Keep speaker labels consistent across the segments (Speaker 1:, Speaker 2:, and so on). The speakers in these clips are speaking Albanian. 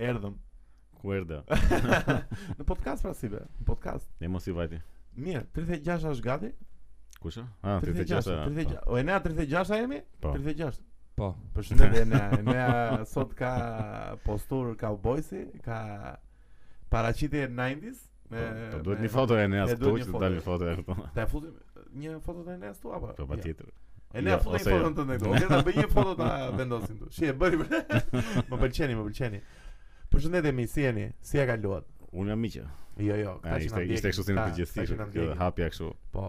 Speaker 1: erdhëm.
Speaker 2: Ku erdha?
Speaker 1: Në podcast pra si be, në podcast.
Speaker 2: Ne mos i vajti.
Speaker 1: Mirë, 36 është gati?
Speaker 2: Kusha? Ah,
Speaker 1: 36,
Speaker 2: 36. ah,
Speaker 1: 36. O Enea 36 a jemi?
Speaker 2: Po.
Speaker 1: 36.
Speaker 3: Po.
Speaker 1: Përshëndetje Enea. Enea sot ka postur cowboysi, ka paraqitje 90s.
Speaker 2: Po, po, duhet një foto e Eneas
Speaker 1: e
Speaker 2: këtu
Speaker 1: duhet një
Speaker 2: që të
Speaker 1: foto.
Speaker 2: dalë foto e këtu.
Speaker 1: Ta futim një foto të Eneas tu apo?
Speaker 2: Po patjetër.
Speaker 1: E ne
Speaker 2: Jo,
Speaker 1: futem
Speaker 2: ose
Speaker 1: një
Speaker 2: jo.
Speaker 1: foton tënde këtu. Ne ta bëj një foto ta vendosim tu. Shi e bëri. bre. Më pëlqeni, më pëlqeni. Përshëndetje mi, si jeni? Si e kaluat?
Speaker 2: Unë jam miqë.
Speaker 1: Jo, jo,
Speaker 2: A,
Speaker 1: këta që na
Speaker 2: ishte
Speaker 1: ndjekin,
Speaker 2: ishte kështu si në
Speaker 1: këta- këta që
Speaker 2: përgjithësi,
Speaker 1: na
Speaker 2: kjo
Speaker 1: ndjekin.
Speaker 2: hapja kështu.
Speaker 1: Po.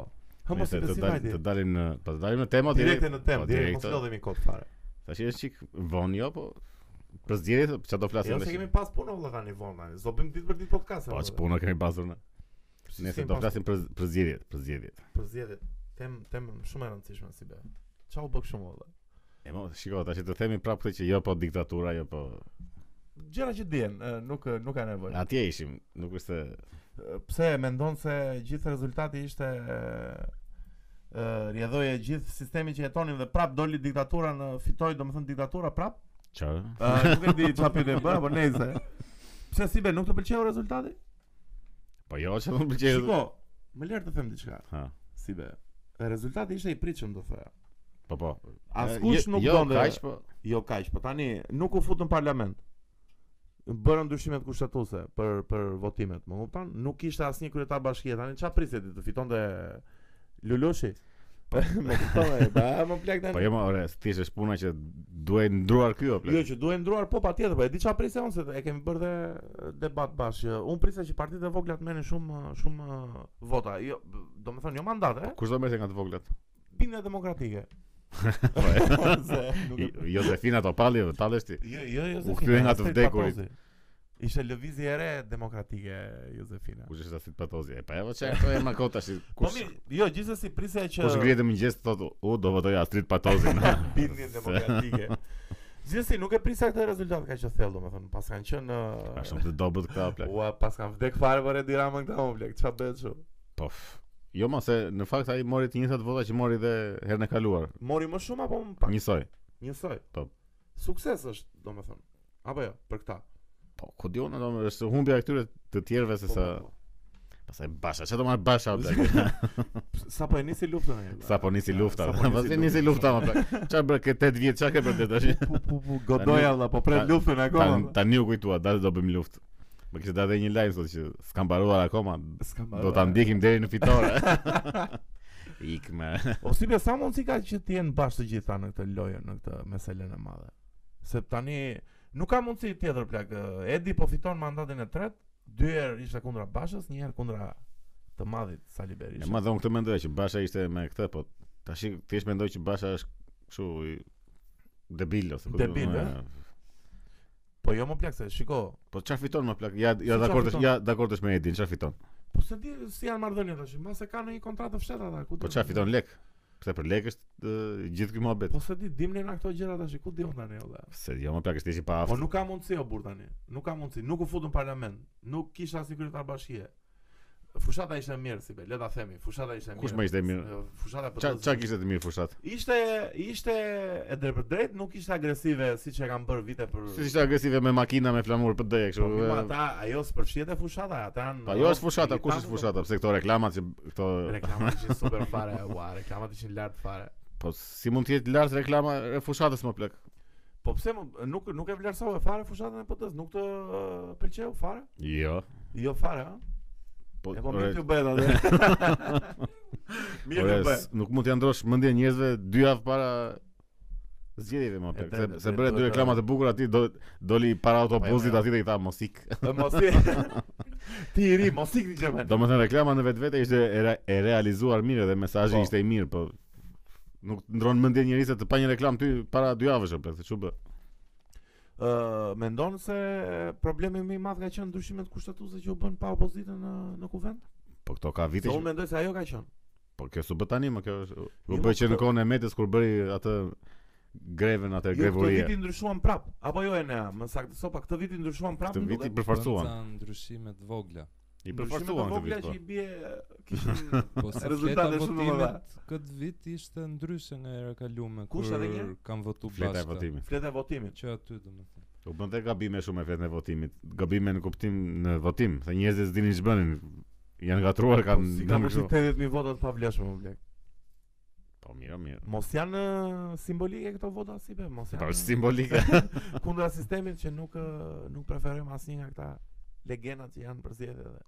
Speaker 1: Ha mos
Speaker 2: Nëse
Speaker 1: i të
Speaker 2: të dalim të dalim në, po të dalim në temë o,
Speaker 1: Direkte në
Speaker 2: po,
Speaker 1: temë, direkt mos
Speaker 2: direkte.
Speaker 1: lodhemi kot fare.
Speaker 2: Tash është çik vonë jo, po për zgjedhje çfarë do flasim
Speaker 1: Jo
Speaker 2: tash.
Speaker 1: se kemi pas punë vëlla tani vonë tani. Do bëjmë ditë për ditë podcast.
Speaker 2: Po që punë kemi pasur ne. Nëse do flasim për për zgjedhjet, për zgjedhjet.
Speaker 1: për zgjedhjet. Tem tem shumë e rëndësishme si be. Çau bë kështu vëlla.
Speaker 2: E mo, shiko, tash të themi prapë këtë që jo po diktatura, jo po.
Speaker 1: Gjëra që dihen, ë, nuk nuk ka nevojë.
Speaker 2: Atje ishim, nuk është se
Speaker 1: Pse mendon se gjithë rezultati ishte ë, ë, rjedhoje gjithë sistemi që jetonim dhe prap doli diktatura në fitoi domethënë diktatura prap?
Speaker 2: çfarë?
Speaker 1: Ë, nuk e di çfarë pyetje bëra, por nejse. Pse si be, nuk të pëlqeu rezultati?
Speaker 2: Po jo, që nuk pëlqej.
Speaker 1: Shiko, më lër të them diçka.
Speaker 2: Ha.
Speaker 1: Si be. Rezultati ishte i pritshëm do thoya.
Speaker 2: Po po.
Speaker 1: Askush
Speaker 2: E,
Speaker 1: nuk
Speaker 2: jo,
Speaker 1: donte.
Speaker 2: Jo, kaq po.
Speaker 1: Jo kaq, po tani nuk u fut në parlament. Bërën ndryshimet kushtetuese për për votimet, më kupton? Nuk kishte asnjë kryetar bashkie. Tani çfarë prisje ti të fitonte Lulushi? Po, më kupton, ba, më plak
Speaker 2: Po
Speaker 1: tani.
Speaker 2: jo, more, thjesht është puna që duhet ndruar ky o
Speaker 1: Jo
Speaker 2: plot.
Speaker 1: që duhet ndruar po patjetër, po e di çfarë prisje unë se e kemi bërë dhe e, debat bashkë. Unë prisja që partitë e vogla të merrin shumë shumë e, vota. Jo, domethënë jo mandate,
Speaker 2: Kush do merrte nga të voglat?
Speaker 1: e? bindje demokratike. Se nuk e-
Speaker 2: Jo Josefina Topalli, tallesh ti.
Speaker 1: Jo, jo, Jozefina.
Speaker 2: U kthye nga të
Speaker 1: Astrid
Speaker 2: vdekurit.
Speaker 1: Patozi. Ishte lëvizje e re demokratike Jozefina.
Speaker 2: Kush është asit patozi? E pa ajo çka këto e makot tash.
Speaker 1: Po
Speaker 2: Kush
Speaker 1: mirë, jo, gjithsesi prisja që
Speaker 2: kush ngrihet në mëngjes thotë, "U do votoj Astrid Patozin."
Speaker 1: bindjen demokratike. Gjithsesi nuk e prisa këtë rezultat kaq të thellë, domethënë, pas kanë qenë uh,
Speaker 2: Ka shumë të dobët këta o plot.
Speaker 1: Ua, pas kanë vdek fare për Edi Ramën këta më blek, çfarë bëhet kështu?
Speaker 2: Po. f- Jo, mos se në fakt ai mori të njëjtat vota që mori edhe herën e kaluar.
Speaker 1: Mori më shumë apo më pak?
Speaker 2: Njësoj.
Speaker 1: Njësoj.
Speaker 2: Po.
Speaker 1: Sukses është, domethënë. Apo jo, për këta.
Speaker 2: Po, ku diun, domethënë është humbja e këtyre të tjerëve se
Speaker 1: Po,
Speaker 2: sa
Speaker 1: po, po.
Speaker 2: pastaj Basha, çfarë do marr Basha o plot?
Speaker 1: Sa po e nisi luftën e.
Speaker 2: Sa po nisi lufta.
Speaker 1: Sa po
Speaker 2: Pasi nisi lufta më plak. Çfarë bëre këtë 8 vjet, çka ke bërë ti tash?
Speaker 1: Pu pu pu, godoja valla, po pret
Speaker 2: Ta-
Speaker 1: luftën akoma.
Speaker 2: Tan-
Speaker 1: valla.
Speaker 2: Tani u kujtua, dalë do bëjmë luftë. Më kishte dalë një lajm thotë që s'kam mbaruar akoma, do
Speaker 1: S'ka mbarë.
Speaker 2: ta ndjekim deri në fitore. Ik me.
Speaker 1: O si be sa mundësi ka që të jenë bashkë të gjitha në këtë lojë, në këtë meselën e madhe. Se tani nuk ka mundësi tjetër plak. ë, Edi po fiton mandatin e tretë, dy herë ishte kundra Bashës, një herë kundra të madhit Sali
Speaker 2: E
Speaker 1: Berisha.
Speaker 2: ma dhon këtë mendoja që Basha ishte me këtë, po tash thjesht mendoj që Basha është kështu i debil ose ku-
Speaker 1: Debil,
Speaker 2: e,
Speaker 1: e? Po jo më plak se shiko,
Speaker 2: Po çfarë fiton më plak? Ja ja
Speaker 1: Si
Speaker 2: dakord
Speaker 1: çfarë
Speaker 2: është,
Speaker 1: fiton?
Speaker 2: ja dakord është me Edin, çfarë fiton?
Speaker 1: po se di si janë marrëdhëniet tash, mas e kanë një kontratë të fshehtë ata, ku
Speaker 2: Po
Speaker 1: di-
Speaker 2: çfarë fiton lek? Pse për lek është e, gjithë ky muhabet.
Speaker 1: Po se di dimnin ato gjëra tash, ku diun tani olla.
Speaker 2: Se jo më plak është thjesht i pa
Speaker 1: Po
Speaker 2: aftë.
Speaker 1: nuk ka mundësi o burr tani. Nuk ka mundësi. Nuk u futën në parlament. Nuk kishte asnjë kryetar bashkie. Fushata ishte mirë si be, le ta themi. Fushata ishte mirë.
Speaker 2: Kush më ishte mirë?
Speaker 1: Fushata po.
Speaker 2: Ç'a ç'a kishte të mirë fushat?
Speaker 1: Ishte ishte e drejtë për drejt, nuk ishte agresive siç e kanë bërë vite për.
Speaker 2: Si ishte agresive me makina, me flamur për dëje
Speaker 1: Po mirë,
Speaker 2: kështu. e,
Speaker 1: ata ajo s'përfshihet e fushata, ata janë.
Speaker 2: Pa jo është fushata, kush është fushata? Pse këto reklamat që këto
Speaker 1: Reklamat ishin super fare, ua, reklamat ishin lart fare.
Speaker 2: po si mund të jetë lart reklama e fushatës më plak?
Speaker 1: Po pse më- nuk nuk e vlerësove fare fushatën e PT-s, nuk të uh, pëlqeu fare?
Speaker 2: Jo.
Speaker 1: Jo fare, ha?
Speaker 2: Po,
Speaker 1: E po
Speaker 2: ore,
Speaker 1: mirë t'ju bëhet atë. mirë
Speaker 2: ore,
Speaker 1: t'ju bëhet.
Speaker 2: s- nuk mund t'ja ndrosh mendjen e njerëzve dy javë para zgjedhjeve më plak. Se,
Speaker 1: E, drejt,
Speaker 2: se
Speaker 1: drejt,
Speaker 2: bëre
Speaker 1: duhet
Speaker 2: dy
Speaker 1: të-
Speaker 2: reklama të bukura aty do doli
Speaker 1: Po,
Speaker 2: para autobusit aty dhe i tha mos ik.
Speaker 1: E mos i ti i ri, mos ikni që më.
Speaker 2: Domethënë reklama në vetvete ishte e, re, e realizuar mirë dhe mesazhi
Speaker 1: Po.
Speaker 2: ishte i mirë, po nuk ndron mendjen e njerëzve se të pa një reklam ty para dy javësh o plak, se çu bë.
Speaker 1: Ë, mendon se problemi më i madh ka qenë ndryshimet kushtetuese që u bën pa opozitën në në kuvent?
Speaker 2: Po këto ka vite
Speaker 1: Se
Speaker 2: që
Speaker 1: unë mendoj se ajo ka qenë.
Speaker 2: Po kjo su bë tani, më kjo është. U
Speaker 1: Jo,
Speaker 2: bë që
Speaker 1: po-
Speaker 2: në kohën e Metës kur bëri atë grevën atë
Speaker 1: Jo, këtë vit
Speaker 2: grevurie.
Speaker 1: i ndryshuan prap, apo jo e nea, më saktë sopa, këtë vit i ndryshuan prap.
Speaker 2: Këtë
Speaker 1: më
Speaker 2: vit i
Speaker 1: duket.
Speaker 2: përforcuan.
Speaker 3: Ca ndryshime të vogla.
Speaker 2: I
Speaker 1: Ndryshimet e
Speaker 2: përforcuan këtë vit.
Speaker 1: vogla që
Speaker 2: po.
Speaker 1: i bie kishin
Speaker 3: Po se
Speaker 1: Rezultate
Speaker 3: rezultati
Speaker 1: shumë më dha.
Speaker 3: votimit këtë vit ishte ndryshe nga era kalume
Speaker 1: Kush
Speaker 3: kur
Speaker 1: edhe një?
Speaker 3: kam votu
Speaker 2: Fleta e
Speaker 3: bashkë.
Speaker 2: votimit.
Speaker 1: fletë e votimit.
Speaker 3: Që aty domethënë.
Speaker 2: U bën të gabime shumë e fetë në votimit. Gabime në kuptim në votim, se njerëzit s'dinin ç'bënin. Janë gatruar kanë
Speaker 1: Po, si
Speaker 2: kanë
Speaker 1: kanë
Speaker 2: kështu.
Speaker 1: pushit 80000 vota të pavlefshme më blek.
Speaker 2: Po mirë, mirë.
Speaker 1: Mos janë ë, simbolike këto vota si be, mos
Speaker 2: Po
Speaker 1: janë.
Speaker 2: simbolike.
Speaker 1: kundra sistemit që nuk ë, nuk preferojmë asnjë nga këta legendat që janë për zgjedhje dhe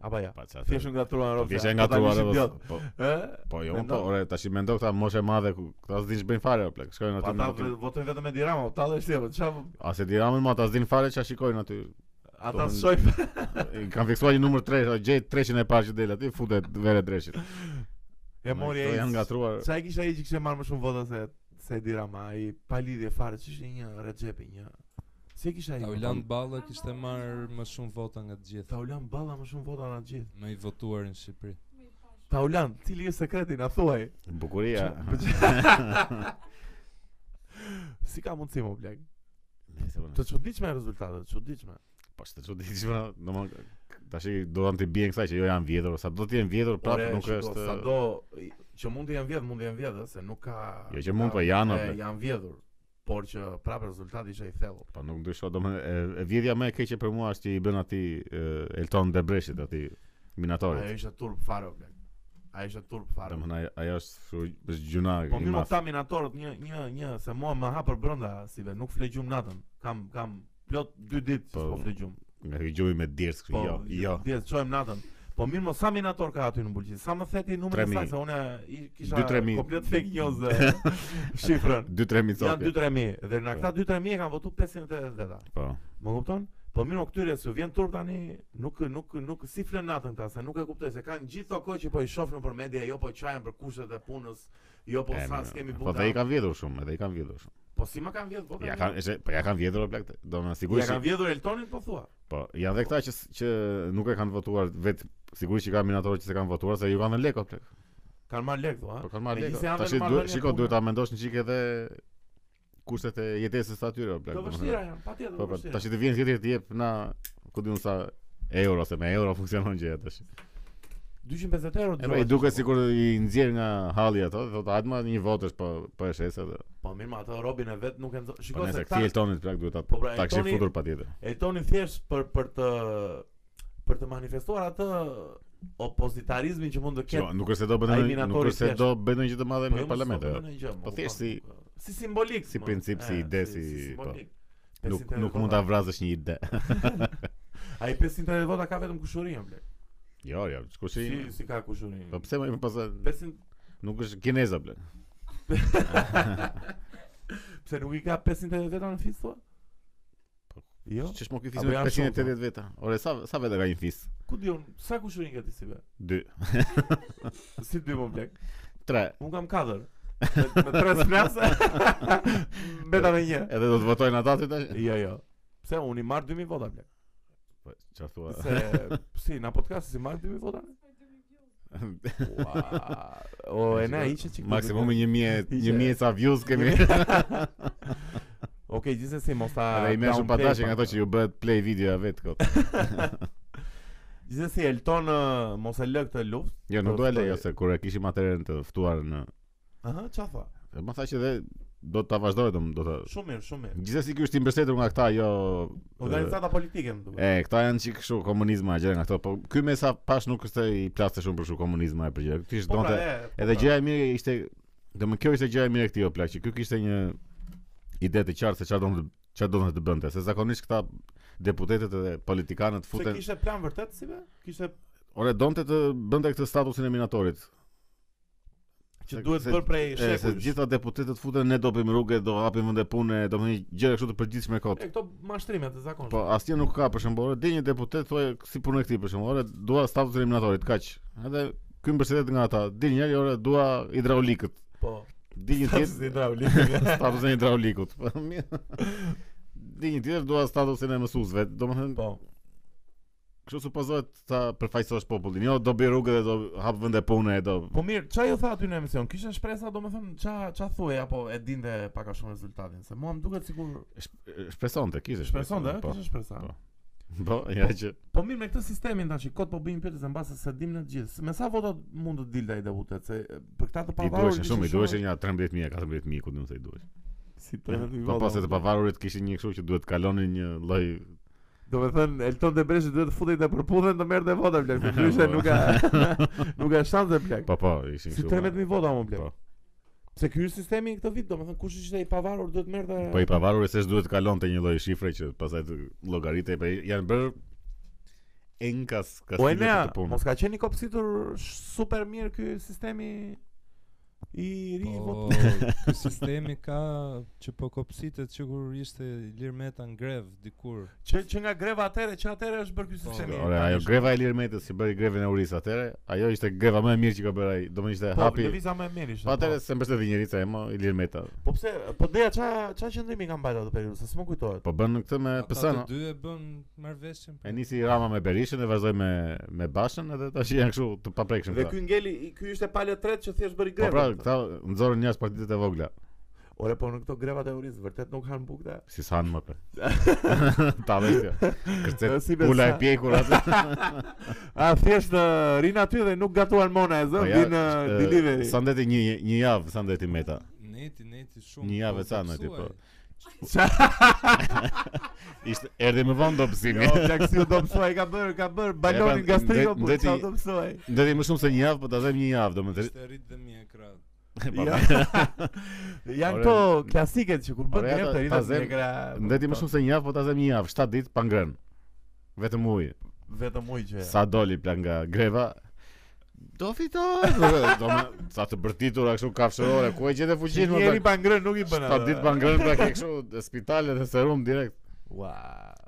Speaker 1: apo jo. ja.
Speaker 2: Pa çfarë.
Speaker 1: Thjesht nga trua rrobë.
Speaker 2: Vishë nga truar. Po
Speaker 1: Ë?
Speaker 2: po jo,
Speaker 1: Mendo.
Speaker 2: po ore tash i mendo këta moshë e madhe ku këta s'din ç'bëjnë fare o plak. Shkojnë
Speaker 1: Pa
Speaker 2: aty.
Speaker 1: ta
Speaker 2: në votim.
Speaker 1: votojnë vetëm me dirama, ta dhe shtjeve, çfarë
Speaker 2: A se diramën ma ta s'din fare ç'a shikojnë aty.
Speaker 1: ata
Speaker 2: Domethënë-
Speaker 1: shojnë
Speaker 2: I kanë fiksuar një numër 3, o gjej 300 e parë që del aty, futet vere dreshit.
Speaker 1: e mori
Speaker 2: Këto
Speaker 1: ai.
Speaker 2: janë gatruar.
Speaker 1: Çfarë kishte ai që kishte marrë më shumë vota se se dirama, ai pa lidhje fare, ç'ishte një Rexhepi, një. Si e kishte ai?
Speaker 3: Tauland Balla kishte marrë më shumë vota nga të gjithë.
Speaker 1: Taulan Balla më shumë vota nga të gjithë.
Speaker 3: Më i votuar në Shqipëri.
Speaker 1: Taulan, cili është sekreti na thuaj?
Speaker 2: Bukuria.
Speaker 1: Si ka mundësi më blek?
Speaker 2: Nëse po.
Speaker 1: Të çuditshme rezultatet, çuditshme.
Speaker 2: Po është e çuditshme, domethënë tash do të bjen kësaj që jo janë vjedhur, sa do të jenë vjedhur prapë
Speaker 1: Ore,
Speaker 2: Pra, nuk
Speaker 1: shiko,
Speaker 2: është.
Speaker 1: Sado i- që mund të janë vjedh, mund të janë vjedh, ë, se nuk ka
Speaker 2: Jo që mund, po janë,
Speaker 1: e,
Speaker 2: o, bre.
Speaker 1: janë vjedhur, por që prapë rezultati ishte i thellë.
Speaker 2: Po nuk ndryshon, domethënë e- e vjedhja më e keqe për mua është që i bën aty e, Elton Debreshit aty
Speaker 1: Ajo
Speaker 2: minatorit.
Speaker 1: ishte turp fare o blek. Ajo ishte turp fare.
Speaker 2: Domethënë ajo- ajo është kështu- është gjuna
Speaker 1: Po
Speaker 2: i
Speaker 1: mirë më
Speaker 2: madh.
Speaker 1: ta minatorët një një një se mua më ha për brenda si ve, nuk fle gjumë natën. Kam kam plot 2 ditë që
Speaker 2: Po,
Speaker 1: po fle gjumë.
Speaker 2: Nga ky gjumi me dirës kështu.
Speaker 1: Po,
Speaker 2: Jo, jo.
Speaker 1: Dhe çojmë natën. Po mirë më sa minator ka aty në Bulqi? Sa më theti numrin e
Speaker 2: 3.000.
Speaker 1: saj se unë i- kisha
Speaker 2: 2-3.000.
Speaker 1: komplet fake news dhe shifrën.
Speaker 2: 2-3
Speaker 1: Janë
Speaker 2: micopje.
Speaker 1: 2-3.000 dhe nga këta 2-3.000 e kanë votu 580 veta.
Speaker 2: Po.
Speaker 1: Po. Më kupton? Po mirë, o këtyre se vjen turp tani, nuk nuk nuk si flen natën këta, se nuk e kuptoj se kanë gjithë ato kohë që po i shoh nëpër media, jo po çajën për kushtet e punës, jo po
Speaker 2: E,
Speaker 1: sa
Speaker 2: mirë.
Speaker 1: skemi
Speaker 2: Po dhe i
Speaker 1: buka.
Speaker 2: kanë vjedhur shumë, edhe i kanë vjedhur shumë.
Speaker 1: Po si ma kanë vjedhë vota?
Speaker 2: Ja
Speaker 1: mirë?
Speaker 2: kanë, ishe- po ja kanë vjedhur o plak. Domethënë
Speaker 1: ja
Speaker 2: sigurisht
Speaker 1: kanë vjedhur Eltonin po thua.
Speaker 2: Po, janë dhe këta që s- që nuk e kanë votuar vetë sigurisht që ka minatorë që se kanë votuar se ju kanë dhënë lekë o plak.
Speaker 1: Kanë marrë lek thua.
Speaker 2: Po
Speaker 1: a?
Speaker 2: kanë marrë
Speaker 1: E
Speaker 2: lekë.
Speaker 1: gjithse janë
Speaker 2: Tash
Speaker 1: vetë marrëdhënie
Speaker 2: duhet shiko
Speaker 1: pune.
Speaker 2: duhet ta mendosh një çikë edhe kushtet e jetesës së atyre o plak.
Speaker 1: Do
Speaker 2: domethënë.
Speaker 1: vështira janë, patjetër
Speaker 2: Po
Speaker 1: do
Speaker 2: po,
Speaker 1: vështira.
Speaker 2: tash të vjen tjetër të jep na ku diun sa euro ose me euro funksionon gjëja tash.
Speaker 1: 250 euro.
Speaker 2: E po i duket sikur i nxjerr nga halli ato, dhe thotë hajtë ma një votësh po po e shesë atë.
Speaker 1: Po mirë, ma ato robin e vet nuk e nxo.
Speaker 2: Po
Speaker 1: Shikoj
Speaker 2: nëse
Speaker 1: se
Speaker 2: kthi
Speaker 1: këta
Speaker 2: Eltonit plak duhet ta
Speaker 1: Po, pra,
Speaker 2: ta kishin
Speaker 1: Eltoni-
Speaker 2: futur patjetër.
Speaker 1: Eltoni thjesht për për të për të manifestuar atë opozitarizmin që mund të ketë
Speaker 2: Jo, nuk është se do bënë
Speaker 1: ai
Speaker 2: ndonjë- nuk
Speaker 1: minatori
Speaker 2: është se
Speaker 1: thjesht.
Speaker 2: do bënë një gjë të madhe
Speaker 1: jo,
Speaker 2: në
Speaker 1: mos
Speaker 2: parlament.
Speaker 1: thonë
Speaker 2: e.
Speaker 1: ndonjë gjë, më
Speaker 2: po
Speaker 1: kupton,
Speaker 2: thjesht si-
Speaker 1: nuk, uh, si Ah, simbolik,
Speaker 2: si
Speaker 1: më,
Speaker 2: princip, si
Speaker 1: e,
Speaker 2: ide, si-
Speaker 1: simbolik.
Speaker 2: Nuk
Speaker 1: 580
Speaker 2: nuk mund ta
Speaker 1: vota.
Speaker 2: vrazësh një ide.
Speaker 1: Ai 580 vota ka vetëm kushuri, më blek.
Speaker 2: Jo, jo,
Speaker 1: Si
Speaker 2: kushi.
Speaker 1: si ka kushuri?
Speaker 2: Po pse më pas
Speaker 1: 500
Speaker 2: nuk është kineza bler.
Speaker 1: pse nuk i ka 580 veta në fis thua?
Speaker 2: Po,
Speaker 1: Jo.
Speaker 2: Ç'është më ky fis
Speaker 1: Apo
Speaker 2: me
Speaker 1: janë shumë, po.
Speaker 2: 580 veta. Ore sa sa veta ka një fis?
Speaker 1: Ku diun sa kushurin ke ti si be?
Speaker 2: 2,
Speaker 1: Si ti më blek?
Speaker 2: 3.
Speaker 1: Un kam 4. Me, me 3 flas. Mbeta me një.
Speaker 2: Edhe do të votojnë ata aty tash?
Speaker 1: Jo, jo. Pse unë i marr 2000 vota blek?
Speaker 2: Po çfarë thua?
Speaker 1: Se si na podcast si marr 2000 vota? Ua. O Po, e na hiqet çik.
Speaker 2: Maksimumi 1000
Speaker 1: Hiqe.
Speaker 2: 1000 ca views kemi.
Speaker 1: Okej, gjithsesi mos ta
Speaker 2: Edhe i merr shumë
Speaker 1: downplay
Speaker 2: padashje nga
Speaker 1: pak.
Speaker 2: ato që ju bëhet play video vetë kot.
Speaker 1: Gjithsesi Elton ë, mos e lë këtë luftë.
Speaker 2: Jo, nuk
Speaker 1: Po,
Speaker 2: do e
Speaker 1: po,
Speaker 2: lej
Speaker 1: e-
Speaker 2: ose kur e kishim atëherë të ftuar në.
Speaker 1: Aha, çfarë tha?
Speaker 2: E më tha që dhe do ta vazhdoj dom do ta.
Speaker 1: Shumë mirë, shumë mirë.
Speaker 2: Gjithsesi ky është i mbështetur nga këta, jo
Speaker 1: Organizata politike më duket.
Speaker 2: E, këta janë çik kështu komunizma e gjëra nga këto, po ky me sa pash nuk është i plaste shumë për kështu komunizma e për gjëra. Ky ishte
Speaker 1: Po pra,
Speaker 2: donte
Speaker 1: e, po
Speaker 2: edhe
Speaker 1: pra.
Speaker 2: gjëja e mirë ishte, domethënë kjo ishte gjëja e mirë e këtij o plak, që ky kishte një ide të qartë se çfarë donte çfarë donte të bënte, se zakonisht këta deputetët dhe politikanët
Speaker 1: pra, Se
Speaker 2: futen,
Speaker 1: kishte plan vërtet si be? Kishte
Speaker 2: ore donte të bënte këtë statusin e minatorit.
Speaker 1: që
Speaker 2: Se-
Speaker 1: duhet
Speaker 2: se-
Speaker 1: bërë prej
Speaker 2: E, se
Speaker 1: shekut.
Speaker 2: gjitha deputetët futen ne do bëjmë rrugë, do hapim vende pune, domethënë gjëra kështu të përgjithshme kot.
Speaker 1: E këto mashtrime të zakonshme.
Speaker 2: Po asnjë nuk ka për shembull, di një deputet thuaj si punë e këtij për shembull, ore dua statusin e eliminatorit, kaq. Edhe ky mbështetet nga ata. Di një herë, ore dua hidraulikët.
Speaker 1: Po.
Speaker 2: Di një tjetër
Speaker 1: hidraulikë.
Speaker 2: statusin e hidraulikut. Po, mirë. Di një tjetër dua statusin e mësuesve. Domethënë,
Speaker 1: Po.
Speaker 2: kështu supozohet ta përfaqësosh popullin. Jo, do bëj rrugë dhe do hap vende pune, do
Speaker 1: Po mirë, ç'a ju tha aty në emision? Kishte shpresa, domethënë, ç'a ç'a thuaj apo e dinte pak a shumë rezultatin, se mua më duket sikur
Speaker 2: Shp- shpresonte, kishte.
Speaker 1: shpresonte,
Speaker 2: Po.
Speaker 1: ë, kishte shpresa.
Speaker 2: Po. Po, ja që
Speaker 1: Po mirë me këtë sistemin tash, kot po bëjmë pyetje se mbase se dim në të gjithë. se Me sa vota mund të dilte ai deputet se e, për këtë të
Speaker 2: i
Speaker 1: pavarur
Speaker 2: duheshin
Speaker 1: ishte
Speaker 2: shumë, i
Speaker 1: shumë-
Speaker 2: duheshin ja 13000, 14000, ku do të thotë i duhesh.
Speaker 1: Si 13.000
Speaker 2: Po
Speaker 1: vota.
Speaker 2: pas e të pavarurit kishin një kështu që duhet kalonin një lloj
Speaker 1: Do me thënë, Elton de Breshi duhet të futej të përpudhen të merë dhe vota, plak, për ndryshe nuk ka, nuk ka shanse, plak.
Speaker 2: Po po, ishin
Speaker 1: Si
Speaker 2: kështu.
Speaker 1: 13.000 vota, më plak.
Speaker 2: Po.
Speaker 1: Se ky është sistemi i këtë vit, do me thënë, kush ishte i pavarur duhet merë dhe...
Speaker 2: Po i pavarurit s'është duhet kalonte një lloj shifre që pastaj të llogaritej, po janë bërë enkas
Speaker 1: O e
Speaker 2: kastile
Speaker 1: nea,
Speaker 2: për të punë.
Speaker 1: Po, mos ka qenë i kopsitur sh- super mirë ky sistemi i ri i
Speaker 3: Po,
Speaker 1: vot.
Speaker 3: ky sistemi ka që po kopsitet që kur ishte Ilir Meta në grev dikur.
Speaker 1: Që, që nga greva atëre, që atëre është bërë ky
Speaker 3: Po,
Speaker 1: sistemi.
Speaker 2: Ore, ajo greva e Ilir Metës që bëri grevën e Uris atëre, ajo ishte greva më e mirë që ka bërë ai. Domethënë ishte
Speaker 1: Po,
Speaker 2: hapi.
Speaker 1: lëviza më e mirë ishte.
Speaker 2: Pa atëre
Speaker 1: po.
Speaker 2: se mbështet njerica e mo Ilir Meta.
Speaker 1: Po pse, po deja ça ça qëndrimi ka mbajtur atë periudhë, se s'më kujtohet.
Speaker 2: Po bën këtë me
Speaker 3: Ata
Speaker 2: PSN.
Speaker 3: të dy e bën marrveshjen.
Speaker 2: E nisi Rama me Berishën e vazhdoi me me Bashën edhe tash janë kështu të paprekshëm.
Speaker 1: Dhe
Speaker 2: këta.
Speaker 1: ky ngeli, i- ky ishte palë e tretë që thjesht bëri
Speaker 2: Po
Speaker 1: grevë.
Speaker 2: pra, këta nxorën jashtë partitë e vogla.
Speaker 1: Ore, po në këto greva të urisë, vërtet nuk hanë bukë dhe.
Speaker 2: Si s'han më për. Ta vesh kjo. Kërcet
Speaker 1: Si besa.
Speaker 2: pula e pjekur atë.
Speaker 1: A thjesht ë, rinë aty dhe nuk gatuan mona e zë,
Speaker 2: Po ja,
Speaker 1: vinë ë,
Speaker 2: ë,
Speaker 1: delivery.
Speaker 2: Sa ndeti një një javë, sa ndeti Meta.
Speaker 3: Neti, neti shumë.
Speaker 2: Një javë
Speaker 3: po,
Speaker 2: e canë aty,
Speaker 3: kopsuaj.
Speaker 2: po. Ishte erdhi më vonë dobësimi.
Speaker 1: Jo, plak si u do mësoj, ka bërë, ka bërë
Speaker 2: E,
Speaker 1: balonin
Speaker 2: pra,
Speaker 1: gastriko,
Speaker 2: ndet-
Speaker 1: po
Speaker 2: ndeti-
Speaker 1: sa u do mësoj.
Speaker 2: Ndeti më shumë se një javë, po ta them një javë, domethënë.
Speaker 3: Ishte rrit dhe mje krahë.
Speaker 1: Ja. Janë
Speaker 2: Po. Ore,
Speaker 1: këto klasiket që kur bën
Speaker 2: ore,
Speaker 1: grep
Speaker 2: ata-
Speaker 1: të rinë
Speaker 2: ta
Speaker 1: aty
Speaker 2: zem- Ndeti më shumë se një javë, po ta them një javë, 7 ditë pa ngrën. Vetëm ujë.
Speaker 1: vetëm ujë që.
Speaker 2: Sa doli plan nga greva. Do fitoj. Do më sa të bërtitura kështu kafshërore, ku e gjete fuqinë më
Speaker 1: Njeri
Speaker 2: bak?
Speaker 1: pa ngrën nuk i bën
Speaker 2: Sa ditë pa ngrën pra ke kështu dhe spitale dhe serum direkt.
Speaker 1: Ua.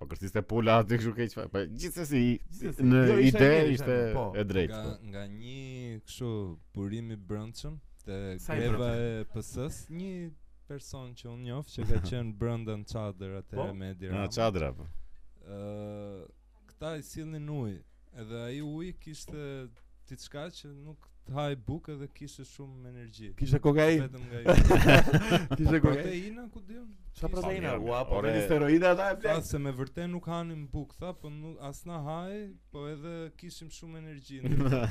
Speaker 2: Po kërciste pula aty kështu keq fare. Po gjithsesi i-
Speaker 1: Gjithsesi,
Speaker 2: në
Speaker 1: jo, ishte
Speaker 2: ide
Speaker 1: mirë, ishte
Speaker 2: ishte
Speaker 1: mirë, po.
Speaker 2: e drejtë.
Speaker 3: Nga,
Speaker 2: po.
Speaker 3: nga një kështu burim i brëndshëm te
Speaker 1: Sa i
Speaker 3: greva e PS-s, një person që unë njoh që ka qenë brenda në çadër atëherë
Speaker 1: Po?
Speaker 3: me Edi
Speaker 2: Në
Speaker 3: Rama.
Speaker 2: çadra. po.
Speaker 3: Ë, këta i sillnin ujë, edhe ai uji kishte diçka që nuk të haj bukë edhe kishte shumë energji.
Speaker 1: Kishte kokainë.
Speaker 3: Vetëm nga ju.
Speaker 1: Kishte kokainë.
Speaker 3: Proteina ku diun?
Speaker 1: Sa
Speaker 3: Kishte-
Speaker 1: proteina?
Speaker 2: mirë,
Speaker 1: Ua, po
Speaker 2: ore.
Speaker 1: vjen steroide ata e
Speaker 3: Tha
Speaker 1: plak.
Speaker 3: se me vërtet nuk hanim bukë, tha, po nuk as na haj, po edhe kishim shumë energji. ndërsa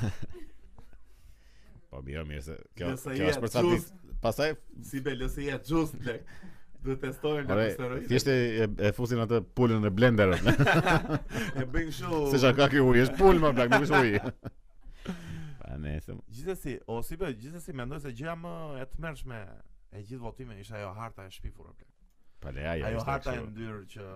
Speaker 2: Po mirë, mirë se kjo
Speaker 1: Nëse
Speaker 2: kjo
Speaker 1: je
Speaker 2: është për sa
Speaker 1: gjus-
Speaker 2: ditë. Pastaj
Speaker 1: Si belësia just plak. Duhet testojnë nga
Speaker 2: ore,
Speaker 1: steroide.
Speaker 2: thjesht e, e fusin atë pulën në blender.
Speaker 1: e bën kështu.
Speaker 2: Se çka ka kjo uji, është pulë më plak, nuk është uji. Pa nesër.
Speaker 1: Gjithsesi, o si bëj, gjithsesi mendoj se gjëja më e tmerrshme e gjithë votimit ishte ajo harta e shpifur plak.
Speaker 2: Pa leja, ja,
Speaker 1: Ajo
Speaker 2: ishte
Speaker 1: harta e
Speaker 2: kështu.
Speaker 1: ndyrë që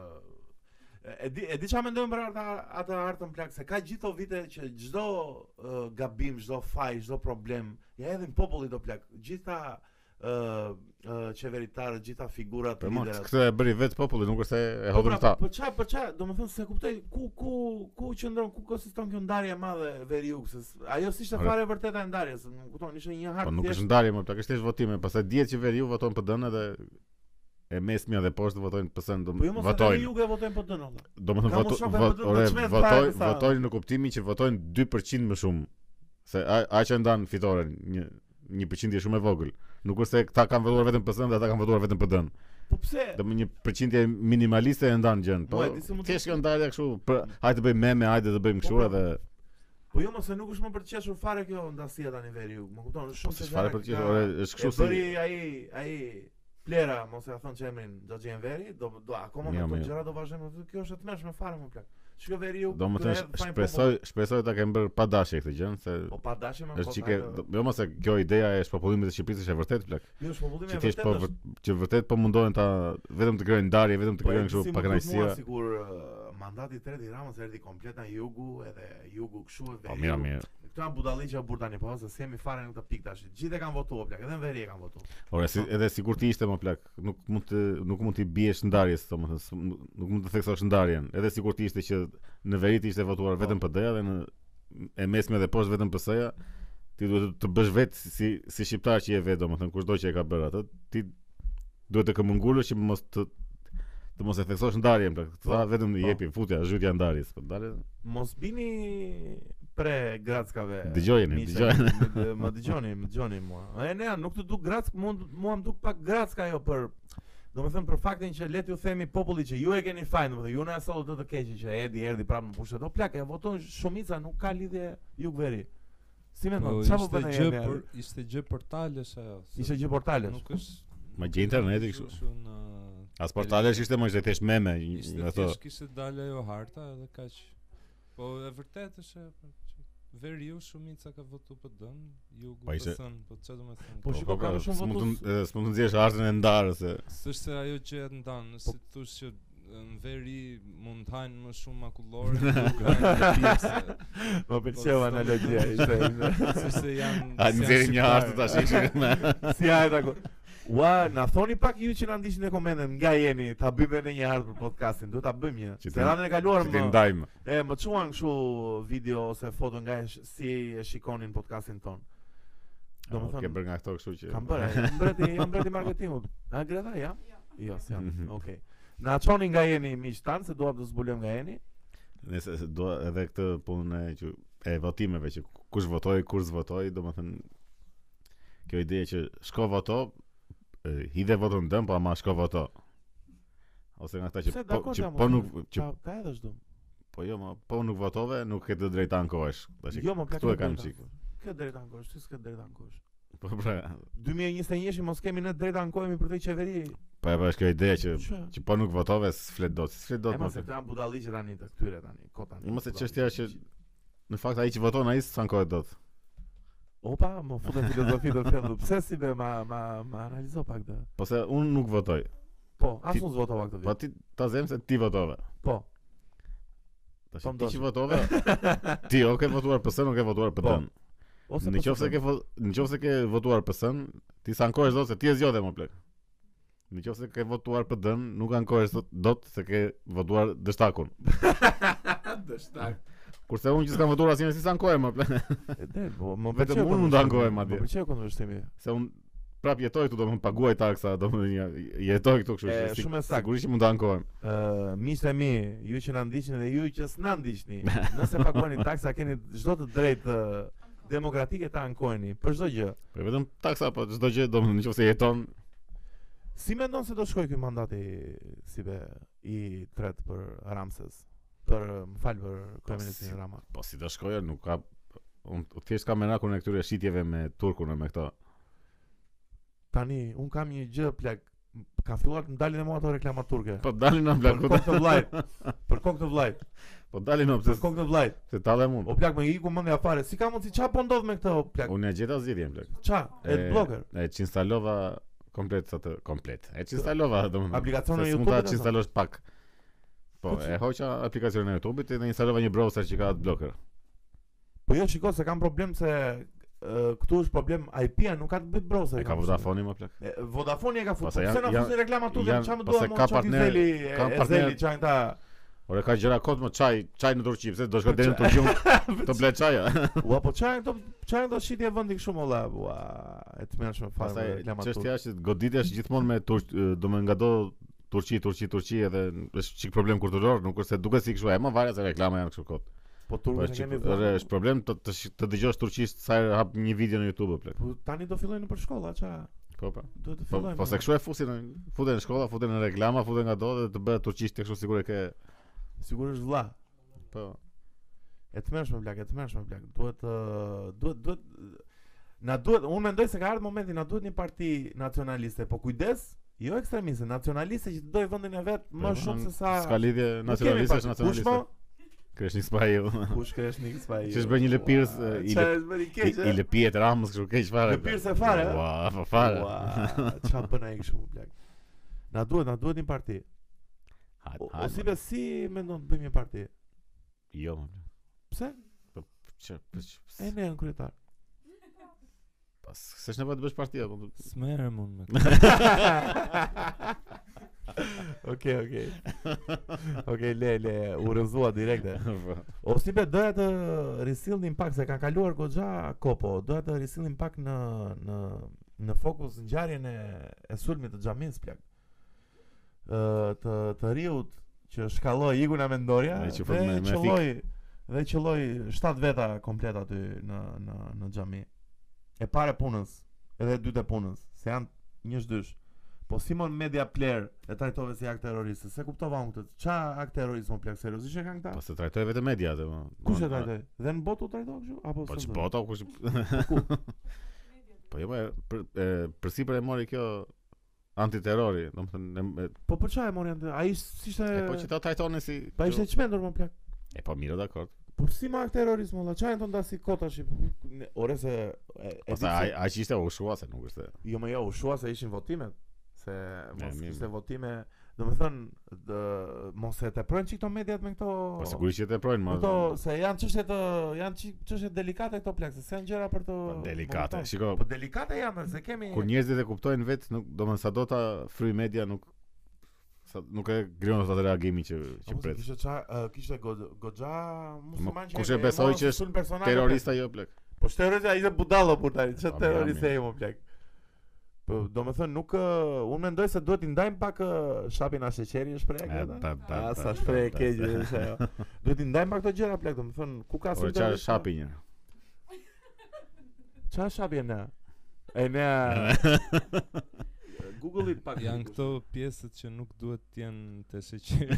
Speaker 1: E- e di e di çfarë mendojmë për atë atë hartën plak se ka gjithë këto vite që çdo uh, gabim, çdo faj, çdo problem ja hedhin popullit do plak. Gjithta ë uh, qeveritarët, gjitha figurat
Speaker 2: Për mua
Speaker 1: liderët.
Speaker 2: këtë e bëri vetë populli, nuk është se e
Speaker 1: Po
Speaker 2: hodhën
Speaker 1: pra,
Speaker 2: ta.
Speaker 1: Po ç'a, po ç'a, domethënë se kuptoj ku ku ku qëndron, ku konsiston kjo ndarje e madhe veriuk, se s- ajo s'ishte
Speaker 2: Ore.
Speaker 1: fare e vërteta e ndarjes, më kupton, ishte një
Speaker 2: Po
Speaker 1: hartë
Speaker 2: nuk është ndarje, më plak është thjesht votime, pastaj dihet që veriu voton PD-n edhe e mesmja dhe poshtë votojnë PSN, do
Speaker 1: Po jo mos e tani
Speaker 2: votojnë.
Speaker 1: juge votojnë po për dënon.
Speaker 2: Domethënë
Speaker 1: Ka mos
Speaker 2: voto-
Speaker 1: shokë,
Speaker 2: vot-
Speaker 1: do- do
Speaker 2: ore,
Speaker 1: çmet fare
Speaker 2: votojnë
Speaker 1: se sa-
Speaker 2: votojnë në kuptimin që votojnë 2% më shumë. Se a- aq e ndan fitoren, një një përqindje shumë e vogël. Nuk është se këta kanë votuar vetëm PSN dhe ata kanë votuar vetëm PD-n.
Speaker 1: Po pse?
Speaker 2: Do më një përqindje minimaliste e ndan gjën. Po
Speaker 1: Mua, e di se mund të-
Speaker 2: thjesht kjo ndarje kështu, për- hajde të bëjmë meme, hajde të bëjmë kështu
Speaker 1: Po, po.
Speaker 2: edhe
Speaker 1: Po jo mos e nuk është më për të qeshur fare kjo ndasia tani veri ju. Më kupton, është
Speaker 2: po
Speaker 1: shumë
Speaker 2: se
Speaker 1: se
Speaker 2: çfarë për të qenë, ore, është kështu
Speaker 1: Kështu
Speaker 2: si
Speaker 1: bëri ai ai Plera, mos e ka thënë që emrin Xhaxhi Enveri, do do akoma me
Speaker 2: Mirë,
Speaker 1: këto
Speaker 2: Jo, mirë.
Speaker 1: gjëra do vazhdojmë. po Kjo është e tmerrshme fare më plak. Shikoj veri ju.
Speaker 2: Do më
Speaker 1: këtë
Speaker 2: të
Speaker 1: herë, fajn
Speaker 2: shpresoj, shpresoj ta kem bërë pa dashje këtë gjë, se
Speaker 1: popull. Po pa dashje më.
Speaker 2: është çike, jo më se kjo ideja e shpopullimit të Shqipërisë është e vërtet plak.
Speaker 1: Jo, është popullim
Speaker 2: Që
Speaker 1: e
Speaker 2: thjesht
Speaker 1: vërtetë.
Speaker 2: po
Speaker 1: është- Po,
Speaker 2: vër- që vërtet po mundohen ta vetëm të krijojnë ndarje, vetëm të
Speaker 1: e
Speaker 2: krijojnë
Speaker 1: di si
Speaker 2: kështu
Speaker 1: më
Speaker 2: pa
Speaker 1: duket mua,
Speaker 2: kënaqësia.
Speaker 1: Sigur ë, mandati i tretë i Ramës erdhi komplet nga jugu edhe jugu kështu e
Speaker 2: Po
Speaker 1: veri.
Speaker 2: mirë,
Speaker 1: ju.
Speaker 2: mirë.
Speaker 1: Këta budalliqja burr tani po se s'kemi fare në këtë pikë tash. Gjithë e kanë votuar plak, edhe në veri e kanë votuar.
Speaker 2: Ora,
Speaker 1: Po.
Speaker 2: si, edhe sikur ti ishte më plak, nuk mund të nuk mund të biesh ndarjes, domethënë, s- nuk mund të theksosh ndarjen. Edhe sikur ti ishte që në veri ti ishte votuar
Speaker 1: Po.
Speaker 2: vetëm PD-ja dhe në e mesme dhe poshtë vetëm PS-ja, ti duhet të bësh vetë si si shqiptar që je vetë, domethënë, kushdo që e ka bërë atë, ti duhet të këmbëngulësh që mos të të mos e theksosh ndarjen, plak. Të tha vetëm i
Speaker 1: Po.
Speaker 2: jepi futja, zhytja e ndarjes, po dalë.
Speaker 1: Mos bini pre grackave.
Speaker 2: Dëgjojeni,
Speaker 1: miqe,
Speaker 2: dëgjojeni.
Speaker 1: më- Më dëgjoni, më dëgjoni mua. E ne nuk të duk grack, mua mua më duk pak grack ajo për Do me thëmë për faktin që let ju themi populli që ju e keni fajn, do me thëmë, ju në asolo të të keqi që erdi, erdi prapë në pushtet, o plak, e voton shumica nuk ka lidhje ju veri. Si me
Speaker 3: Po
Speaker 1: ndonë, qa po
Speaker 3: ishte
Speaker 1: përna
Speaker 3: gjë
Speaker 1: jemi?
Speaker 3: për ishte gjë për talesh ajo. se
Speaker 1: Ishte gjë portales.
Speaker 3: Nuk është
Speaker 2: Ma gjej interneti kështu.
Speaker 3: Në
Speaker 2: As portalesh ishte më ishte thjesht meme, një-
Speaker 3: ishte
Speaker 2: nga ato.
Speaker 3: thjesht kishte dalë ajo harta edhe kaq. Po e vërtetë është e, po, që veriu shumica ka votu PD-n, jugu
Speaker 2: Po, ishte-
Speaker 3: PSN, po çfarë do të them?
Speaker 1: Po, shiko, ka më shumë
Speaker 2: s'mund të-
Speaker 1: votus.
Speaker 2: e, S'mund të nxjesh artën e ndarës. e.
Speaker 3: S'është se ajo që e
Speaker 1: Po-
Speaker 3: ndanë, si të thush që e, në veri mund të hajnë më shumë makullore në pjesë.
Speaker 1: Më Po, pëlqeu
Speaker 3: s'do-
Speaker 1: analogjia, ishte.
Speaker 3: S'është se janë
Speaker 2: A
Speaker 3: se janë
Speaker 2: nxjerrin një
Speaker 3: shqiptarë.
Speaker 2: artë tash ishin me.
Speaker 1: Si ja ta ku. Ua, na thoni pak ju që na ndiqni në komente, nga jeni, ta bëjmë edhe një herë për podcastin, do ta bëjmë një.
Speaker 2: Që
Speaker 1: Se
Speaker 2: ti-
Speaker 1: radhën e kaluar
Speaker 2: Që ti
Speaker 1: më
Speaker 2: ndajmë.
Speaker 1: e më çuan kështu video ose foto nga e sh- si e shikonin podcastin ton. Do më
Speaker 2: Ah, Ke
Speaker 1: thënë-
Speaker 2: bërë nga këto, kështu që.
Speaker 1: Kam bërë, e, mbreti, jam mbreti marketingut. A Greta ja? Jo, s'jam.
Speaker 2: Mhm.
Speaker 1: Okej. Na çoni nga jeni miq tan se duam të zbulojmë nga jeni.
Speaker 2: Nëse se do edhe këtë punë e që e votimeve që kush votoi, kush s'votoi, domethënë kjo ide që shko voto, e, hidhe votën dëm, po ama shko voto. Ose nga këta që
Speaker 1: Se
Speaker 2: po,
Speaker 1: dakord
Speaker 2: që
Speaker 1: jam,
Speaker 2: po
Speaker 1: unë,
Speaker 2: nuk që
Speaker 1: Ka ka edhe çdo.
Speaker 2: po jo, ma, po nuk votove, nuk ke të drejtë ankohesh. Tash
Speaker 1: Jo, më plak.
Speaker 2: këtu e kam çik.
Speaker 1: Kë drejt ankosh, ti s'ke drejt ankosh.
Speaker 2: Po pra,
Speaker 1: 2021 mos kemi ne drejt ankohemi për të qeveri.
Speaker 2: po e bash kjo ide që
Speaker 1: Çë?
Speaker 2: që po nuk votove, s'flet dot, s'flet dot.
Speaker 1: E mos e
Speaker 2: domethënë.
Speaker 1: kanë budalliqe tani të këtyre tani, kot tani.
Speaker 2: Mos e
Speaker 1: budalliqe.
Speaker 2: çështja që në fakt ai që voton ai s'ankohet dot.
Speaker 1: Opa, më futën filozofi të fendu. Pse si be ma ma ma analizo pak këtë.
Speaker 2: Po se unë nuk votoj.
Speaker 1: Po, as
Speaker 2: Ti-
Speaker 1: unë zvotova këtë
Speaker 2: Po
Speaker 1: vit.
Speaker 2: ti ta zem se ti votove.
Speaker 1: Po.
Speaker 2: Tash
Speaker 1: Po
Speaker 2: ti
Speaker 1: mdoshta.
Speaker 2: që votove, ti o ke votuar PS, nuk ke votuar PD-n.
Speaker 1: Po, Ose
Speaker 2: Në qoftë se ke vo- në qoftë se ke votuar PS-n, ti s'ankohesh dot se ti e zgjodhe më plek. Në qoftë se ke votuar PD-n, nuk ankohesh dot- dot se ke votuar dështakun.
Speaker 1: dështak.
Speaker 2: Kurse unë që s'kam votuar asnjëherë si s'ankohem më plek,
Speaker 1: Edhe po, më
Speaker 2: Vetëm
Speaker 1: pëlqeu
Speaker 2: unë mund të
Speaker 1: kundërshtimi,
Speaker 2: ankohem atje.
Speaker 1: Më pëlqeu kundërshtimi.
Speaker 2: se unë prap jetoj këtu, domethënë paguaj taksa, domethënë ja- jetoj këtu kështu.
Speaker 1: E,
Speaker 2: që si-
Speaker 1: shumë e saktë.
Speaker 2: Sigurisht që mund të ankohem.
Speaker 1: Ë, miqtë e mi, ju që na ndiqni dhe ju që s'na ndiqni, nëse paguani taksa keni çdo të drejtë ë, demokratike ta ankoheni për çdo gjë.
Speaker 2: Po vetëm taksa po çdo gjë domethënë nëse jeton
Speaker 1: Si mendon se do shkoj ky mandati si be i tret për Ramses? Për më fal për kryeministin Rama.
Speaker 2: Po si do shkoja, nuk ka unë thjesht kam menakun e këtyre shitjeve me turkun e me këto.
Speaker 1: Tani un kam një gjë plak ka filluar të më dalin e mua ato reklamat turke.
Speaker 2: Po dalin në
Speaker 1: Për
Speaker 2: blakuta,
Speaker 1: kokë të vllajt. Për kokë të vllajt.
Speaker 2: po dalin në
Speaker 1: Për
Speaker 2: pse
Speaker 1: kokë të vllajt.
Speaker 2: se tallem
Speaker 1: O
Speaker 2: unë.
Speaker 1: plak më iku mendja fare. Si ka mundsi çfarë po ndodh me këtë o plak?
Speaker 2: Unë e gjeta zgjidhjen plak.
Speaker 1: Ça? Adblocker.
Speaker 2: E çinstalova komplet sa të komplet. E çinstalova domethënë.
Speaker 1: Aplikacionin e
Speaker 2: se s'mund ta
Speaker 1: YouTube-it,
Speaker 2: çinstalosh pak. Po,
Speaker 1: Po, që-
Speaker 2: e hoqa aplikacionin e YouTube-it dhe instalova një browser që ka ad blocker.
Speaker 1: Po jo, shiko se kam problem se ë, këtu është problem IP-a nuk ka të bëjë browser.
Speaker 2: E ka Vodafone më plak.
Speaker 1: E, Vodafone e ka futur.
Speaker 2: Pastaj
Speaker 1: Pse
Speaker 2: janë-
Speaker 1: na
Speaker 2: janë-
Speaker 1: fusin reklama tu
Speaker 2: janë-
Speaker 1: çfarë më
Speaker 2: pastaj ka
Speaker 1: duam? Ka partner,
Speaker 2: partner- ka
Speaker 1: ka
Speaker 2: partner-
Speaker 1: partner çan ta.
Speaker 2: Ore ka gjëra kot më çaj, çaj në Turqi, pse do shkoj deri në Turqi unë, të ble çaja.
Speaker 1: Ua, po çan këto çan këto shitje vendi kështu molla. Ua, e të mërshme fare me
Speaker 2: Pastaj
Speaker 1: reklama tu.
Speaker 2: çështja është që goditja është gjithmonë me Turq, do më ngado Turqi, Turqi, Turqi edhe është çik problem kulturor, nuk është se duket si kështu, e më varet se reklama janë kështu kot.
Speaker 1: Po
Speaker 2: Po
Speaker 1: turkët
Speaker 2: është
Speaker 1: e
Speaker 2: çik,
Speaker 1: kemi
Speaker 2: edhe
Speaker 1: vënë.
Speaker 2: është problem të të, shi- të dëgjosh turqisht sa herë hap një video në YouTube plot.
Speaker 1: Po tani do fillojnë për shkolla, ça?
Speaker 2: Po po.
Speaker 1: Duhet të
Speaker 2: Po
Speaker 1: fillojnë.
Speaker 2: po se kështu e fusin, në- futen në shkolla, futen në reklama, futen nga do dhe të bëhet turqisht kështu sigur e ke.
Speaker 1: Sigurisht vlla.
Speaker 2: Po.
Speaker 1: E të mërshme plak, e të mërshme plak. Duhet ë, duhet duhet na duhet, unë mendoj se ka ardhur momenti na duhet një parti nacionaliste, po kujdes, jo ekstremiste, nacionaliste që të dojë vendin e vet
Speaker 2: Po,
Speaker 1: më shumë
Speaker 2: në-
Speaker 1: se sa
Speaker 2: s'ka lidhje
Speaker 1: Nuk kemi pra
Speaker 2: nacionaliste është
Speaker 1: parti.
Speaker 2: nacionaliste. Kreshnik Spahiu.
Speaker 1: Kush ka është Nick Spy?
Speaker 2: Që është bërë një lëpirës, e, i
Speaker 1: Çfarë
Speaker 2: lëp-
Speaker 1: është bërë i
Speaker 2: I,
Speaker 1: keq? eh?
Speaker 2: i lëpijet Ramës kështu keq fare. plak.
Speaker 1: Lëpirës e fare, eh? a?
Speaker 2: Ua, po fare.
Speaker 1: Çfarë bën ai kështu plak? Na duhet, na duhet një parti.
Speaker 2: Hajde,
Speaker 1: O, o
Speaker 2: hajde,
Speaker 1: si
Speaker 2: mor.
Speaker 1: be si mendon të bëjmë një parti?
Speaker 2: Jo, më plak.
Speaker 1: Pse?
Speaker 2: Çe, po çe-
Speaker 1: E ne janë kryetar.
Speaker 2: pas. S'është nevojë të bësh parti apo.
Speaker 3: S'merrem unë me
Speaker 1: Okej, okej. Okej, le, le, u rrëzua direkte.
Speaker 2: Po.
Speaker 1: O si be doja të risillnim pak se ka kaluar goxha kopo, doja të risillnim pak në në në fokus ngjarjen e e sulmit të xhamis plak. Ë të të riut që shkalloi iku në Mendoria
Speaker 2: Me që fut me-
Speaker 1: dhe
Speaker 2: me
Speaker 1: qelloi dhe qelloi 7 veta komplet aty në në në xhami. E para e punës, edhe e dytë e punës, se janë një zhdysh. Po Simon Media Player e trajtove si akt terrorist. Se kuptova unë këtë. Ça akt terrorist më plak seriozisht e kanë këta?
Speaker 2: Po se trajtoj vetëm media atë. mo.
Speaker 1: Kush e
Speaker 2: Mo-
Speaker 1: trajtoi? Dhe në botë u trajtoi kështu apo
Speaker 2: Po
Speaker 1: s'u
Speaker 2: që
Speaker 1: trajtoi?
Speaker 2: bota, po, kush... Po jo, më, për, e, përsi për e mori kjo antiterrori, domethënë e- e-
Speaker 1: Po për çfarë e mori atë? Ai s- ishte
Speaker 2: e po që ta trajtonin si
Speaker 1: pa ishte çmendur më plak.
Speaker 2: E po mirë, dakord.
Speaker 1: Po si ma terrorizëm olla, çfarë ndonda si kota shi. Ne- Ore se e, e
Speaker 2: Po
Speaker 1: di
Speaker 2: sa
Speaker 1: pse-
Speaker 2: ai ai që ishte ushua se nuk është. po
Speaker 1: Jo më jo, u shua se ishin votimet Se mos
Speaker 2: mirë.
Speaker 1: kishte votime Do me thënë dë- Mos e të prënë që këto mediat me këto
Speaker 2: Po sigurisht që të projnë më.
Speaker 1: Këto se janë çështje të janë çi- çështje delikate këto plak, se se janë gjëra për të
Speaker 2: po, Delikate.
Speaker 1: monitor.
Speaker 2: Shiko,
Speaker 1: Po delikate janë, se kemi
Speaker 2: kur njerëzit e kuptojnë vetë, nuk domethënë sa do ta fry media nuk sa nuk e grijon ata reagimin që që
Speaker 1: Po, se
Speaker 2: pret.
Speaker 1: Kishte ça ë, kishte go- goxha musliman
Speaker 2: kush e besoi që është Terrorista jo plak.
Speaker 1: Po është terrorist ai dhe budalla po tani, ç'a
Speaker 2: Po,
Speaker 1: terrorist
Speaker 2: mirë,
Speaker 1: e mo plak. Po do me thënë nuk ë, unë mendoj se duhet i ndajmë pak ë, shapin as sheqeri është prej
Speaker 2: E,
Speaker 1: këta.
Speaker 2: pa, pa,
Speaker 1: A,
Speaker 2: pa,
Speaker 1: sa
Speaker 2: pa,
Speaker 1: shprej e
Speaker 2: pa,
Speaker 1: keqe
Speaker 2: pa.
Speaker 1: është ajo. Duhet i ndajmë pak këto gjëra plak, do të thënë ku ka
Speaker 2: Ore çfarë Po, shapi
Speaker 1: po.
Speaker 2: një.
Speaker 1: Çfarë shapi ne? E ne Google it pak.
Speaker 3: Janë këto pjesët që nuk duhet të jenë të sheqeri.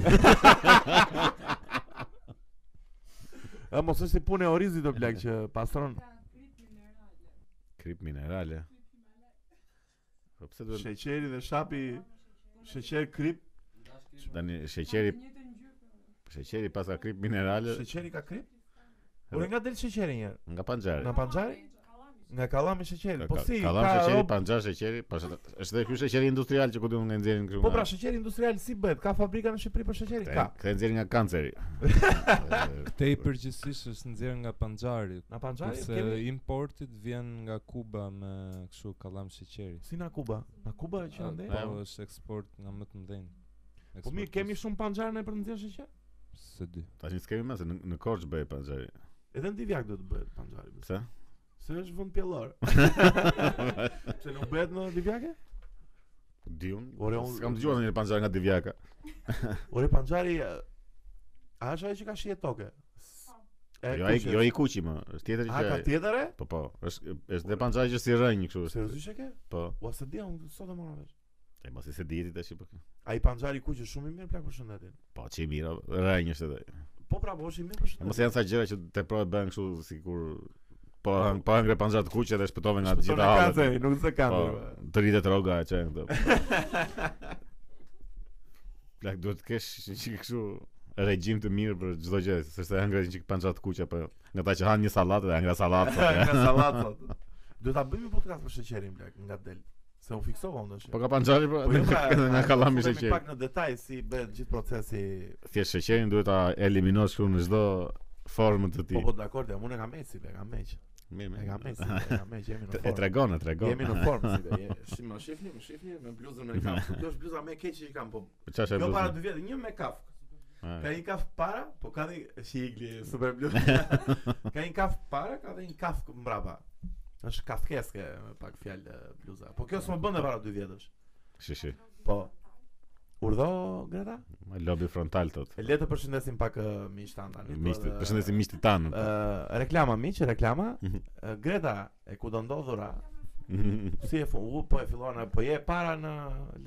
Speaker 1: E mos është si punë e Orizit do plak që pastron
Speaker 2: Krip minerale. Po pse duhet
Speaker 1: sheqeri dhe shapi sheqer krip.
Speaker 2: tani sheqeri sheqeri pas ka krip minerale
Speaker 1: Sheqeri ka krip? Ore nga del sheqeri një herë.
Speaker 2: nga panxhari.
Speaker 1: Nga panxari? Nga kallami sheqeri. Po si?
Speaker 2: Kallam
Speaker 1: ka
Speaker 2: sheqeri,
Speaker 1: rob-
Speaker 2: panxhar sheqeri, pas është edhe ky sheqeri industrial që ku diun nga nxjerrin këtu.
Speaker 1: Po pra sheqeri industrial si bëhet? Ka fabrika në Shqipëri për sheqeri? Ka.
Speaker 2: Ka nxjerrin nga kanceri.
Speaker 3: Te i përgjithsisht është nxjerr nga Panxhari,
Speaker 1: Na panxari
Speaker 3: kurse
Speaker 1: kemi
Speaker 3: importit vjen nga Kuba me kështu kallam sheqeri.
Speaker 1: si na Kuba. Na Kuba e që ndej.
Speaker 2: po.
Speaker 3: Po është eksport nga më të mëdhenj.
Speaker 1: Po mirë, kemi shumë panxhar në për nxjerr sheqer.
Speaker 3: se di.
Speaker 2: Tash s'kemi më se në, në Korçë bëj panxhari.
Speaker 1: Edhe në Divjak do të bëhet panxhari.
Speaker 2: Pse?
Speaker 1: Se është vend pjellor. Se nuk bëhet në Divjake?
Speaker 2: Diun.
Speaker 1: Ore, unë-
Speaker 2: Kam dëgjuar ndonjë panxhar nga Divjaka.
Speaker 1: Ore panxhari e, a është ajo që ka shije toke? S- E,
Speaker 2: Jo ai
Speaker 1: kush
Speaker 2: jo
Speaker 1: është?
Speaker 2: i kuqi më, është tjetër
Speaker 1: A
Speaker 2: që.
Speaker 1: ka
Speaker 2: ai-
Speaker 1: tjetër e?
Speaker 2: Po po, është është dhe panxhari që si rënj kështu është.
Speaker 1: Seriozisht e ke?
Speaker 2: Po.
Speaker 1: Ua se dia unë sot e mora vesh.
Speaker 2: E mos i se dieti tash po.
Speaker 1: Ai panxhari kuq është shumë i mirë plak për shëndetin.
Speaker 2: Po çi mira, rënj është edhe.
Speaker 1: Po pra, po është i mirë për
Speaker 2: E
Speaker 1: shëndetin.
Speaker 2: Mos janë sa gjëra që tepro e bën kështu sikur po han- po hangre panxhar të kuqe dhe shpëtove nga të
Speaker 1: Shpëton
Speaker 2: gjitha
Speaker 1: e
Speaker 2: hallet.
Speaker 1: kanceri, nuk se
Speaker 2: Po,
Speaker 1: kanceri. be.
Speaker 2: të rritet roga e çajën këtu. Plak duhet të kesh që që kështu regjim të mirë për çdo gjë, sepse hëngra një çik panxhat kuqe apo nga ta që han një sallatë dhe hangra sallatë. po.
Speaker 1: Nga sallatë sot. Do ta bëjmë një podcast për sheqerin plak, nga del. Se u fiksova unë tash.
Speaker 2: Po ka panxhari po
Speaker 1: jo, pra,
Speaker 2: edhe nga
Speaker 1: a-
Speaker 2: kallami
Speaker 1: futemi
Speaker 2: sheqeri.
Speaker 1: Pak në detaj si bëhet gjithë procesi.
Speaker 2: Thjesht sheqerin duhet ta eliminosh kështu në çdo formë të
Speaker 1: Po
Speaker 2: tij.
Speaker 1: po dakord, jam unë e kam eci, be, e kam meq.
Speaker 2: Mirë,
Speaker 1: E kam
Speaker 2: mirë.
Speaker 1: eci, be, e kam meq, jemi në
Speaker 2: E
Speaker 1: formë.
Speaker 2: tregon, e tregon.
Speaker 1: Jemi në formë si be. je- Si më shihni, më shihni me bluzën e kam. Kjo është bluza më e keqe që kam, po.
Speaker 2: Po çfarë është
Speaker 1: Kjo para
Speaker 2: bluzë?
Speaker 1: dy vjetë, një me kaf.
Speaker 2: Ah,
Speaker 1: Ka një kaf para, po ka një shigli super blu. ka një kaf para, ka dhe një kaf mbrapa. Është kafkeske me pak fjalë e, bluza. Po kjo s'më bën e para dy vjetësh.
Speaker 2: Shi shi.
Speaker 1: Po. Urdho Greta?
Speaker 2: Lobi frontal tot.
Speaker 1: E le të përshëndesim pak uh, miqtan tani. po,
Speaker 2: Miqtë,
Speaker 1: dhe-
Speaker 2: përshëndesim miqtë tanë.
Speaker 1: Ë, reklama miq, reklama.
Speaker 2: Mhm.
Speaker 1: Ë, Greta e ku do ndodhura, si e fu, u, po e fillon, po je para në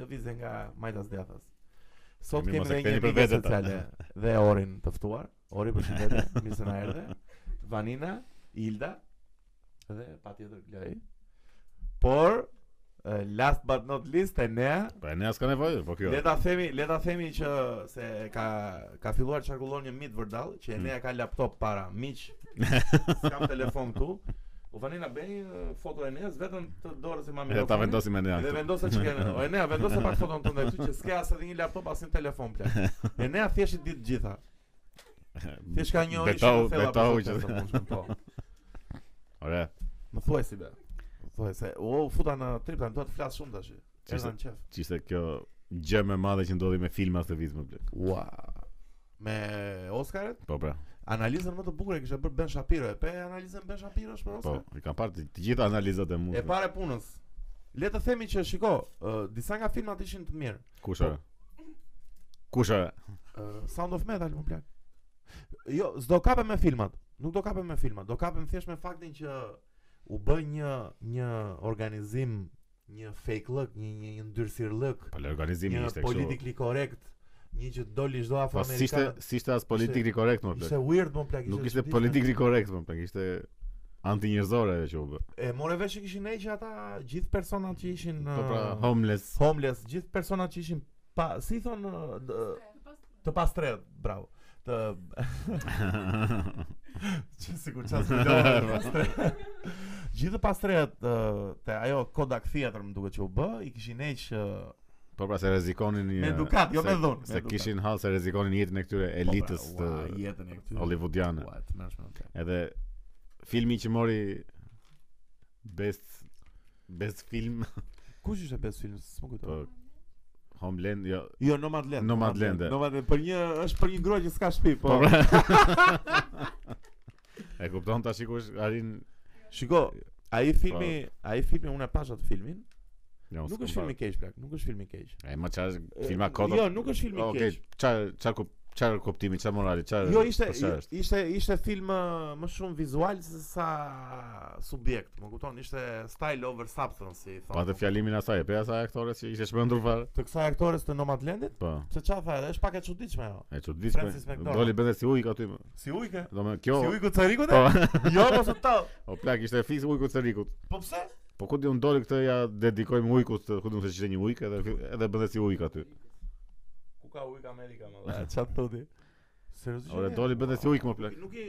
Speaker 1: lëvizje nga Majtas Djathas. Sot
Speaker 2: Mirë,
Speaker 1: kemi
Speaker 2: mos e
Speaker 1: edhe
Speaker 2: ktheni
Speaker 1: një
Speaker 2: për
Speaker 1: media
Speaker 2: vete, ta.
Speaker 1: sociale dhe Orin të ftuar. Ori për shëndetje, mirë se na erdhe. Vanina, Ilda dhe patjetër Glori. Por ë, last but not least e nea
Speaker 2: Po e ne as ka nevojë, po kjo.
Speaker 1: Le ta themi, le ta themi që se ka ka filluar çarkullon një mit vërdall që
Speaker 2: Hmm.
Speaker 1: Enea ka laptop para, miq. S'kam telefon këtu. U vani na bëni uh, foto e Eneas vetëm të dorës e
Speaker 2: Edhe
Speaker 1: mamit.
Speaker 2: ta vendosim me ne.
Speaker 1: Dhe
Speaker 2: këtu.
Speaker 1: vendosa që kanë. O Enea vendosa pak foton tënde këtu që s'ke as edhe një laptop as një telefon plak. Enea thjesht i ditë gjitha. Thjesht ka një orë
Speaker 2: Betau,
Speaker 1: shumë thella
Speaker 2: betau
Speaker 1: për
Speaker 2: që-
Speaker 1: sukses të mundshëm, po.
Speaker 2: Ore,
Speaker 1: Më thuaj si be. Më thuaj se u futa në trip tani do të flas shumë tash. Çfarë në qef?
Speaker 2: çishte kjo gjë më e madhe që ndodhi me filma këtë vit më blek.
Speaker 1: Ua. Me Oscaret?
Speaker 2: Po pra,
Speaker 1: Analizën më të bukur e kishte bërë Ben Shapiro. E pe analizën Ben Shapiro është për
Speaker 2: po,
Speaker 1: Oscar.
Speaker 2: i kam parë të të gjitha analizat e
Speaker 1: e
Speaker 2: mundshme.
Speaker 1: para e punës. Le të themi që shiko, ë, disa nga filmat ishin të mirë.
Speaker 2: Kush ora? Kush ora?
Speaker 1: Ë, Sound of Metal më plak. Jo, s'do kapem me filmat. Nuk do kapem me filmat. Do kapem thjesht me faktin që u bë një një organizim, një fake lëk, një një, një ndyrësirllëk,
Speaker 2: Po le organizimi
Speaker 1: një
Speaker 2: ishte kështu.
Speaker 1: politically correct, një që doli çdo
Speaker 2: Po s'ishte
Speaker 1: afroamerikan.
Speaker 2: s'ishte as politikri korrekt më blek.
Speaker 1: Ishte weird më plak.
Speaker 2: Nuk
Speaker 1: ishte
Speaker 2: ishte
Speaker 1: çuditshme.
Speaker 2: politikri korrekt më blek, ishte antinjerëzore ajo që u bë.
Speaker 1: E more vesh që kishin ne që ata gjithë personat që ishin
Speaker 2: Po pra
Speaker 1: ë,
Speaker 2: homeless.
Speaker 1: homeless, gjithë personat që ishin pa si thon ë, d- të pastret, bravo. Të që sikur çast pastret. Gjithë pastret ë, te ajo Kodak Theater më duket që u bë, i kishin ne që
Speaker 2: Po pra se rrezikonin një-
Speaker 1: Me dukat, jo
Speaker 2: se-
Speaker 1: me dhunë, me
Speaker 2: Se
Speaker 1: dukat.
Speaker 2: kishin hall se rrezikonin jetën e këtyre elitës
Speaker 1: po
Speaker 2: të
Speaker 1: pra, ua, jetën e këtyre
Speaker 2: hollywoodiane.
Speaker 1: Ua, të mërshme, okay.
Speaker 2: Edhe filmi që mori best best film
Speaker 1: Kush ishte best film? S'më
Speaker 2: po
Speaker 1: kujtoj.
Speaker 2: Homeland jo
Speaker 1: Jo, Nomadland.
Speaker 2: Nomadland, e.
Speaker 1: Nomadland për një është për një grua që s'ka shtëpi, po.
Speaker 2: Po pra. E kupton tash ku është Arin
Speaker 1: Shiko, ai filmi, ai filmi unë e pash atë filmin.
Speaker 2: Jo,
Speaker 1: Nuk
Speaker 2: s'kom Po. parë.
Speaker 1: është film i keq plak, nuk është film i keq.
Speaker 2: E ma çfarë filma kota.
Speaker 1: Jo, nuk është film i
Speaker 2: Okej,
Speaker 1: keq.
Speaker 2: çfarë çfarë kup- çfarë kuptimi, çfarë morali, çfarë
Speaker 1: Jo, ishte
Speaker 2: për çfarë është?
Speaker 1: ishte ishte film ë, më shumë vizual se sa subjekt. Më kupton, ishte style over substance, si i
Speaker 2: Pa të
Speaker 1: thonë.
Speaker 2: Po, fjalimin asaj, e pe asaj aktore që ishte shmendur fare.
Speaker 1: Të kësaj aktores të Nomadlandit,
Speaker 2: Po.
Speaker 1: se çfarë tha, është pak e çuditshme jo. ajo.
Speaker 2: E çuditshme.
Speaker 1: Francis McDormand.
Speaker 2: Doli bënte si ujk aty. më.
Speaker 1: Si ujke?
Speaker 2: Do me kjo.
Speaker 1: Si ujku Cerikut?
Speaker 2: Po,
Speaker 1: e? Jo, mos e ta.
Speaker 2: o plak ishte fiks ujku të rikut.
Speaker 1: Po pse?
Speaker 2: Po ku diun doli këtë ja dedikojmë ujkut, ku diun se ishte një ujk edhe edhe bënte si ujk aty.
Speaker 1: Ku ka ujk Amerika më dha? Çfarë thotë? Seriozisht?
Speaker 2: Ore
Speaker 1: e?
Speaker 2: doli bënte si ujk më plak.
Speaker 1: Nuk i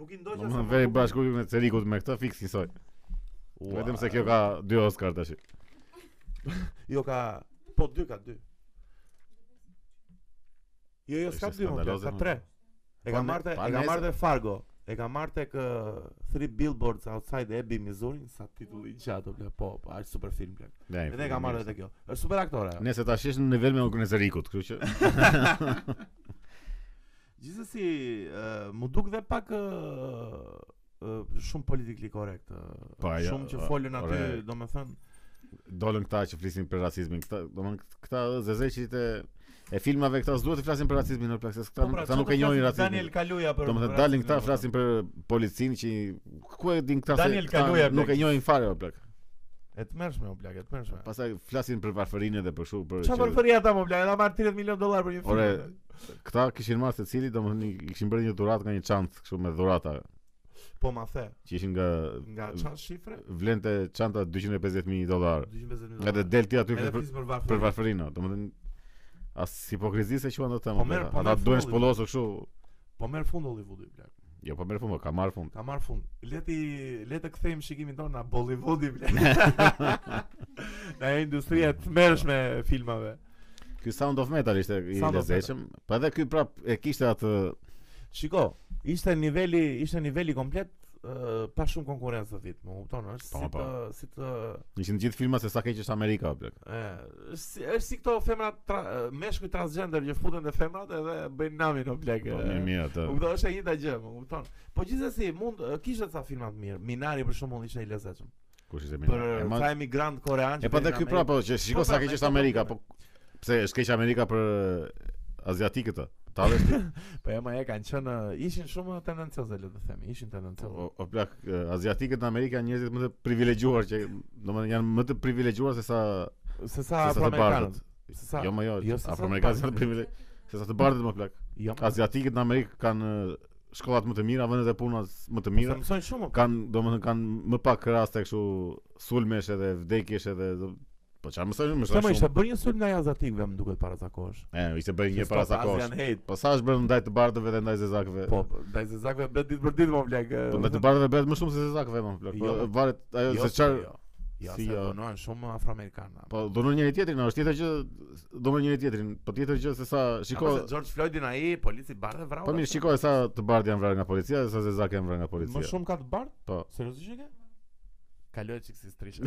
Speaker 1: nuk i
Speaker 2: Do
Speaker 1: ndoqja
Speaker 2: më
Speaker 1: se
Speaker 2: thënë veri bashkë ujkun e të rikut me këtë fiks njësoj. Po, Vetëm se kjo ka dy Oscar tash.
Speaker 1: Jo ka po dy ka dy. Jo, jo, s'ka
Speaker 2: Ishte
Speaker 1: dy, më plak,
Speaker 2: skandaloze,
Speaker 1: ka
Speaker 2: më.
Speaker 1: tre. E
Speaker 2: Po,
Speaker 1: ka
Speaker 2: ne-
Speaker 1: marrë
Speaker 2: pa,
Speaker 1: e ka
Speaker 2: nese.
Speaker 1: marrë Fargo. E ka marrë tek uh, Three Billboards Outside Ebbing, Missouri, sa titulli i gjatë, bla, po, po, aq super film bla.
Speaker 2: Ne
Speaker 1: Edhe e ka marrë edhe kjo. Është super aktore. ajo.
Speaker 2: Nëse tash është në nivel me ujkun e të rikut, kështu që
Speaker 1: Gjithsesi, uh, mu duk dhe pak uh, uh, shumë politikli korrekt. Uh,
Speaker 2: Po, ajo,
Speaker 1: shumë që
Speaker 2: o-
Speaker 1: folën aty,
Speaker 2: ore.
Speaker 1: domethënë,
Speaker 2: dolën këta që flisin për rasizmin. Këta, domthon këta zezeqit e e filmave këta s'duhet të flasin për rasizmin, në plak, se këta,
Speaker 1: Po, pra,
Speaker 2: këta
Speaker 1: çfarë
Speaker 2: nuk
Speaker 1: do
Speaker 2: e njohin
Speaker 1: flasin
Speaker 2: rasizmin.
Speaker 1: Daniel Kaluja për
Speaker 2: Do më
Speaker 1: për
Speaker 2: thënë dalin këta
Speaker 1: rasizmin,
Speaker 2: flasin për policinë që ku e din këta
Speaker 1: Daniel
Speaker 2: se këta
Speaker 1: Kaluuja,
Speaker 2: nuk
Speaker 1: plak.
Speaker 2: e njohin fare o plak.
Speaker 1: E të mërshme, o plak, e të mërshme.
Speaker 2: Pastaj flasin për varfërinë dhe për kështu për
Speaker 1: Qa
Speaker 2: që-
Speaker 1: përfëri ata, më plak, ata marrë 30 milion dollar për një film.
Speaker 2: Ore, këta kishin marrë secili domethënë i kishin bërë një dhuratë nga një çantë kështu me dhurata
Speaker 1: Po ma the,
Speaker 2: që ishin nga
Speaker 1: nga qa shifre?
Speaker 2: vlente çanta 450000 dollar.
Speaker 1: 250 milion
Speaker 2: Edhe del ti aty
Speaker 1: Edhe
Speaker 2: flet për,
Speaker 1: flisë për
Speaker 2: për
Speaker 1: varfëri.
Speaker 2: varfërinë, domethënë as hipokrizi se quhen ato tema.
Speaker 1: Po merr- po
Speaker 2: Ata
Speaker 1: merr
Speaker 2: duhen
Speaker 1: fund,
Speaker 2: shpollosur kështu.
Speaker 1: Po merë fund Hollywoodi, plak.
Speaker 2: Jo, po merr fund, po, ka marr fund.
Speaker 1: Ka marrë fund. Leti, le të kthejmë shikimin tonë na Bollywoodi, plak. Na e industria e të mërshme e filmave.
Speaker 2: Ky Sound of Metal ishte i
Speaker 1: Sound of Metal.
Speaker 2: lezetshëm, po edhe ky prap e kishte atë
Speaker 1: Shiko, ishte niveli, ishte niveli komplet ë, pa shumë konkurrencë këtë vit, më kupton, është
Speaker 2: Po,
Speaker 1: si
Speaker 2: po.
Speaker 1: të si të
Speaker 2: Ishin gjithë filma se sa keq është Amerika, Po, o plak.
Speaker 1: e, është si, është si këto femra tra, ë, meshkuj transgender që futen te femrat edhe bëjnë namin o plak.
Speaker 2: Po
Speaker 1: ë.
Speaker 2: mirë, mirë atë.
Speaker 1: Më kupton, është e njëjta gjë, më kupton. Po gjithsesi, mund ë, kishte ca filma të mirë. Minari për shembull ishte i lezetshëm.
Speaker 2: Kush ishte
Speaker 1: Për
Speaker 2: mirë? E ma-
Speaker 1: ca emigrant korean.
Speaker 2: E
Speaker 1: që
Speaker 2: pa dhe
Speaker 1: vjen
Speaker 2: ky
Speaker 1: në
Speaker 2: prapë, që shiko
Speaker 1: Po,
Speaker 2: sa
Speaker 1: pra,
Speaker 2: keq
Speaker 1: me
Speaker 2: është
Speaker 1: këto
Speaker 2: Amerika, po
Speaker 1: probleme.
Speaker 2: pse është keq Amerika për eh, aziatikët? ë? Ta vesh ti.
Speaker 1: Amerikë. Po ema e kanë qenë ë, ishin shumë tendencioze le të themi, ishin tendencioze.
Speaker 2: O o plak, e, aziatikët në Amerikë janë njerëzit më të privilegjuar që domethënë janë më të privilegjuar se sa se
Speaker 1: Se sa
Speaker 2: sa të bardhët.
Speaker 1: afroamerikanët. Se sa
Speaker 2: Jo, më jo,
Speaker 1: jo, se sa të
Speaker 2: afroamerikanët janë
Speaker 1: bardhët.
Speaker 2: privilegjuar se sa të bardhët më plak.
Speaker 1: Jo, më-
Speaker 2: Aziatikët në Amerikë kanë e, shkollat më të mira, vendet e punës më të mira.
Speaker 1: se mësojnë shumë. o
Speaker 2: kanë domethënë kanë më pak raste kështu sulmesh edhe vdekjesh edhe do- po çfarë mësojmë më
Speaker 1: Se më
Speaker 2: shumë.
Speaker 1: ishte bërë një sulm nga jazatikëve më duket para zakosh.
Speaker 2: E, ishte bërë një para sakosh.
Speaker 1: Asian hate.
Speaker 2: Po sa është bërë ndaj të bardhëve dhe ndaj zezakëve?
Speaker 1: Po, ndaj zezakëve bëhet ditë për ditë më blek.
Speaker 2: Po ndaj të bardhëve bëhet më shumë se zezakëve, më plak. Po
Speaker 1: Jo.
Speaker 2: varet ajo se çfarë.
Speaker 1: Jo,
Speaker 2: si
Speaker 1: se
Speaker 2: jo.
Speaker 1: donohen shumë afroamerikanë.
Speaker 2: Po dhunon njëri tjetrin, a, është tjetër që dhunon njëri tjetrin, po tjetër gjë se sa shiko.
Speaker 1: Apo se George Floydin ai polici bardhë vrau.
Speaker 2: Po mirë, shiko e sa të bardhë janë vrarë nga policia dhe sa zezakë janë vrarë nga
Speaker 1: Më
Speaker 2: policia.
Speaker 1: shumë ka të bardh?
Speaker 2: Po.
Speaker 1: Seriozisht e ke? Kaloj çik si strishë.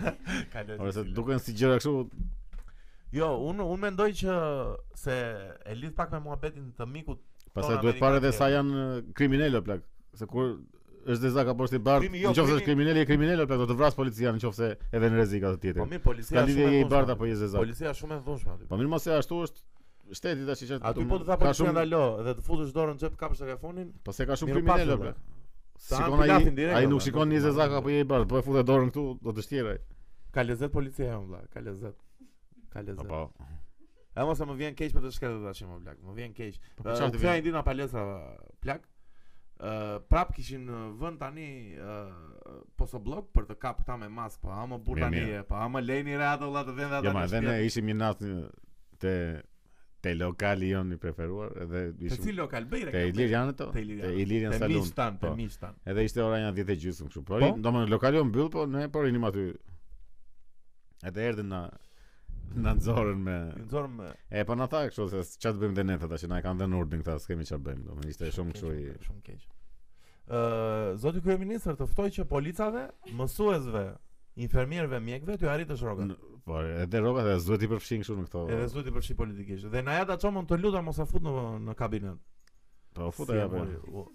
Speaker 1: Kaloj.
Speaker 2: Ora se
Speaker 1: çik si
Speaker 2: duken si gjëra kështu,
Speaker 1: lehtë. Jo, unë unë mendoj që se e lidh pak me muhabetin të mikut.
Speaker 2: pastaj
Speaker 1: Tona
Speaker 2: duhet parë edhe
Speaker 1: Amerikan
Speaker 2: sa
Speaker 1: tjetër.
Speaker 2: janë kriminalë plak. Se kur është zezak apo është i bardhë,
Speaker 1: Krimi, jo,
Speaker 2: nëse
Speaker 1: krimi-
Speaker 2: është kriminal, je kriminal plak, do të vras policia nëse edhe në rrezik atë
Speaker 1: Po
Speaker 2: tjetrin.
Speaker 1: mirë, policia
Speaker 2: Ka
Speaker 1: është
Speaker 2: lidhje
Speaker 1: shumë
Speaker 2: je
Speaker 1: e
Speaker 2: i bardhë
Speaker 1: dhunshme.
Speaker 2: apo je zezak.
Speaker 1: Policia është shumë e dhunshme aty.
Speaker 2: Po mirë mos e ashtu është shteti tash që
Speaker 1: Aty po të
Speaker 2: ka
Speaker 1: tha policia
Speaker 2: shumë
Speaker 1: ndalo dhe të futesh dorën në xhep kapësh telefonin,
Speaker 2: Po se ka shumë
Speaker 1: Mirë
Speaker 2: kriminal
Speaker 1: pak,
Speaker 2: apo.
Speaker 1: Ta
Speaker 2: Sikon
Speaker 1: hapi
Speaker 2: ai,
Speaker 1: lafin direkt,
Speaker 2: ai
Speaker 1: o,
Speaker 2: nuk
Speaker 1: bla,
Speaker 2: shikon
Speaker 1: nuk-
Speaker 2: një zezak apo je i bardh, po e futet dorën këtu, do të shtjerë ai.
Speaker 1: ka lezet policia e më vlla, ka lezet. Ka lezet.
Speaker 2: Po.
Speaker 1: E mos e më vjen keq për të shkretë tash më blak, më vjen keq.
Speaker 2: Po
Speaker 1: Ë,
Speaker 2: çfarë
Speaker 1: U
Speaker 2: të
Speaker 1: kthej
Speaker 2: vjen?
Speaker 1: një ditë nga palestra plak. Uh, prap kishin uh, vënd tani uh, poso blok për të kap këta me mas po ama bur
Speaker 2: Mirë,
Speaker 1: tani
Speaker 2: mirë.
Speaker 1: e, po ama lejni re ato vëlla të vënda
Speaker 2: Jo,
Speaker 1: tani
Speaker 2: ma,
Speaker 1: në
Speaker 2: edhe ne
Speaker 1: shtëpi.
Speaker 2: ishim një natë në- te te lokali jon i preferuar edhe
Speaker 1: Te
Speaker 2: ishim
Speaker 1: cili lokal bëj
Speaker 2: te
Speaker 1: reklam?
Speaker 2: Ilirian ato,
Speaker 1: Te
Speaker 2: te
Speaker 1: Ilirian.
Speaker 2: Ilirian
Speaker 1: Te
Speaker 2: Salon.
Speaker 1: miqtan, te
Speaker 2: po.
Speaker 1: miqtan.
Speaker 2: Edhe ishte ora një 10 e gjysmë kështu. Po,
Speaker 1: Po?
Speaker 2: domethënë lokali u mbyll, po ne po rinim aty. Edhe erdhën na na nxorën me
Speaker 1: Nxorëm eh,
Speaker 2: e po na tha kështu se ç'a të bëjmë te ne ata që na e kanë dhënë urdin këta, s'kemi ç'a bëjmë. Domethënë ishte shumë kështu i
Speaker 1: keq, shumë keq. Ë, zoti kryeministër të ftoi që policave, mësuesve, infermierëve, mjekëve t'ju arritësh rrogat.
Speaker 2: N- Po, edhe rrobat e duhet i përfshin kështu në këto.
Speaker 1: Edhe zoti përfshi politikisht. Dhe na ja ta çomën të lutem mos e fut në në kabinet.
Speaker 2: Po, futa
Speaker 1: Si e
Speaker 2: ja po.
Speaker 1: mori, u-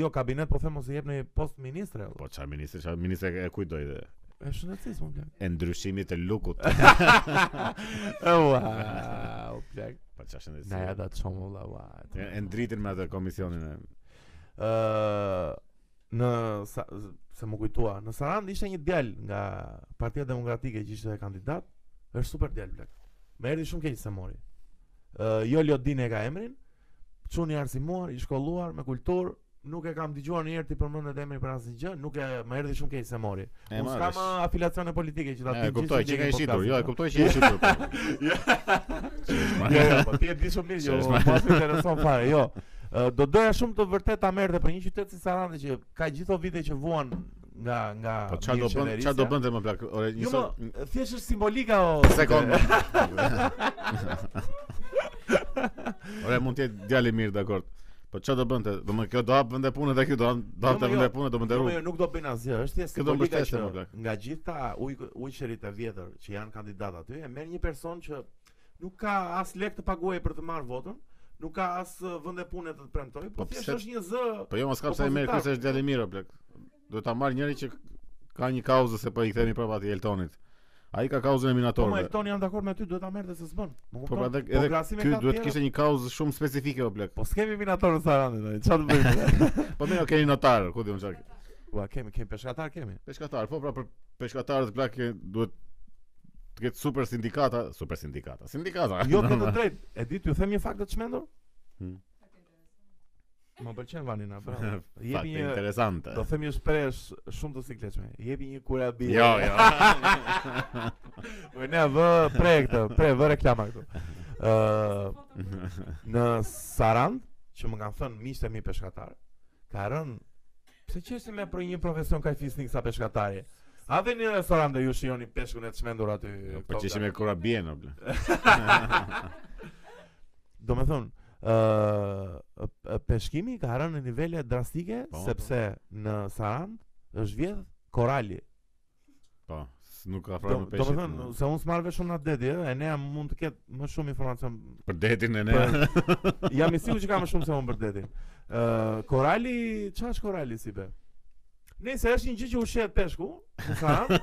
Speaker 1: Jo, kabinet po them mos i jep në post ministre.
Speaker 2: Po çfarë ministri, çfarë ministri e kujdoi dhe
Speaker 1: E shëndetësisë më plak.
Speaker 2: e ndryshimit të lukut.
Speaker 1: Ua, u plak.
Speaker 2: Po çfarë shëndetësi.
Speaker 1: Na ja ta çomë valla, ua.
Speaker 2: E e ndritin me atë komisionin e.
Speaker 1: Ë në sa, se më kujtua, në Sarand ishte një djalë nga Partia Demokratike që ishte kandidat, është super djalë blek. Më erdhi shumë keq se mori. Ë jo Lodin e ka emrin, çuni arsimuar, i shkolluar me kulturë, nuk e kam dëgjuar një herë ti përmendet emri për asnjë gjë, nuk e më erdhi shumë keq se
Speaker 2: E
Speaker 1: mori. Unë
Speaker 2: marrësh.
Speaker 1: s'kam ë, afiliacione politike që po ta
Speaker 2: E kuptoj që ka i shitur. Jo, e kuptoj që i shitur. po.
Speaker 1: kuptoj. Jo, jo, po ti e di shumë mirë, jo,
Speaker 2: Qesh
Speaker 1: po
Speaker 2: ma-
Speaker 1: as intereson fare, jo. Ë, Do doja shumë të vërtet ta merrte për një qytet si Sarandi që ka gjithë vite që vuan nga nga
Speaker 2: Po çfarë do bën?
Speaker 1: mirë
Speaker 2: Çfarë do
Speaker 1: qeverisja.
Speaker 2: bënte më plak? Ore, një
Speaker 1: Jo,
Speaker 2: sot
Speaker 1: më, thjesht është simbolika o. Jo,
Speaker 2: sekond. Ore, mund të jetë djalë i mirë, dakor. Po çfarë do bënte? Do më kjo do hap vende punë dhe kjo do hap- do hap
Speaker 1: Jo, mo, jo.
Speaker 2: vende punë, do më
Speaker 1: Jo,
Speaker 2: ndërru.
Speaker 1: më jo, nuk do bëjnë asgjë, është thjesht
Speaker 2: Kjo do
Speaker 1: simbolika
Speaker 2: mbështeste,
Speaker 1: që
Speaker 2: më plak.
Speaker 1: nga gjitha uj- ujqërit e vjetër që janë kandidat aty, e merr një person që nuk ka as lek të paguajë për të marrë votën, nuk ka as ë, vende pune të të premtoj,
Speaker 2: Po
Speaker 1: po thjesht
Speaker 2: pse-
Speaker 1: është një zë
Speaker 2: Po jo, mos ka pse i merr
Speaker 1: Opozitar.
Speaker 2: kjo se është djalë i mirë, o plak. Do ta marr njëri që ka një kauzë se po i kthemi prapa atij Eltonit. Ai ka kauzën e
Speaker 1: Po më
Speaker 2: minatorëve.
Speaker 1: Eltoni jam dakord me ty, duhet ta merrte se s'bën. Më
Speaker 2: Po pra
Speaker 1: kupton?
Speaker 2: edhe edhe
Speaker 1: krahasimi
Speaker 2: ky
Speaker 1: ka
Speaker 2: duhet
Speaker 1: tjera.
Speaker 2: kishte një kauzë shumë specifike o plak.
Speaker 1: Po s'kemi minator në Sarandë tani, çfarë të bëjmë?
Speaker 2: Po mirë, keni notar, ku diun çfarë.
Speaker 1: Ua, kemi, kemi peshkatar kemi.
Speaker 2: Peshkatar, po pra për peshkatarët plak e, duhet të ketë super sindikata, super sindikata, sindikata.
Speaker 1: Jo të të drejtë. E di t'ju them një fakt të çmendur?
Speaker 2: Hmm.
Speaker 1: Më pëlqen Vanina, bravo.
Speaker 2: Fakt
Speaker 1: Jepi një
Speaker 2: interesante.
Speaker 1: Do them një shpreh sh- shumë të sikletshme. Jepi një kurabi.
Speaker 2: Jo, jo.
Speaker 1: Po ne vë pre këtë, pre vë reklama këtu. Ë në Sarand, që më kanë thënë miqtë e mi peshkatar, ka rënë pse qeshti me për një profesion ka fisnik sa peshkatari. A vini në restorant dhe ju shihoni peshkun e të çmendur aty.
Speaker 2: Po që ishim me kurabien o plak.
Speaker 1: Do me thonë, ë p- peshkimi ka rënë në nivele drastike
Speaker 2: Po,
Speaker 1: sepse në Sarand është vjedh korali.
Speaker 2: Po, s- nuk ka
Speaker 1: Do,
Speaker 2: frajë me
Speaker 1: do me
Speaker 2: peshqit. po.
Speaker 1: thënë,
Speaker 2: no.
Speaker 1: se unë s'marrë vesh shumë në dedi, e ne mund të ketë më shumë informacion.
Speaker 2: Për detin e ne.
Speaker 1: Për- jam i sigurt që ka më shumë se unë për dedin. Ë korali, çfarë është korali si be? Nëse është një gjë që ushqehet peshku, në Sarand,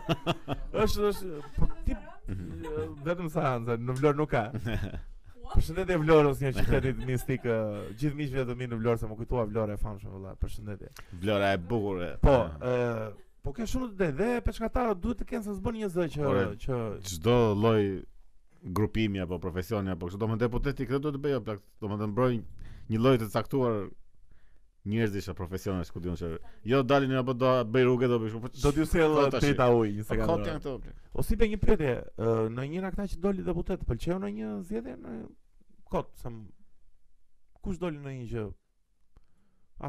Speaker 1: është është po ti vetëm Sarand, se në Vlorë nuk ka. Përshëndetje Vlorës, një qytetit mistik, ë, gjithë miqve të mi në Vlorë, se më kujtua Vlorë e famshme valla. Përshëndetje.
Speaker 2: Vlora e bukur. e.
Speaker 1: Po, ë po ke shumë të drejtë dhe peshkatarët duhet të kenë se s'bën një zë që
Speaker 2: Ore,
Speaker 1: që
Speaker 2: çdo lloj grupimi apo profesioni apo kështu, domethënë deputeti këtë duhet të bëjë o plak, domethënë mbroj një lloj të caktuar njerëzish apo profesionesh ku diun se jo dalin apo do bëj rrugë do bëj kështu. po
Speaker 1: do t'ju sjell
Speaker 2: Po, tash-
Speaker 1: trita ujë
Speaker 2: Po
Speaker 1: një
Speaker 2: kot
Speaker 1: sekondë.
Speaker 2: janë këto. o plak.
Speaker 1: O Po si be një pyetje, ë, në një nga këta që doli deputet, pëlqeu në një zgjedhje në kot, se m- kush doli në një gjë?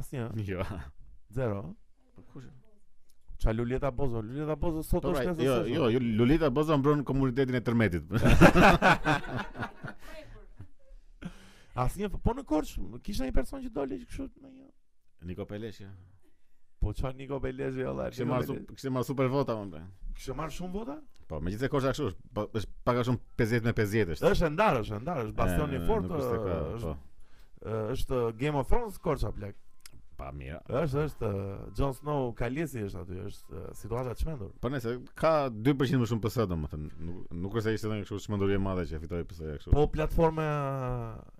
Speaker 1: Asnjë,
Speaker 2: Jo.
Speaker 1: zero. Qa Lulieta Bozo, Lulieta Bozo sot
Speaker 2: Po
Speaker 1: është
Speaker 2: pra,
Speaker 1: nesër.
Speaker 2: jo,
Speaker 1: s'është.
Speaker 2: jo, jo, Lulita Boza mbron komunitetin e tërmetit. jo.
Speaker 1: Asnjë, po në Korç kishte një person që doli kështu në një
Speaker 2: Niko Peleshi.
Speaker 1: Po qa Niko Belezi valla.
Speaker 2: Kishte
Speaker 1: Niko
Speaker 2: marrë
Speaker 1: Belezi.
Speaker 2: sup- kishte marrë super vota më plak.
Speaker 1: Kishte marrë shumë vota?
Speaker 2: Po, megjithëse kosha kështu është, po, është pak a shumë 50 me 50 është.
Speaker 1: Është e ndarë, është e ndarë, është bastioni
Speaker 2: E,
Speaker 1: i
Speaker 2: nuk
Speaker 1: fortë,
Speaker 2: është e ka,
Speaker 1: është
Speaker 2: po.
Speaker 1: ë, është Game of Thrones Korça plak.
Speaker 2: Pa mira.
Speaker 1: Është është ë, Jon Snow Kalesi është aty, është ë, situata e çmendur.
Speaker 2: Po nëse ka 2% më shumë PS domethënë, nuk nuk është se ishte ndonjë kështu çmenduri e madhe që e fitoi PS kështu.
Speaker 1: Po platforma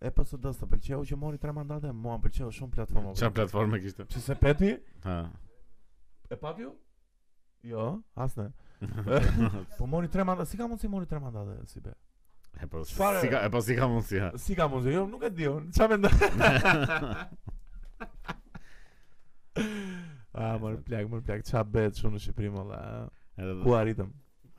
Speaker 1: e PSD-s të pëlqeu që mori 3 mandate, mua më pëlqeu shumë platforma.
Speaker 2: çfarë platforme kishte?
Speaker 1: Që se peti?
Speaker 2: Ha.
Speaker 1: E pati ju? Jo, asne. po mori 3 mandate, si ka mundsi mori 3 mandate si be?
Speaker 2: E po
Speaker 1: Çfarë-
Speaker 2: si ka e po si ka mundsi ha.
Speaker 1: Si ka mundsi? Jo, nuk e di unë. Çfarë mendon? A, mërë plak, mërë plak, qa betë shumë në Shqipëri, më la.
Speaker 2: Edhe
Speaker 1: Ku arritëm?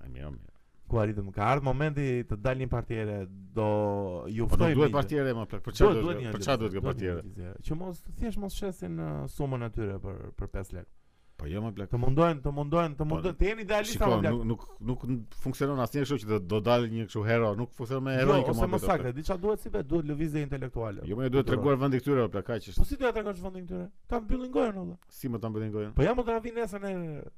Speaker 2: Ai mirë, mirë. Po,
Speaker 1: Ku arritëm? Ka ardhë momenti të dalin partjere, do ju
Speaker 2: Po nuk
Speaker 1: ftojmë.
Speaker 2: duhet
Speaker 1: miqve.
Speaker 2: partiere më plak. Për
Speaker 1: Duhet-
Speaker 2: çfarë
Speaker 1: Po, duhet
Speaker 2: duhet?
Speaker 1: një
Speaker 2: Për
Speaker 1: lëvizje,
Speaker 2: çfarë duhet kjo
Speaker 1: duhet një
Speaker 2: partiere?
Speaker 1: lëvizje. Që mos thjesht mos shesin uh, sumën atyre për për 5 lekë.
Speaker 2: Po jo më plak.
Speaker 1: Të mundohen, të mundohen, të mundohen, të jeni idealista
Speaker 2: Shiko,
Speaker 1: më plak.
Speaker 2: Po, nuk nuk nuk funksionon asnjë kështu që do- do dalë një kështu hero, nuk funksionon me
Speaker 1: Jo,
Speaker 2: hero kjo
Speaker 1: ose
Speaker 2: më
Speaker 1: më saktë, diçka duhet si vetë, duhet lëvizje intelektuale. Pra,
Speaker 2: Jo, më duhet treguar vendi këtyre plak, kaq
Speaker 1: Po
Speaker 2: është.
Speaker 1: si do ja tregosh vendin këtyre? Ta mbyllin gojën olla.
Speaker 2: Si më ta mbëllin gojën?
Speaker 1: Po jam do na vinë nesër në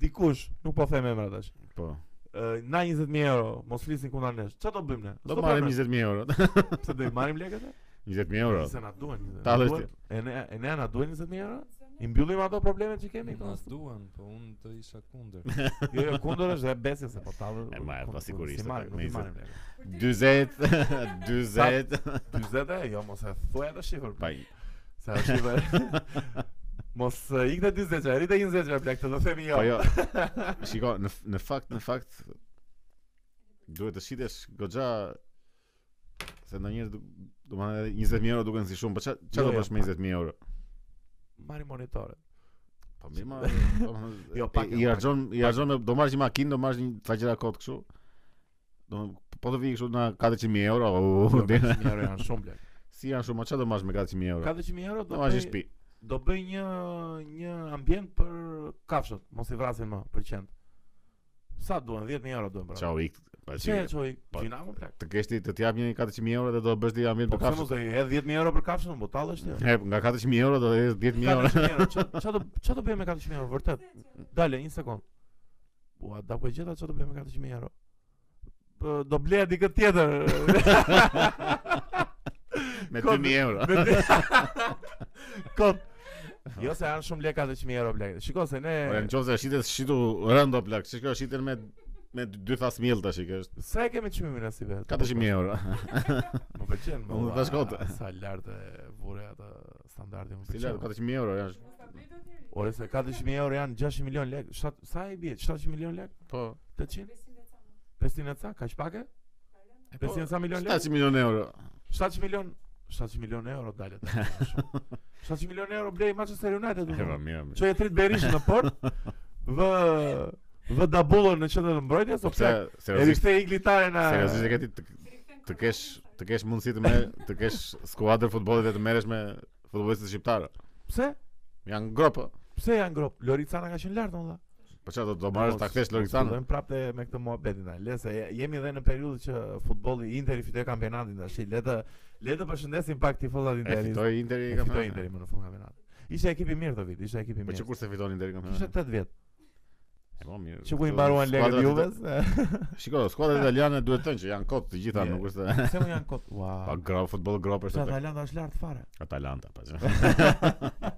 Speaker 1: dikush, nuk po them emra tash.
Speaker 2: Po.
Speaker 1: Ë, na 20000 euro, mos flisin kundër nesh. Çfarë do bëjmë ne?
Speaker 2: Do
Speaker 1: S'do
Speaker 2: marrim
Speaker 1: bëjmë ne.
Speaker 2: 20000 euro.
Speaker 1: Pse do i marrim lekët? e?
Speaker 2: 20000 euro.
Speaker 1: Se na duhen. se
Speaker 2: pra.
Speaker 1: na
Speaker 2: Ta dhe
Speaker 1: duhen. E ne e ne na duhen 20000 euro? I mbyllim ato problemet që kemi këtu.
Speaker 3: Nas duan, po unë do isha kundër.
Speaker 1: Jo, jo, kundër është dhe besja se po tallë.
Speaker 2: E marr, po sigurisht,
Speaker 1: Si marrim,
Speaker 2: po,
Speaker 1: nuk i
Speaker 2: nice.
Speaker 1: marrim. lekët.
Speaker 2: 40 40
Speaker 1: 40 e jo, mos e thuaj atë shifër.
Speaker 2: pa
Speaker 1: Sa shifër. Mos e, ikte 40, që rritë 20 që plak, të do themi jo.
Speaker 2: po jo. Shiko, në f- në fakt në fakt duhet të shitesh goxha se ndonjëherë du- domethënë 20000 euro duken si shumë, po ç'a ç'a
Speaker 1: Jo,
Speaker 2: do
Speaker 1: jo,
Speaker 2: bësh me 20000 euro?
Speaker 1: Marri monitore.
Speaker 2: Po mirë, ma,
Speaker 1: Jo,
Speaker 2: jo,
Speaker 1: pak
Speaker 2: pak
Speaker 1: e-
Speaker 2: i harxhon, i harxhon me do marrësh një makinë, do marrësh një ca gjëra kot kështu. Do po të vi kështu na 400000 euro. u,
Speaker 1: Jo,
Speaker 2: deri-
Speaker 1: 400.000 euro janë shumë plak.
Speaker 2: Si janë shumë, ma ç'a do marrësh me 400000 euro?
Speaker 1: 400000 euro
Speaker 2: Do
Speaker 1: do
Speaker 2: marrësh një
Speaker 1: bëj
Speaker 2: shtëpi.
Speaker 1: do bëj një një ambient për kafshët, mos i vrasin më për qend. Sa duhen 10000 euro duhen pra.
Speaker 2: Çau ik. Pa
Speaker 1: Çe
Speaker 2: çe.
Speaker 1: çoj,
Speaker 2: Po,
Speaker 1: vina më plak.
Speaker 2: Të kesh ti të të jap një 400000 euro dhe do bësh ti ambient
Speaker 1: Po
Speaker 2: për
Speaker 1: pse mos
Speaker 2: kafshë.
Speaker 1: e hedh 10000 euro për kafshën, po tallësh ti.
Speaker 2: E, nga 400000 euro do të jesh 10000 euro.
Speaker 1: 400000 euro. Qa- Qa do qa do bëjmë me 400000 euro vërtet? Dale, një sekond. Ua, da ku e gjeta çfarë do bëjmë me 400000 euro? Po, Do bleja dikë tjetër.
Speaker 2: Me
Speaker 1: Kot-
Speaker 2: 2000 euro.
Speaker 1: Me dy- Kot. Jo se janë shumë lekë 400000 euro blek. Shiko se
Speaker 2: Ora
Speaker 1: ne
Speaker 2: në qoftë se Po, shitet shitu rëndo plak. Çka shiten me me dy thas miell tash që është
Speaker 1: sa e kemi çmimin as i vet.
Speaker 2: 400000 euro.
Speaker 1: Më pëlqen.
Speaker 2: Unë
Speaker 1: valla,
Speaker 2: tash kot.
Speaker 1: Sa lart e vure atë standardin. më
Speaker 2: Si
Speaker 1: pëlqen.
Speaker 2: lart 400000 euro janë.
Speaker 1: Ore se 400000 euro janë 600 milion lekë. Shat- Sa e bie? 700 milion lekë?
Speaker 2: Po.
Speaker 1: 800? 500 e ca, kaq pak e? 500 ca milion lekë?
Speaker 2: 700 milion euro.
Speaker 1: 700 milion 700 milion euro dalet. 700 milion euro blej Manchester United.
Speaker 2: E
Speaker 1: domethënë.
Speaker 2: po mirë. mirë.
Speaker 1: Që e trit Berishin në port Vë Vë dabullën në qendrën e mbrojtjes
Speaker 2: Po
Speaker 1: O
Speaker 2: pse
Speaker 1: plak E
Speaker 2: seriozisht
Speaker 1: rikëthe i glitare në
Speaker 2: seriozisht e ke ti të, të kesh të kesh mundësi të merr të kesh skuadër futbollit dhe të merresh me futbollistët shqiptarë.
Speaker 1: Pse?
Speaker 2: Janë gropa.
Speaker 1: Pse janë grop? Loricana ka qenë lartë olla
Speaker 2: Po çfarë do do marrësh ta kthesh Lorisan?
Speaker 1: Dojmë prapë me këtë muhabetin ai. Le se je- jemi edhe në periudhë që futbolli Interi fitoi kampionatin tash Le të Le të përshëndesim pak tifozat
Speaker 2: E
Speaker 1: Interit
Speaker 2: fitoi Interi
Speaker 1: po, E
Speaker 2: ka
Speaker 1: fitoi Interi më në fund kampionatit Ishte ekipi mirë të vit Ishte ekipi
Speaker 2: Po që
Speaker 1: mirë
Speaker 2: kur se fiton Interi kampionatin?
Speaker 1: Ishte 8 vjet
Speaker 2: E po mirë.
Speaker 1: Që ku i
Speaker 2: Këto
Speaker 1: mbaruan legët
Speaker 2: skuadrat
Speaker 1: Juves
Speaker 2: ita- Shiko, skuadrat italiane duhet të thënë që janë kot të gjitha,
Speaker 1: Je.
Speaker 2: nuk është se-
Speaker 1: Pse më janë kot
Speaker 2: pa
Speaker 1: Ua
Speaker 2: grop futboll grop
Speaker 1: Pse
Speaker 2: është atë.
Speaker 1: Atalanta është lartë fare
Speaker 2: Atalanta pa.
Speaker 1: Po.
Speaker 2: që.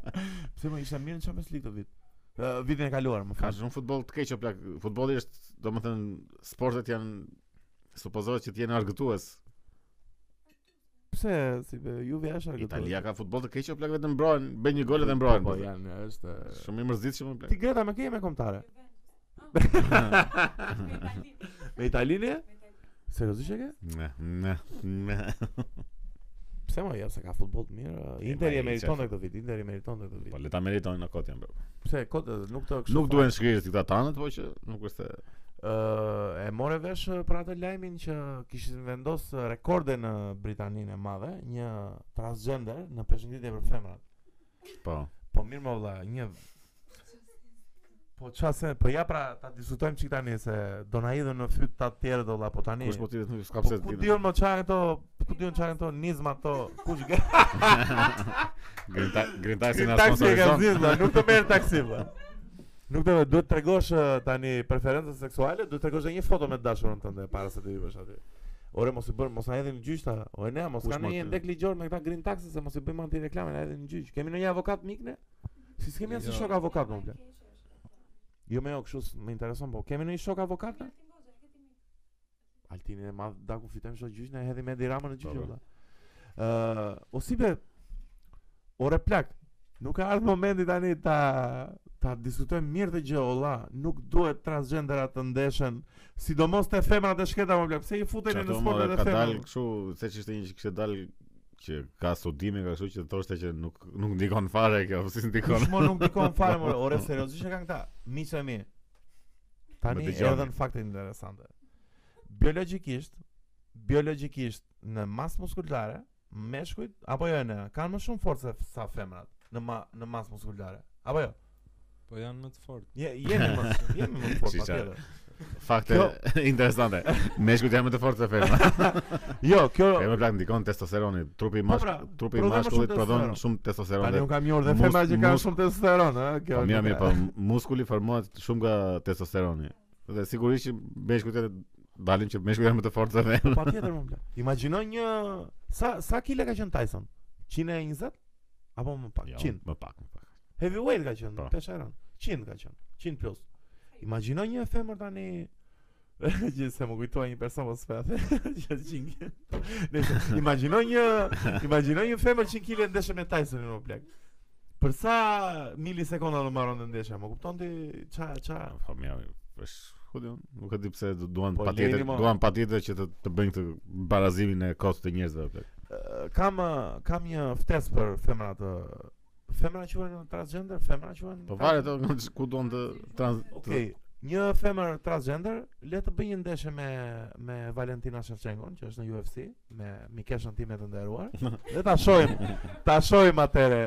Speaker 1: Pse më ishte mirë në Champions League të vit. Uh, vitin e kaluar, më
Speaker 2: Ka
Speaker 1: fal.
Speaker 2: shumë futboll të keq o plak. Futbolli është, domethënë, sportet janë supozohet që të jenë argëtues.
Speaker 1: Pse si be, Juve është argëtuar.
Speaker 2: Italia ka futboll të keq o plak vetëm mbrojnë, bën një gol edhe mbrojnë.
Speaker 1: Po,
Speaker 2: po,
Speaker 1: po janë, është eh,
Speaker 2: Shumë i mërzitshëm o plak.
Speaker 1: Ti Greta me kje me kombëtare? me Italinë? Seriozisht e ke?
Speaker 2: Ne, ne, ne.
Speaker 1: Pse më jep se ka futboll të mirë. eh,
Speaker 2: E, ma,
Speaker 1: Interi e
Speaker 2: i
Speaker 1: meriton
Speaker 2: qef.
Speaker 1: këtë vit, Interi e meriton këtë
Speaker 2: Po
Speaker 1: vit.
Speaker 2: le ta meritojnë në kot janë. bro.
Speaker 1: Pse kot eh, nuk të kështu.
Speaker 2: Nuk
Speaker 1: fare.
Speaker 2: duhen shkrirës këta tanët, po që nuk është se
Speaker 1: Ë, e more vesh eh, për atë lajmin që kishin vendos eh, rekorde në Britaninë e Madhe, një transgender në përshëndetje për femrat.
Speaker 2: po.
Speaker 1: Po mirë më vëlla, një Po qa se, po ja pra ta diskutojmë çik tani se do na hidhën në fyt ta tjerë do vëlla, po tani.
Speaker 2: Kush po ti nuk s'ka
Speaker 1: po
Speaker 2: pse
Speaker 1: ku
Speaker 2: ti.
Speaker 1: diun më çan këto, ku diun çan këto nizma këto, kush ga?
Speaker 2: Green Taxi na
Speaker 1: taksi e ka
Speaker 2: sponsorizon.
Speaker 1: zgjidhur, nuk të merr taksi vëlla. Nuk të duhet të tregosh ë, tani preferenca seksuale, duhet të tregosh edhe një foto me të dashurën tënde para se të hysh aty. Ore mos i bën, mos na hedhin në gjyq ta. O e ne, mos
Speaker 2: Kush
Speaker 1: ka
Speaker 2: mo
Speaker 1: ndonjë
Speaker 2: ty?
Speaker 1: ndek ligjor me këta green taxi se mos i bëjmë anti reklamën, na hedhin në gjyq. Kemi ndonjë avokat mik ne? Si s'kemi as
Speaker 3: Jo.
Speaker 1: shok avokat më bla. Jo me jo, kështu s- më intereson, po kemi ndonjë shok avokat? ne? Altini e madh, da ku fitojmë shok gjyq, ne hedhim Edi Ramën në gjyq
Speaker 2: Po, po.
Speaker 1: valla. Ë, o si be Ore plak, nuk ka ardhur momenti tani ta ta diskutojmë mirë të gjë olla, nuk duhet transgjenderat të ndeshen, sidomos te femrat e shketa më plak. Pse i futeni në
Speaker 2: Çato
Speaker 1: sportet
Speaker 2: më
Speaker 1: e
Speaker 2: ka dal
Speaker 1: femrave?
Speaker 2: kështu, se ç'ishte një që kishte dal që ka studime, ka kështu që thoshte që nuk nuk ndikon fare kjo, si ndikon.
Speaker 1: Kush më nuk dikon fare more, ore seriozisht e kanë këta. Miqë e mi. Tani
Speaker 2: Më dëgjoni.
Speaker 1: erdhën fakte interesante. Biologjikisht, biologjikisht në masë muskulare, meshkujt apo jo ne kanë më shumë forcë se- sa femrat në ma, në masë muskulare. Apo jo?
Speaker 3: Po janë më të fortë.
Speaker 1: Je, jemi më jemi më fort
Speaker 2: Shisha.
Speaker 1: patjetër.
Speaker 2: Fakte interesante. Meshkut janë më të fortë se femra.
Speaker 1: Jo, kjo
Speaker 2: Femra plak ndikon testosteroni, trupi i
Speaker 1: Po pra,
Speaker 2: mashk, trupi i
Speaker 1: prodhon më shumë
Speaker 2: mashkullit prodhon
Speaker 1: testosteron.
Speaker 2: shumë testosteron.
Speaker 1: tani
Speaker 2: dhe-
Speaker 1: un kam njohur dhe
Speaker 2: mus-
Speaker 1: femra që kanë
Speaker 2: mus-
Speaker 1: shumë testosteron, ë, kjo.
Speaker 2: Po
Speaker 1: nuk
Speaker 2: mirë, mirë,
Speaker 1: e-
Speaker 2: po muskuli formohet shumë nga testosteroni. Dhe sigurisht që meshkut janë dalin që meshkut janë më të fortë se femra.
Speaker 1: Po, Patjetër më bla. Imagjino një sa sa kile ka qenë Tyson? 120 apo më pak? 100.
Speaker 2: më pak, më pak.
Speaker 1: Heavyweight ka qenë,
Speaker 2: Jo. Po.
Speaker 1: pesheron. 100 ka qenë, 100 plus. Imagjino një femër tani që se më kujtoi një person mos fat. Që 100. Nëse imagjino një imagjino një femër 100 kg ndeshje me Tyson në plak. Për sa milisekonda do mbaron të ndeshja, më kupton ti ça ça
Speaker 2: Po mirë, është ku diun, nuk e di pse du- duan
Speaker 1: Po,
Speaker 2: patjetër,
Speaker 1: lejeni, mo.
Speaker 2: duan patjetër që të të bëjnë këtë barazimin e kostë të njerëzve. plak.
Speaker 1: Ë, kam ë, kam një ftesë për femra të femra quhen transgender, femra quhen
Speaker 2: Po varet o, ku duan të trans
Speaker 1: Okej, një femër transgender le të bëj një ndeshje me me Valentina Shevchenko, që është në UFC, me mikeshën time të nderuar, dhe ta shohim, ta shohim atëre,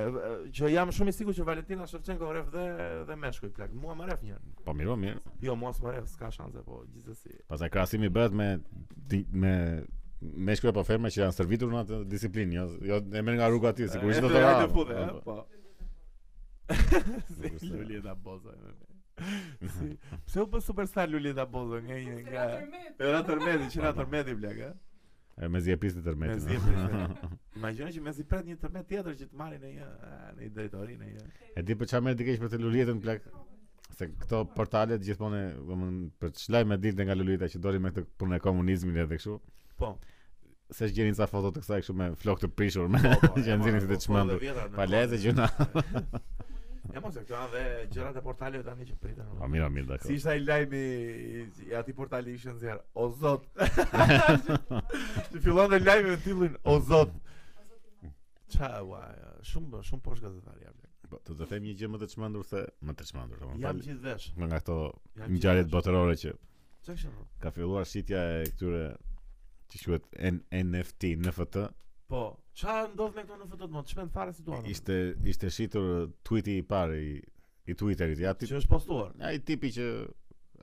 Speaker 1: që jam shumë i sigurt që Valentina Shevchenko rref dhe dhe meshkuj plak. Mua më rref një.
Speaker 2: Po mirë, o, mirë.
Speaker 1: Jo, mua s'më rref, s'ka shanse, po gjithsesi.
Speaker 2: Pastaj krahasimi bëhet me di- me me shkruaj po ferme që janë servitur në atë disiplinë, jo, jo e merr nga rruga aty, sigurisht do të
Speaker 1: ra.
Speaker 2: ra.
Speaker 1: po. Si
Speaker 2: Sigurisht do-
Speaker 1: Lulita Boza. me me. Si, pse u bë superstar Lulita Boza nga një nga Era tërmeti, qira tërmeti blek, ë?
Speaker 2: E, Me zjepisti
Speaker 1: Me
Speaker 2: tërmetin.
Speaker 1: zi e
Speaker 2: no?
Speaker 1: prisë. Imagjino që mezi pret një tërmet tjetër që të marrin në një në një drejtori në një.
Speaker 2: E di për çfarë merr dikesh për të luljetën plak se këto portalet gjithmonë, domethënë, për çlaj me dilte nga lulita që doli me këtë punë e komunizmit edhe kështu.
Speaker 1: Po.
Speaker 2: Se gjenin sa foto të kësaj kështu me flokë të prishur me
Speaker 1: po, po,
Speaker 2: që
Speaker 1: e
Speaker 2: nxjerrin
Speaker 1: mora,
Speaker 2: si të
Speaker 1: po, po,
Speaker 2: çmendur.
Speaker 1: dhe vjetrat në
Speaker 2: Pa lezë
Speaker 1: kohë.
Speaker 2: gjuna.
Speaker 1: E mos e këta dhe gjërat e portaleve tani që priten.
Speaker 2: Po mirë, mirë,
Speaker 1: Si
Speaker 2: dakor.
Speaker 1: ishte ai lajmi i- i atij portali ishin zer. O zot. Ti fillon të lajmi me titullin O zot. Ça, ua, shumë shumë poshtë gazetari jam.
Speaker 2: Po, Të të them një gjë më të çmendur se më të çmendur,
Speaker 1: Jam
Speaker 2: domethënë.
Speaker 1: gjithë vesh.
Speaker 2: Nga këto
Speaker 1: jam
Speaker 2: ngjarjet
Speaker 1: gjithë vesh.
Speaker 2: botërore që
Speaker 1: Çfarë kishte? bro?
Speaker 2: ka filluar shitja e këtyre që quhet N- NFT, NFT.
Speaker 1: Po, çfarë ndodh me këto në fotot më? Çmend fare si duan.
Speaker 2: Ishte ishte shitur tweeti i parë i, i Twitterit. Ja ti
Speaker 1: që është postuar.
Speaker 2: ai tipi që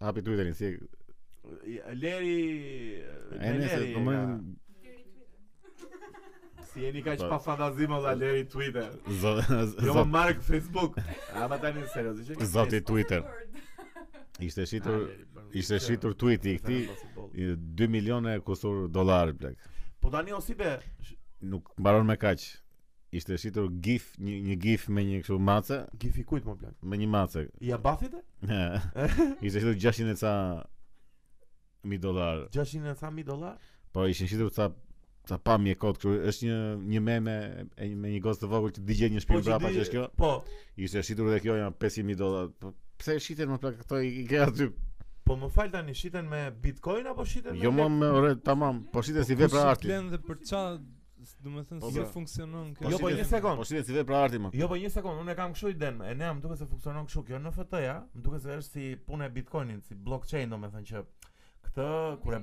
Speaker 2: hapi Twitterin si e-
Speaker 1: Leri
Speaker 2: e nese, do më
Speaker 1: Si jeni kaq
Speaker 2: Po.
Speaker 1: pa fantazim olla Leri Twitter.
Speaker 2: Zo-
Speaker 1: Jo më
Speaker 2: zot-
Speaker 1: mark Facebook. Ama tani seriozisht.
Speaker 2: zoti Twitter. Ishte
Speaker 1: Ah,
Speaker 2: shitur ishte shitur tweeti i këtij i 2 milione kusur dollar blek.
Speaker 1: Po tani o si be? sh-
Speaker 2: Nuk mbaron me kaq. Ishte shitur gif, një, një gif me një kështu mace,
Speaker 1: Gifi kujt më plak?
Speaker 2: me një mace.
Speaker 1: Ja bafit e?
Speaker 2: ishte shitur 600 e ca mi dollar.
Speaker 1: 600 e ca mi dollar?
Speaker 2: Po ishin shitur ca ca pa mjekot kështu. Është një një meme e, me një gocë të vogël që digjen një shtëpi brapa që është kjo.
Speaker 1: Po,
Speaker 2: Ishte shitur edhe kjo janë 500.000 dollar. Po pse e shiten më plak këto i i ke aty?
Speaker 1: po më fal tani shiten me Bitcoin apo shiten me
Speaker 2: Jo më më ore tamam, po shiten si vepra arti.
Speaker 3: Blen dhe për ça, do të
Speaker 2: Po,
Speaker 3: thënë si
Speaker 2: pra.
Speaker 3: funksionon
Speaker 1: Jo, po,
Speaker 2: shiten-
Speaker 1: një sekond.
Speaker 2: Po shiten si vepra arti më.
Speaker 1: Jo, po një sekond, unë e kam kështu iden, e ne më duket se funksionon kështu kjo në FT-ja, më duket se është si puna e Bitcoinit, si blockchain domethënë që këtë kur e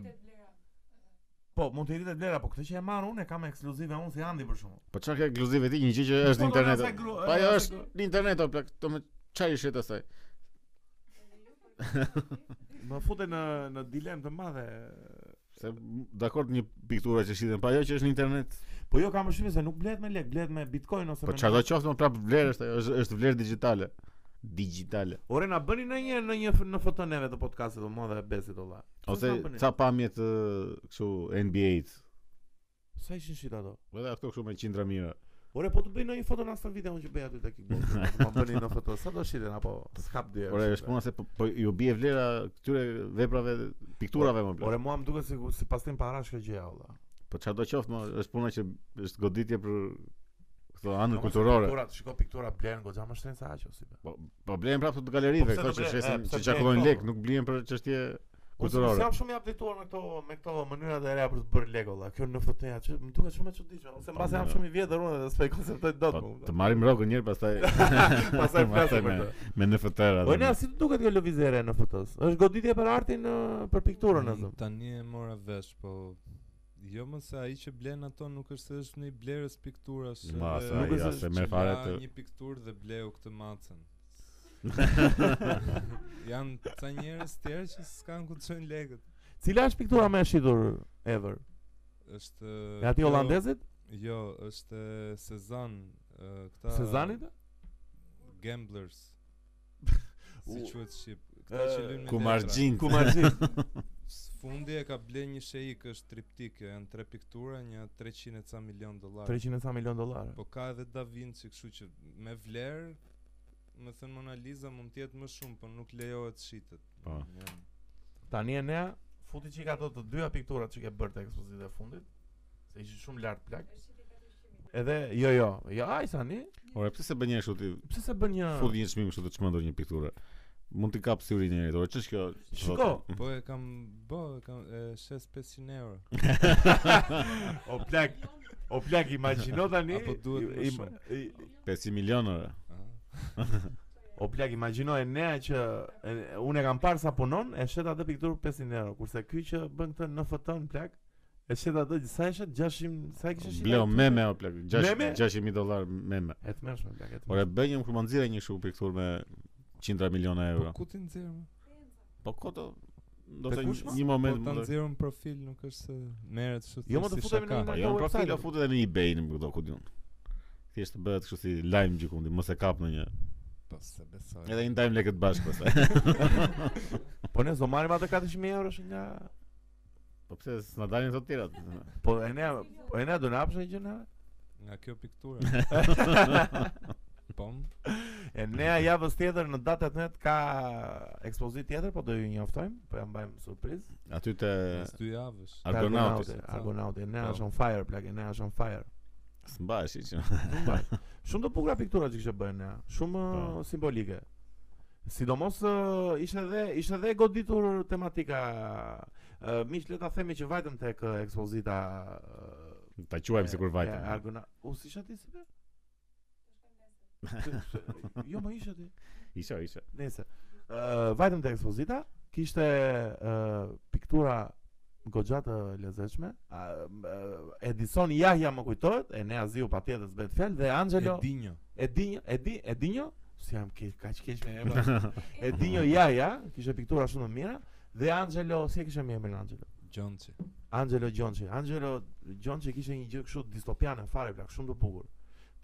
Speaker 1: Po, mund të rritet vlera, po këtë që e marr unë e kam ekskluzive unë si Andi për shkakun.
Speaker 2: Po çka ke ekskluzive ti një gjë që është
Speaker 1: Po,
Speaker 2: në internet.
Speaker 1: po, na se gru-
Speaker 2: Po ajo
Speaker 1: na se
Speaker 2: është në internet o plak, do më çaj shit asaj.
Speaker 1: Më fute në në dilemë të madhe.
Speaker 2: Se m- dakord një pikturë që shiten, po ajo që është në internet.
Speaker 1: Po jo kam përshtypjen se nuk blehet me lek, blehet me Bitcoin ose
Speaker 2: Po
Speaker 1: me.
Speaker 2: çfarë do qoftë më prap vlerë është ajo, është- është vlerë digjitale. Digjitale.
Speaker 1: Ore na bëni në një në një f- në foto neve të podcastit të madhe e besit olla. Pse
Speaker 2: Ose
Speaker 1: s'na bëni?
Speaker 2: ca pamje të kështu NBA-t.
Speaker 1: sa ishin shit ato?
Speaker 2: Edhe ato kështu me qindra mira.
Speaker 1: Ore po të bëj në një foto në asë video unë që bëj aty te kickboxing. Po bëni në foto sa do shiten apo s'kap dy.
Speaker 2: Ore, është puna se po, po ju bie vlera këtyre veprave, pikturave më plak.
Speaker 1: Ore mua më duket se si pastim parash kjo gjë olla.
Speaker 2: Po çfarë do qoftë më, është puna që është goditje për këto anën
Speaker 1: Ama se
Speaker 2: kulturore.
Speaker 1: Pikturat, shiko piktura blen goxha më shtrenjtë se aq ose.
Speaker 2: Po po blehen prapë të
Speaker 1: Po
Speaker 2: galerive,
Speaker 1: pse
Speaker 2: këto
Speaker 1: do
Speaker 2: që
Speaker 1: ble- e,
Speaker 2: shesin
Speaker 1: pse
Speaker 2: që
Speaker 1: ble
Speaker 2: çakullojnë
Speaker 1: këto?
Speaker 2: lek, nuk blien për çështje
Speaker 1: Unë
Speaker 2: kulturore.
Speaker 1: jam shumë i updateuar me këto me këto mënyra të reja për të bërë Lego valla. Kjo NFT-ja që më duket shumë e çuditshme, ose mbas jam
Speaker 2: mirë.
Speaker 1: shumë i vjetër unë dhe s'e konceptoj dot.
Speaker 2: Po,
Speaker 1: më kupton.
Speaker 2: të marrim rrogën një herë pastaj
Speaker 1: Pastaj flasim për
Speaker 2: me-
Speaker 1: këtë.
Speaker 2: me NFT-ra.
Speaker 1: Po ne si të duket kjo lëvizje e re në fotos? Është goditje për artin ë, për pikturën
Speaker 3: Ai
Speaker 1: azëm.
Speaker 3: Tani e mora vesh, po jo më se ai që blen ato nuk është se është në i blerës pikturash.
Speaker 2: Ma,
Speaker 3: edhe
Speaker 2: sa
Speaker 1: nuk
Speaker 2: ja,
Speaker 1: është
Speaker 2: se
Speaker 3: që
Speaker 2: merr fare
Speaker 3: la
Speaker 2: të
Speaker 3: një pikturë dhe bleu këtë macën. Janë ca njerëz tjerë që s'kan ku të çojnë lekët.
Speaker 1: Cila është piktura më e shitur ever?
Speaker 3: Është
Speaker 1: Nga ti
Speaker 3: kjo-
Speaker 1: holandezit?
Speaker 3: Jo, është Sezan, ë, këta
Speaker 1: Sezanit?
Speaker 3: Gamblers. si
Speaker 1: U,
Speaker 3: quhet në shqip? Këta
Speaker 1: ë,
Speaker 3: që luajnë me
Speaker 2: ku
Speaker 3: letra.
Speaker 2: margjin.
Speaker 1: Kumarxhi.
Speaker 3: S- Fundi e ka ble një sheik është triptik, janë tre piktura, një 300 e ca milion dollar.
Speaker 1: 300 e sa milion dollarë.
Speaker 3: Po ka edhe Da Vinci, kështu që me vlerë, me thënë Mona Lisa mund të jetë më shumë, po nuk lejohet shitet.
Speaker 2: Po.
Speaker 3: Janë-
Speaker 1: Tani e nea futi çik ato të dyja pikturat që ke bërë te ekspozita e fundit, se ishin shumë lart plak. Edhe jo jo, jo aj tani,
Speaker 2: Ora, pse se bën një kështu ti?
Speaker 1: pse se bën një
Speaker 2: Fut një çmim kështu të çmendur një pikturë. Mund t'i kap syrin e njëri. Ora, ç'është kjo?
Speaker 1: Shiko,
Speaker 3: Po e kam bë, e kam e shes 500 euro.
Speaker 1: o plak, o plak imagjino tani.
Speaker 3: Apo duhet më
Speaker 1: im-
Speaker 3: shumë?
Speaker 1: i-
Speaker 2: 500 milion ora.
Speaker 3: Ah.
Speaker 1: O plak imagjino e nea që e- unë e kam parë sa punon, e shet atë pikturë 500 euro, kurse ky që bën këtë NFT-n plak, e shet atë sa e shet 600, sa e kishe shitur?
Speaker 2: Bleu meme o plak.
Speaker 1: Meme?
Speaker 2: 6 6000 dollar meme.
Speaker 1: E të mërshme plak, e të
Speaker 2: Ora, bëj një kur më nxjerrë një kështu pikturë me qindra miliona
Speaker 3: Po
Speaker 2: euro.
Speaker 3: ku ti nxjerr? mo?
Speaker 2: Po koto do
Speaker 1: Te
Speaker 2: të
Speaker 1: kush, ma?
Speaker 2: një
Speaker 3: Po
Speaker 2: moment
Speaker 3: ta
Speaker 2: mund të-
Speaker 3: nxjerr në profil, nuk është se merret kështu
Speaker 1: Jo, mo, të
Speaker 3: thjesht si
Speaker 1: futemi në
Speaker 3: shaka.
Speaker 1: një-
Speaker 2: Pa,
Speaker 1: Nga
Speaker 2: jo
Speaker 1: këto
Speaker 2: në profil,
Speaker 1: website-et.
Speaker 2: do futet edhe në eBay në këto ku diun. Thjesht të bëhet kështu si lajm gjikundi, mos e kap në një.
Speaker 3: Po se besoj.
Speaker 2: Edhe i ndajmë lekët bashkë pastaj.
Speaker 1: Po ne zo marrim atë 400.000 eurosh nga
Speaker 2: Po pse s'na dalin ato të tjerat?
Speaker 1: Po e ne po e ne do na hapshin gjë na.
Speaker 3: nga kjo pikturë. po. m-
Speaker 1: E nea javës tjetër në datat net ka ekspozit tjetër, po do ju njoftojmë, po ja mbajmë surprizë.
Speaker 2: Aty te
Speaker 3: Pas dy javësh.
Speaker 1: Te
Speaker 2: Argonauti.
Speaker 1: Argonauti, Argonauti, e nea
Speaker 3: Po.
Speaker 1: është on fire, plak, e nea është on fire.
Speaker 2: S'mbahesh hiç.
Speaker 1: Mbaj. Shumë të bukura piktura që kishte bërë nea, shumë
Speaker 2: Po.
Speaker 1: eh, simbolike. Sidomos eh, ishte edhe ishte edhe goditur tematika eh, miq le ta themi që vajtëm tek eh, ekspozita eh,
Speaker 2: Ta quajmë sikur
Speaker 1: e
Speaker 2: vajtëm.
Speaker 1: Argona. U si isha ti si be? Se- se- Jo, më isha ti.
Speaker 2: Isha, isha.
Speaker 1: Nëse. Ë vajtëm te ekspozita, kishte ë piktura goxha të lezetshme. A, uh, ë, Edison Jahja më kujtohet, e Nea Ziu patjetër s'bëhet fjalë dhe Angelo
Speaker 3: Edinjo.
Speaker 1: Edinjo, Edi Edinjo, si jam ke kaq keq me emra. Edinjo Jahja kishte piktura shumë të mira dhe Angelo, si e kishte më emrin Angelo?
Speaker 3: Gjonçi.
Speaker 1: Angelo Gjonçi. Angelo Gjonçi kishte një gjë kështu distopiane fare plak, shumë të bukur.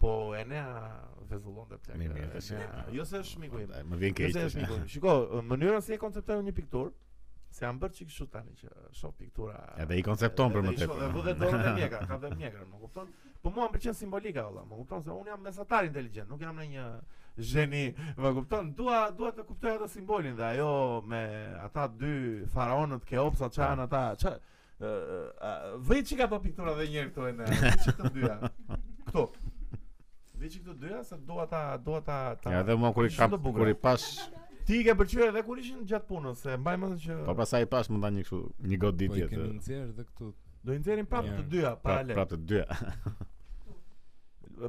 Speaker 1: Po e nea vezullonte plak.
Speaker 2: Mirë, mirë,
Speaker 1: e
Speaker 2: tash.
Speaker 1: nea- Jo se është miku im.
Speaker 2: Ai, Më vjen
Speaker 1: Jo
Speaker 2: keq.
Speaker 1: se është miku im. Shiko, mënyra si e konceptojnë një pikturë, se janë bërë çik kështu tani që shoh piktura.
Speaker 2: Edhe i koncepton për më
Speaker 1: Edhe i shoh, Edhe
Speaker 2: tepër.
Speaker 1: vëdet dorën e mjekra, ka dhe mjekra, më kupton? Po mua më pëlqen simbolika valla, më kupton se unë jam mesatar inteligjent, nuk jam në një zheni, më kupton? Dua dua të kuptoj atë simbolin dhe ajo me ata dy faraonët Keopsa ça janë ata, ça Ë, ë, ë, Vëj çik ato piktura dhe njërë këtu e në Vëj të dyja Këtu Vëj çik të dyja se dua ta Dua ta, ta...
Speaker 2: Ja, edhe mua kur i
Speaker 1: Shumë
Speaker 2: kam
Speaker 1: të bukur.
Speaker 2: kur i pash,
Speaker 1: Ti i ke pëlqyer edhe kur ishin gjatë punës Se mbaj mend që
Speaker 2: po pastaj i pash më ndan një kështu një
Speaker 3: Po i
Speaker 2: goditje të
Speaker 3: kemi nxjerr edhe këtu.
Speaker 1: Do i nxjerrim prapë të
Speaker 3: Mirë.
Speaker 1: dyja
Speaker 2: prap
Speaker 1: paralel
Speaker 2: prap Pra, të dyja.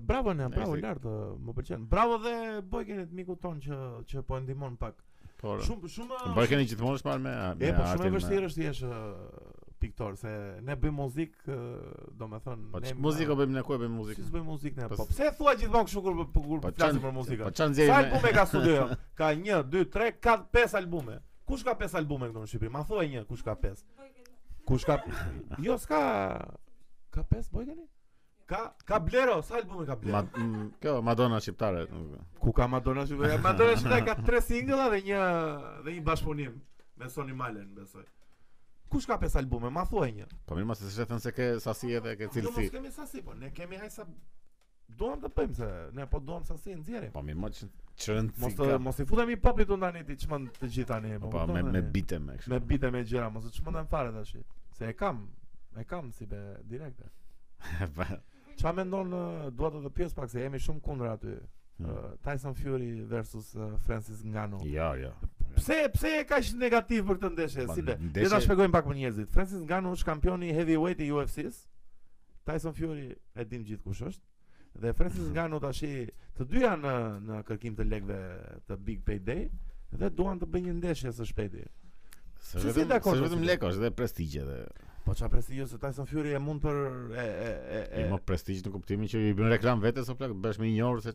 Speaker 1: Bravo ne, bravo
Speaker 2: Nice.
Speaker 1: lart, ë, më pëlqen. Bravo dhe Bojkenit mikut ton që që po e ndihmon pak.
Speaker 2: Po.
Speaker 1: Shumë shumë
Speaker 2: Po keni gjithmonë shpar me me
Speaker 1: E po shumë e
Speaker 2: artin, me-
Speaker 1: vështirë është jesh ë, piktor se ne bëjmë muzikë, ë, domethënë
Speaker 2: Po
Speaker 1: ne
Speaker 2: që muzikë bëjmë na ku e bëjmë muzikë.
Speaker 1: Si s'bëjmë muzikë ne?
Speaker 2: Po
Speaker 1: Po
Speaker 2: s-
Speaker 1: pse thua gjithmonë kështu kur kur
Speaker 2: Po
Speaker 1: flasim
Speaker 2: çan-
Speaker 1: për muzikë?
Speaker 2: Po çan
Speaker 1: Sa
Speaker 2: nxjerrim?
Speaker 1: albume ka studio? Ka 1, 2, 3, 4, 5 albume. Kush ka 5 albume këtu në Shqipëri? Ma thuaj një, kush ka 5? Kush ka Jo, s'ka ka 5 Bojkeni? Ka ka Blero, sa albume ka Blero?
Speaker 2: Ma, m, kjo Madonna shqiptare. nuk-
Speaker 1: Ku ka Madonna që bëja Madonna që ka tre single dhe një dhe një bashkëpunim me Sony Malen, besoj. Kush ka pesë albume? Ma thuaj një.
Speaker 2: Po mirë, mos e shëtën se ke sasi edhe ke
Speaker 1: Jo mos
Speaker 2: cilësi.
Speaker 1: kemi sasi, po ne kemi haj sa duam të bëjmë se ne po duam sasi nxjerrim.
Speaker 2: Po mirë, më që çrën
Speaker 1: Mos të,
Speaker 2: si.
Speaker 1: mos i futemi popit unë tani ti çmend të gjithë tani.
Speaker 2: Po
Speaker 1: po
Speaker 2: pa,
Speaker 1: kupton
Speaker 2: me me
Speaker 1: tani?
Speaker 2: bite me kështu.
Speaker 1: me bite me gjëra, mos të çmendem fare tash. Se e kam, e kam si be direkte.
Speaker 2: Pa,
Speaker 1: Qa mendon ë, eh, dua të të pyes pak se jemi shumë kundër aty. Eh,
Speaker 2: Hmm.
Speaker 1: Ë, Tyson Fury versus ë, eh, Francis Ngannou.
Speaker 2: Jo, jo.
Speaker 1: Pse pse e kaq negativ për këtë ndeshje?
Speaker 2: Ma,
Speaker 1: Si be?
Speaker 2: ndeshje-
Speaker 1: Le ta shpjegojmë pak për njerëzit. Francis Ngannou është kampioni heavyweight i UFC-s. Tyson Fury e dim gjithë kush është. Dhe Francis Ngannou tash të dy janë në në kërkim të lekëve të Big Payday dhe duan të bëjnë një ndeshje së shpejti.
Speaker 2: Se
Speaker 1: Si si
Speaker 2: vetëm,
Speaker 1: dakord,
Speaker 2: se
Speaker 1: si
Speaker 2: vetëm
Speaker 1: si-
Speaker 2: leko, është edhe prestigje dhe
Speaker 1: Po çfarë prestigjë se Tyson Fury e mund për e e e,
Speaker 2: i
Speaker 1: e
Speaker 2: më prestigj në kuptimin që i bën reklam vetes o plak, bësh më i njohur se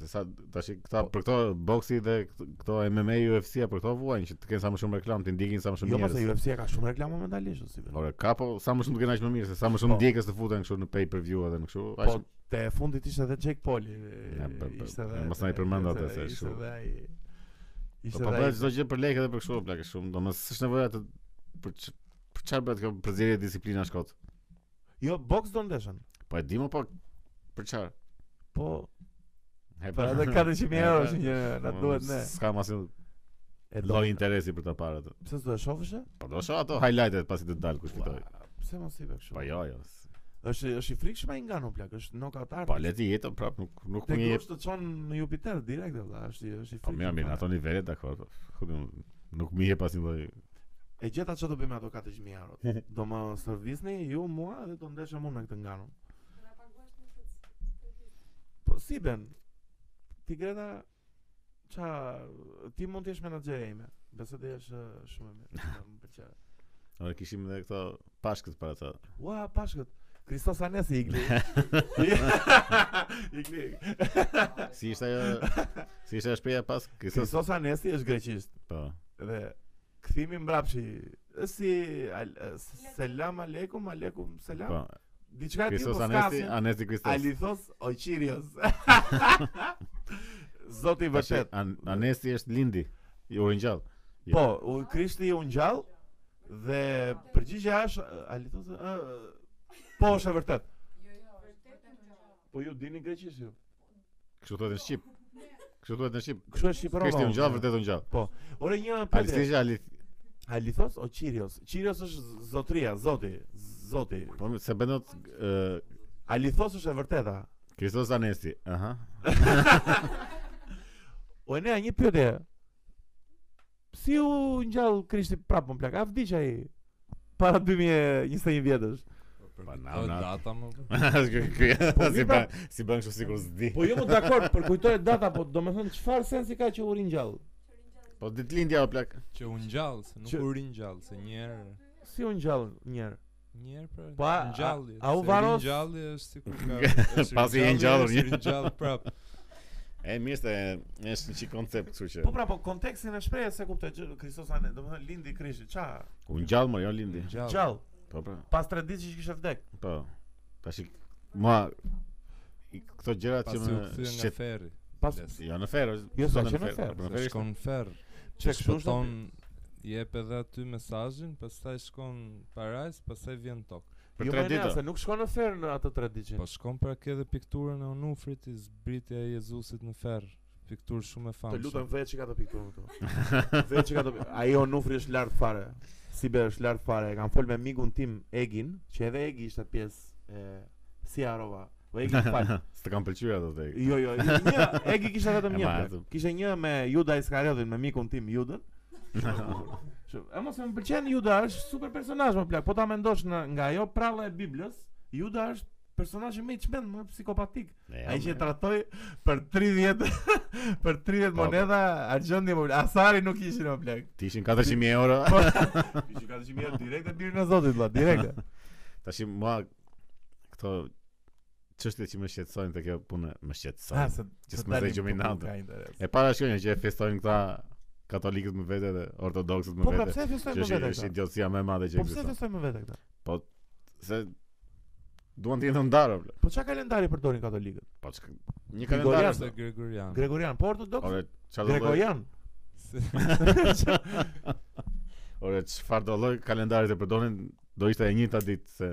Speaker 2: se sa tash
Speaker 1: Po-
Speaker 2: këta për këto boksi dhe këto- këto MMA UFC-a për këto vuajnë që të kenë sa më shumë reklam, të ndjekin sa më shumë
Speaker 1: Jo, pse
Speaker 2: njerëz.
Speaker 1: UFC ka shumë reklama momentalisht, o, si be.
Speaker 2: Ora, ka po sa më shumë të kenë aq më mirë, se sa më
Speaker 1: Po.
Speaker 2: shumë ndjekës të futen kështu në pay-per-view edhe në kështu.
Speaker 1: Po
Speaker 2: aq-
Speaker 1: te fundit ishte edhe Jake Paul. e,
Speaker 2: Ja, po, po,
Speaker 1: Ishte
Speaker 2: e, mos na i përmend atë, se
Speaker 1: ishte
Speaker 2: shumë.
Speaker 1: edhe ai-
Speaker 2: Po
Speaker 1: Ishte
Speaker 2: po
Speaker 1: edhe
Speaker 2: bëhet
Speaker 1: ai-
Speaker 2: çdo gjë për lekë edhe për kështu o plak, është shumë, domos s'është nevoja të për ç- për çfarë bëhet kjo përzierje disiplina shkot.
Speaker 1: Jo, box do ndeshën.
Speaker 2: Po e di më po për çfarë?
Speaker 1: Po,
Speaker 2: Hep.
Speaker 1: për atë 400.000 euro është një, na
Speaker 2: Po,
Speaker 1: duhet ne.
Speaker 2: S'kam asnjë
Speaker 1: E do.
Speaker 2: lloj interesi për ta parë atë.
Speaker 1: Pse s'do e shohësh? e?
Speaker 2: Po do shoh ato highlightet pasi të dal kush fitoi.
Speaker 1: Ua, Pse mos i bë kështu?
Speaker 2: Po jo, jo. s-
Speaker 1: Është është i frikshëm ai nga plak, është nokautar.
Speaker 2: Po le ti jetë prap, nuk nuk
Speaker 1: Te
Speaker 2: më jep.
Speaker 1: kush të çon në Jupiter direkt valla, është i- është i
Speaker 2: Po
Speaker 1: frikshëm.
Speaker 2: mirë, mirë, në
Speaker 1: fare.
Speaker 2: ato nivele dakor. po, ku do- Nuk më jep asnjë lloj.
Speaker 1: E gjeta çfarë do bëjmë me ato 4000 euro. Do më servisni ju mua dhe do ndeshëm unë me këtë nganun. Po si ben? Ti Greta ça ti mund të jesh menaxhere ime. Besoj të jesh ë, shumë e mirë. Më pëlqeu.
Speaker 2: Ora kishim edhe këto pashkët para ta.
Speaker 1: Ua, pashkët. Kristos Anesi i gli. I gli.
Speaker 2: Si ishte ajo? Si ishte ajo shpreha pas? Kristos.
Speaker 1: Kristos Anesi është greqisht.
Speaker 2: Po.
Speaker 1: Dhe kthimi mbrapshi është si al- eh, selam aleikum aleikum selam.
Speaker 2: Po.
Speaker 1: Diçka ti po
Speaker 2: Kristos Anesti,
Speaker 1: skasin.
Speaker 2: Anesti Kristos.
Speaker 1: Alithos Oqirios. Zoti i vërtet.
Speaker 2: An- Anesti është Lindi. I uringjall. Jo.
Speaker 1: Po, u Krishti u ngjall dhe përgjigjja është eh, Alithos eh, po është e vërtet. Po ju dini greqisht ju.
Speaker 2: Kështu thuhet në shqip. Kështu thuhet në shqip.
Speaker 1: Kjo është shqipëro.
Speaker 2: Krishti u
Speaker 1: valla.
Speaker 2: ngjall, vërtet u ngjall.
Speaker 1: Ore një
Speaker 2: Alisi
Speaker 1: pyetje.
Speaker 2: ishte Ali.
Speaker 1: Alithos o Qirios. Qirios është z- zotria, zoti, zoti.
Speaker 2: Po mirë, se bënot ë,
Speaker 1: Alithos është e vërteta.
Speaker 2: Kristos Anesti. Aha.
Speaker 1: Po, O ne një pyetje. Si u ngjall Krishti prapë më plak? A vdiq ai para 2021 vjetësh?
Speaker 2: Po na
Speaker 3: O,
Speaker 2: na.
Speaker 3: data më bë.
Speaker 2: Ky- ky- si
Speaker 1: mi
Speaker 2: bën
Speaker 1: pra-
Speaker 2: si bën kështu sikur s'di.
Speaker 1: Po jo më dakord, për kujtoj data, po domethënë çfarë sensi ka që u ringjall?
Speaker 2: Po ditëlindja o plak.
Speaker 3: Që u ngjall, se nuk
Speaker 1: Që-
Speaker 3: u ringjall, se një herë
Speaker 1: Si u ngjall një herë?
Speaker 3: një herë pra.
Speaker 1: Po, a-
Speaker 3: ngjalli.
Speaker 1: a- a u
Speaker 3: se
Speaker 1: varos?
Speaker 3: Ringjalli është sikur ka.
Speaker 2: Pasi je ngjallur, një.
Speaker 3: një ngjall prap.
Speaker 2: E mirë se është një çik koncept, kështu që.
Speaker 1: Po pra, po kontekstin e shprehjes se kuptoj që Kristos ane, domethënë lindi Krishti, ça?
Speaker 2: U ngjall më jo lindi.
Speaker 3: Ngjall.
Speaker 1: Gjall,
Speaker 2: Po pra.
Speaker 1: pas 3 ditësh që kishte vdek.
Speaker 2: Po. Tash i- mua i- këto gjërat që
Speaker 3: Pasi
Speaker 2: më
Speaker 3: u kthye nga
Speaker 2: shqet.
Speaker 3: ferri.
Speaker 1: Pas
Speaker 3: Les.
Speaker 2: Jo në ferë.
Speaker 1: Jo,
Speaker 2: s'ka
Speaker 1: s'ka që në ferë,
Speaker 2: Po, Në
Speaker 3: Se
Speaker 2: ferë
Speaker 3: shkon
Speaker 2: shkon.
Speaker 3: në ferr.
Speaker 1: Pse
Speaker 3: Që
Speaker 1: kështu është
Speaker 3: shpëton jep edhe aty mesazhin, pastaj shkon parajs, pastaj vjen tok.
Speaker 2: Për
Speaker 1: jo
Speaker 2: 3
Speaker 1: më ne,
Speaker 2: ditë.
Speaker 1: se nuk shkon në ferë në atë 3 ditë.
Speaker 3: Po shkon pra ke edhe pikturën e Onufrit i zbritja e Jezusit në ferr. Pikturë shumë e
Speaker 1: Të
Speaker 3: famshme.
Speaker 1: lutem veç që ka të pikturën këtu. Veç që ka të pikturën. Ajo Nufri është lart fare. Si be është lart fare. E kam fol me mikun tim Egin, që edhe Egi ishte pjesë e si harova. Po Egi më fal.
Speaker 2: S'të kam pëlqyer ato te.
Speaker 1: Jo, jo, një, Egi kishte vetëm
Speaker 2: E
Speaker 1: një.
Speaker 2: ma,
Speaker 1: plak.
Speaker 2: atë-
Speaker 1: Kishte një me Juda Iskariotin, me mikun tim Judën. Shumë
Speaker 2: Ah.
Speaker 1: e bukur. Shumë- E mos e më pëlqen Juda, është super personazh më plak. Po ta mendosh në nga ajo pralla e Biblës, Juda është personazhi më i çmend, më psikopatik. Ai që e tratoi për 30 për 30
Speaker 2: Po, po.
Speaker 1: moneda argjendi më asari nuk ishin më plak.
Speaker 2: Ti ishin 400000 euro.
Speaker 1: Po. Ishin 400 mijë direkt e birën e Zotit vlla, direkt.
Speaker 2: Po, Tash i- mua këto çështjet që më shqetësojnë te kjo punë më
Speaker 1: Ha,
Speaker 2: shqetësojnë.
Speaker 1: Ah, se
Speaker 2: që
Speaker 1: se
Speaker 2: s'më dhe
Speaker 1: dalim
Speaker 2: gjuminat.
Speaker 1: po, ka interes.
Speaker 2: E para shkojnë që e festojnë këta katolikët më vete dhe ortodoksët më
Speaker 1: Po pra
Speaker 2: vete.
Speaker 1: pse e festojmë
Speaker 2: Që
Speaker 1: me
Speaker 2: është
Speaker 1: vete
Speaker 2: është
Speaker 1: këta?
Speaker 2: idiotësia më e madhe që
Speaker 1: Po pse e
Speaker 2: ekziston.
Speaker 1: festojmë me vete këta?
Speaker 2: Se duan të jenë ndarë. bla.
Speaker 1: Po çka kalendari përdorin katolikët?
Speaker 2: Po çka një
Speaker 1: Gregorian.
Speaker 2: kalendar
Speaker 3: Ose
Speaker 2: është.
Speaker 3: Gregorian.
Speaker 1: Gregorian, po ortodoks?
Speaker 2: Ore çfarë do lloj?
Speaker 1: Gregorian.
Speaker 3: Se-
Speaker 2: Ore çfarë do lloj kalendari të përdorin do ishte e njëjta ditë se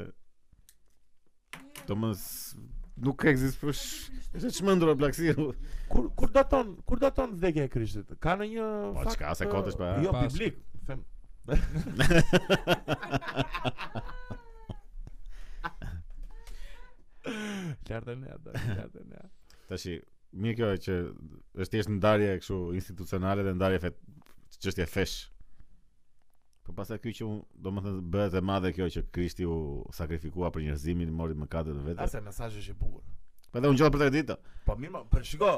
Speaker 2: Domos nuk ekziston. sh- Është çmendur blaksiu.
Speaker 1: Kur kur daton, kur daton vdekja e Krishtit? Ka në një
Speaker 2: Po,
Speaker 1: fakt,
Speaker 2: çka, se
Speaker 1: ë,
Speaker 2: kotesh pa-
Speaker 1: Jo
Speaker 3: Pas-
Speaker 1: biblik. Them, lartë ne atë, lartë ne.
Speaker 2: Tashi, mirë kjo që është thjesht ndarje kështu institucionale dhe ndarje fet çështje fesh. Po pastaj ky që unë, domethënë bëhet e madhe kjo që Krishti u sakrifikua për njerëzimin, mori mëkatet e veta.
Speaker 1: Ase mesazhi është i bukur.
Speaker 2: Po dhe unë gjallë për tre ditë.
Speaker 1: Po mirë, ma, për shiko,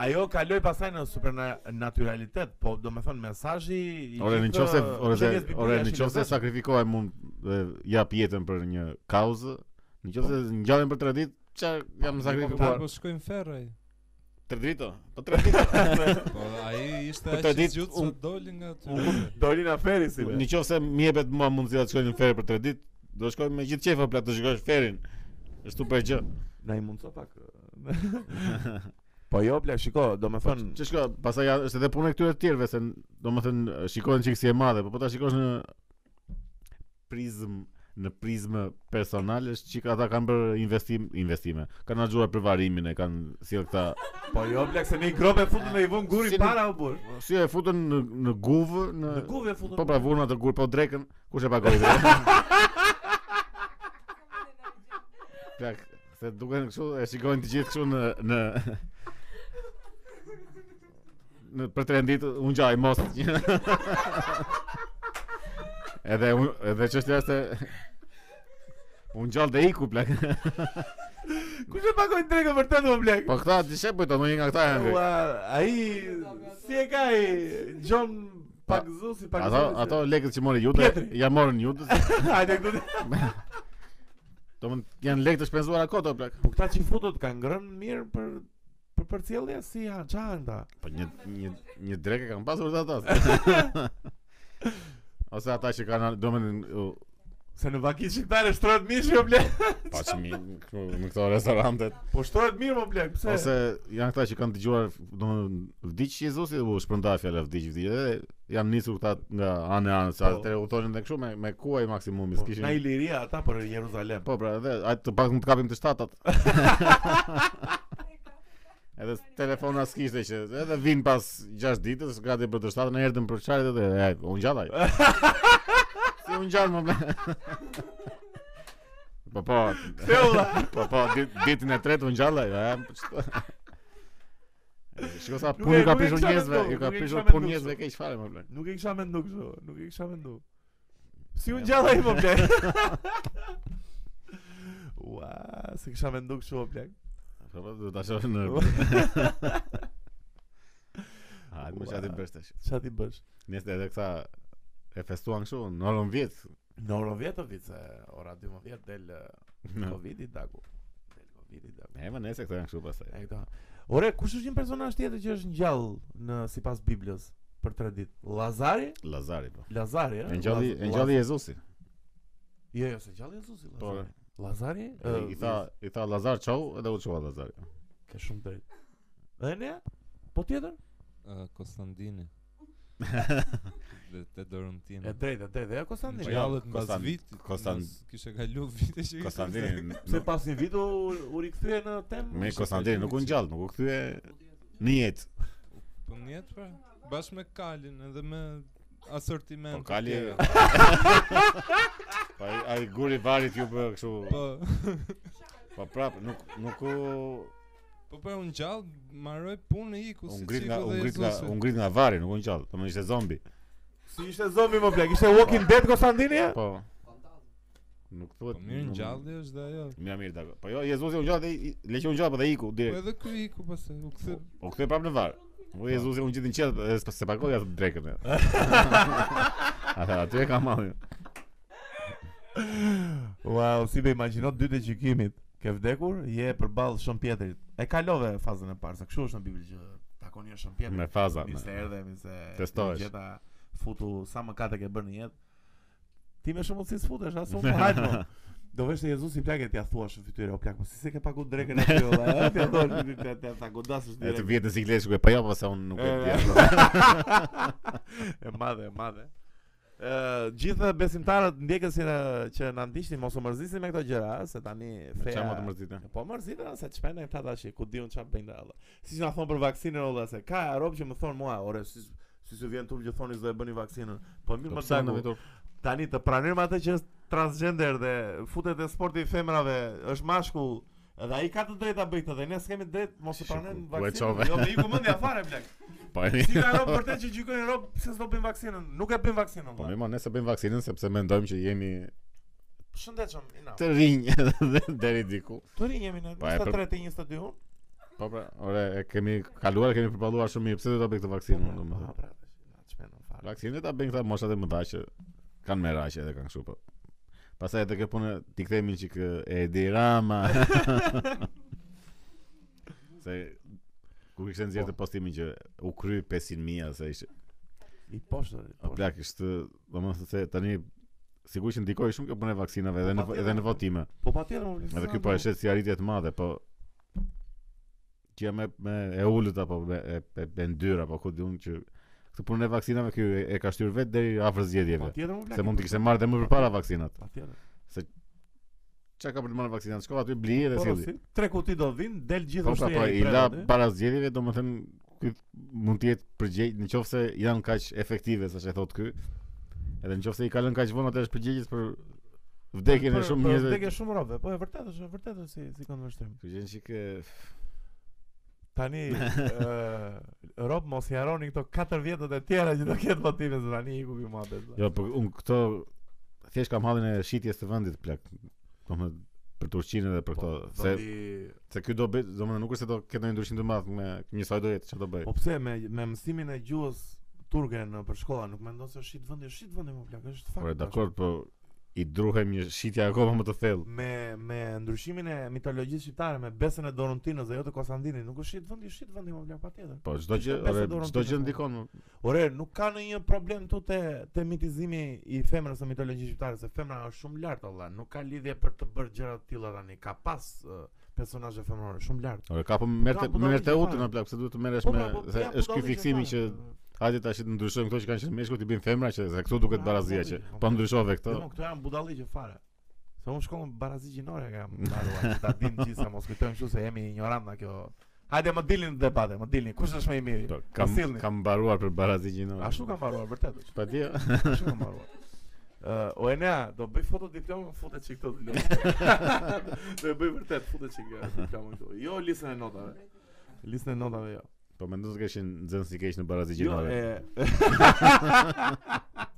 Speaker 1: ajo kaloi pasaj në supernaturalitet, po do me thënë mesazhi i
Speaker 2: Ore në
Speaker 1: gjithë,
Speaker 2: qofse ore dhe ore
Speaker 1: qenies biblia
Speaker 2: në
Speaker 1: është i
Speaker 2: qofse
Speaker 1: lezet.
Speaker 2: sakrifikohem unë dhe jap jetën për një kauzë, në qofse ngjallen për tre ditë, çfarë jam
Speaker 1: Po,
Speaker 3: Ta
Speaker 2: sakrifikuar?
Speaker 3: po shkojmë ferrej.
Speaker 2: Tre ditë? Po tre ditë.
Speaker 3: Po ai ishte
Speaker 2: Për
Speaker 3: aq
Speaker 2: të
Speaker 3: i
Speaker 2: ditë,
Speaker 3: zgjuar sa
Speaker 2: unë-
Speaker 3: doli nga aty.
Speaker 1: Dolina Feri si be.
Speaker 2: Në qofse Po, më jepet mua mundësia të shkoj në ferry për tre ditë, do shkoj me gjithë qefa plot të shikosh ferrin. Është super gjë.
Speaker 1: Na i mundso pak. po jo, bla, shiko, do me thënë
Speaker 2: Ç'është kjo? Pastaj ja- është edhe puna e këtyre të tjerëve se n- domethënë shikohen çik si e madhe, po po ta shikosh në prizm në prizmë personale është çik ata kanë bërë investim investime. Kanë axhuar për varimin e kanë sjell këta
Speaker 1: Po jo, bla, se ne i grobe futën dhe i vënë
Speaker 2: Si
Speaker 1: guri
Speaker 2: në-
Speaker 1: para u bur.
Speaker 2: Po, si e futën në në guvë në
Speaker 1: Në guvë e futën.
Speaker 2: po pra vurna të gur po drekën kush e pagoi drekën? Plak, se duken kështu e shikojnë të gjithë kështu në në në për tre ditë unë gjaj mos. edhe unë edhe çështja është se unë gjallë dhe iku plak.
Speaker 1: Kush e pagoi drekën vërtet më blek?
Speaker 2: Po këta di shepoj të ndonjë nga këta janë.
Speaker 1: Ua, ai si e ka ai John Pagzu si
Speaker 2: Po,
Speaker 1: Pagzu.
Speaker 2: Ato ato lekët që morën jude,
Speaker 1: Pjetri.
Speaker 2: ja morën jude.
Speaker 1: hajde këtu.
Speaker 2: Domthon janë lekë të shpenzuara ato plak.
Speaker 1: Po këta që futët kanë ngrënë mirë për për përcjellje si ha çan ta.
Speaker 2: Po një një një drekë kanë pasur dhe ata. Ose ata që kanë domethënë u-
Speaker 1: Se në vaki shqiptare shtrohet mishi o blek.
Speaker 2: pa që mi këtu në këto restorante
Speaker 1: Po shtrohet mirë më blek, pse?
Speaker 2: ose janë këta që kanë dëgjuar domethënë vdiq Jezusi u shpërndaj fjala vdiq vdiq edhe janë nisur këta nga anë e anë sa
Speaker 1: Po.
Speaker 2: të u thonin edhe kështu me me kuaj maksimumis
Speaker 1: Po,
Speaker 2: kishin
Speaker 1: Na Iliria ata për Jeruzalem.
Speaker 2: Po pra, edhe ajtë të pak të kapim të shtatat. edhe telefona s'kishte që edhe vin pas 6 ditës, gati për të shtatën, erdhëm për çfarë edhe e unë gjallaj. si unë gjallë më ble. po po.
Speaker 1: Theolla.
Speaker 2: po po, dit, ditën e tretë unë gjallaj. E, ç'to- Shiko sa
Speaker 1: Nuk e-
Speaker 2: punë ju ka
Speaker 1: nuk e
Speaker 2: prishur
Speaker 1: kisha
Speaker 2: njerëzve,
Speaker 1: menduar,
Speaker 2: ju ka
Speaker 1: nuk e
Speaker 2: prishur punë
Speaker 1: kisha menduar
Speaker 2: njerëzve
Speaker 1: kështu.
Speaker 2: keq fare më ble.
Speaker 1: Nuk e kisha mendu kështu, nuk e kisha mendu. Si
Speaker 2: Ja.
Speaker 1: unë gjalla i më po, blek. Ua, se kisha mendu kështu o blek.
Speaker 2: Po po, do ta shoh në. Ha, më çati
Speaker 1: Ua.
Speaker 2: bësh tash.
Speaker 1: Qa ti bësh?
Speaker 2: Nëse edhe këta e festuan kështu në orën 10.
Speaker 1: Në orën 10 të vitë, se ora 12 del eh,
Speaker 3: Po.
Speaker 2: Në-
Speaker 1: Covid-i daku. Del Covid-i daku.
Speaker 2: E më nëse këta janë kështu pastaj.
Speaker 1: E këta. Ore, kush është një personazh tjetër që është ngjall në sipas Biblës për 3 ditë? Lazari?
Speaker 2: Lazari po.
Speaker 1: Lazari, ëh.
Speaker 2: E ngjalli, e ngjalli Jezusi.
Speaker 1: Jo, jo, se ngjalli Jezusi,
Speaker 2: Po.
Speaker 1: Lazari. Lazari? eh,
Speaker 2: e, I tha, i tha Lazar çau edhe u çua Lazari.
Speaker 1: Ke shumë drejt. Dhe ne? Po tjetër?
Speaker 3: Ë, Konstantini. Dhe te Dorëntina.
Speaker 1: E drejtë, e drejtë, e Konstantin.
Speaker 2: Ja,
Speaker 3: Gjallët mbas
Speaker 2: Kostan-
Speaker 3: vitit.
Speaker 2: Kostan-
Speaker 3: mbas- Kishte kalu vite që kishte-
Speaker 2: Konstantini.
Speaker 1: Pse pas një vit u, u rikthye në temë?
Speaker 2: Me Konstantini nuk u ngjall, nuk u kthye në jetë.
Speaker 3: Po njet pra, bashkë me Kalin edhe me asortiment.
Speaker 2: Po Kali.
Speaker 3: tjera.
Speaker 2: Pa ai- ai guri varit ju bë kështu.
Speaker 3: Po,
Speaker 2: Po prap nuk nuk u
Speaker 3: po pra unë gjallë marroj punë i ku
Speaker 2: u
Speaker 3: Po, si
Speaker 2: ngrit nga
Speaker 3: qiku
Speaker 2: u
Speaker 3: dhe
Speaker 2: ngrit nga
Speaker 3: Jezusi.
Speaker 2: u ngrit nga vari, nuk u ngjall. Domethënë ishte zombi.
Speaker 1: Si ishte zombi më plak, ishte Walking Dead Konstantini? e?
Speaker 2: Po. Nuk thuhet.
Speaker 3: Po mirë
Speaker 2: nuk-
Speaker 3: ngjalli është dhe ajo.
Speaker 2: Mira mirë dakor. Po jo, Jezusi u ngjall dhe i- le që u ngjall po dhe iku
Speaker 3: Po
Speaker 2: direkt.
Speaker 3: edhe ky iku pastaj u kthy.
Speaker 2: U kthe prapë në varë. U Jezusi unë gjithë në qelë, e s'pa- se pakoj atë drekën. e. Ata aty e ka malli.
Speaker 1: Wow, si be imagjino dy të gjykimit. Ke vdekur, je përballë shën pjetrit. E kalove fazën e parë, se kështu është në Bibël që takon një shën
Speaker 2: Me
Speaker 1: pjetrit.
Speaker 2: faza.
Speaker 1: Mirë se
Speaker 2: me-
Speaker 1: erdhe, mirë se
Speaker 2: Testohesh.
Speaker 1: u gjeta futu sa më kate ke bërë në jetë. Ti me shumë mundësi sfutesh, as unë po hajt mo. Do veshte Jezusi plak e t'ia thuash në fytyrë, o plak, po si se ke pagu drekën aty olla, e t'ia thuash në fytyrë, t'ia ta godasësh
Speaker 2: E të
Speaker 1: direkt.
Speaker 2: vjetë në sikletë shkoj, pa jo, pa sa unë nuk e
Speaker 1: E,
Speaker 2: di.
Speaker 1: e madhe, e madhe. Ë gjithë besimtarët ndjekësin e, që na ndiqnin mos u mërzisni me këto gjëra, ë, se tani feja
Speaker 2: Çfarë më të mërzite?
Speaker 1: Po mërzitën se të shpejnë këta tash ku diun çfarë bëjnë ata. Siç na thon për vaksinën olla se ka rob që më thon mua, ore si si se vjen turp që thoni se do e bëni vaksinën. Po
Speaker 2: Po
Speaker 1: mirë më
Speaker 2: pse në
Speaker 1: dagu.
Speaker 2: vetur?
Speaker 1: Tani të pranojmë atë që është transgender dhe futet e sporti i femrave, është mashkull, edhe ai ka të drejtë ta bëjë këtë dhe ne s'kemi drejt mos e
Speaker 2: Shiku,
Speaker 1: pranojmë
Speaker 2: u e
Speaker 1: vaksinën.
Speaker 2: çove.
Speaker 1: Jo, me iku mendja fare blek.
Speaker 2: pajeni.
Speaker 1: Si ka rob vërtet që gjykojnë rob pse s'do bëjnë vaksinën? Nuk e bëjnë vaksinën.
Speaker 2: Po
Speaker 1: Po.
Speaker 2: mirë, ma, ne se bëjmë vaksinën sepse mendojmë që jemi
Speaker 1: Shëndetshëm, Ina.
Speaker 2: të rinj dhe deri diku.
Speaker 1: Të rinj jemi në
Speaker 2: Po, e për-
Speaker 1: 23 e 21 unë.
Speaker 2: Po pra, ore, e kemi kaluar, e kemi përballuar shumë mirë. Pse do ta bëj këtë vaksinë, unë,
Speaker 1: Po,
Speaker 2: domethënë?
Speaker 1: pra, na çmenon fare.
Speaker 2: Vaksinën ta bëjnë këta moshat e mëdha që kanë meraqe edhe kanë kështu po. Pastaj edhe kjo punë ti kthehemi çik e di Rama. se kur kishte
Speaker 1: Po.
Speaker 2: nxjerrë të postimin që u kry 500.000 se ishte
Speaker 1: I poshtë. i
Speaker 2: Po
Speaker 1: poshtë.
Speaker 2: plak ishte, domethënë se tani sigurisht që ndikoi shumë kjo punë e vaksinave edhe në
Speaker 1: Po,
Speaker 2: edhe në votime.
Speaker 1: Po patjetër më vjen.
Speaker 2: Edhe ky po e shet si arritje të madhe, po që me me e ulët apo me e, e, e ndyr apo ku diun që këtë punën e vaksinave ky e, e ka shtyr vet deri afër zgjedhjeve.
Speaker 1: Patjetër më vjen.
Speaker 2: Se mund të kishte marrë dhe më përpara vaksinat.
Speaker 1: Patjetër.
Speaker 2: Çka ka për të marrë vaksinat? Shkova aty bli dhe
Speaker 1: Po
Speaker 2: silli.
Speaker 1: si, tre kuti do vinë, del gjithë
Speaker 2: Po pra,
Speaker 1: ushtria
Speaker 2: po
Speaker 1: e
Speaker 2: i la
Speaker 1: brendit.
Speaker 2: para zgjedhjeve, domethënë ky mund të jetë përgjigj nëse janë kaq efektive sa e thot ky. Edhe nëse i ka lënë kaq vonë atë është përgjegjës për vdekjen e
Speaker 1: Për-
Speaker 2: shumë
Speaker 1: për
Speaker 2: njerëzve.
Speaker 1: Vdekje shumë robëve. Po e vërtetë është, e vërtetë është si si kanë vështrim.
Speaker 2: Kjo gjën çik e,
Speaker 1: Tani ë rob mos i harroni këto 4 vjetët e tjera që do ketë votime se tani iku ky muhabet.
Speaker 2: Jo, po unë këto thjesht kam hallin e shitjes të vendit plak. Domethënë për Turqinë edhe për këto
Speaker 1: Po,
Speaker 2: se se ky do bëj, domethënë nuk është se do ketë ndonjë ndryshim të madh me njësoj do jetë çfarë do bëj.
Speaker 1: Po pse me me mësimin e gjuhës turke në për shkolla nuk mendon se shit vendi, shit vendi më plak, është fakt.
Speaker 2: Por e
Speaker 1: tash.
Speaker 2: dakord, po i druhem një shitja akoma më të thellë.
Speaker 1: me me ndryshimin e mitologjisë shqiptare me besën e Dorontinës dhe jo të Konstantinit, nuk është shit vendi, shit vendi më plak patjetër.
Speaker 2: Po çdo gjë,
Speaker 1: Ishte pesë
Speaker 2: ore,
Speaker 1: dorën
Speaker 2: çdo
Speaker 1: ty,
Speaker 2: gjë
Speaker 1: po.
Speaker 2: ndikon.
Speaker 1: Ore, nuk ka ndonjë problem këtu te te mitizimi i femrës në mitologji shqiptare, se femra është shumë lart valla, nuk ka lidhje për të bërë gjëra të tilla tani, ka pas uh, personazhe femrore shumë lart.
Speaker 2: Ore, ka po merrte
Speaker 1: budalliqe
Speaker 2: merrte
Speaker 1: fare.
Speaker 2: utën plak, se duhet të merresh
Speaker 1: Po,
Speaker 2: me
Speaker 1: pra, po,
Speaker 2: se
Speaker 1: ja, po,
Speaker 2: është
Speaker 1: do
Speaker 2: ky
Speaker 1: të
Speaker 2: fiksimi që
Speaker 1: ishte fare.
Speaker 2: hajde tash të ndryshojmë këto që kanë qenë meshkull i bëjmë femra që se këtu duket
Speaker 1: Po, pra,
Speaker 2: barazia që
Speaker 1: budalliqe, po,
Speaker 2: po ndryshove
Speaker 1: Dhe
Speaker 2: këto.
Speaker 1: mo, këto janë budalliqe fare. Se unë shkollën barazi gjinore kam mbaruar, që ta dim gjithë sa mos kujtojmë kështu se jemi ignoranta kjo. Hajde më dilni në debate, më dilni, kush është më i miri?
Speaker 2: Po, Kam
Speaker 1: sillni.
Speaker 2: kam mbaruar për barazi gjinore.
Speaker 1: Ashtu kam mbaruar vërtet.
Speaker 2: Patje.
Speaker 1: Ashtu kam mbaruar. Uh, o e nea, do bëj foto diplomë, futet çik këto diplomë. do e bëj vërtet, futet çik ja, diplomën këtu. Jo listën e notave. Listën e notave jo.
Speaker 2: Po mendoj se kishin nxënës i keq në barazi
Speaker 1: Jo,
Speaker 2: gjinore.
Speaker 1: e...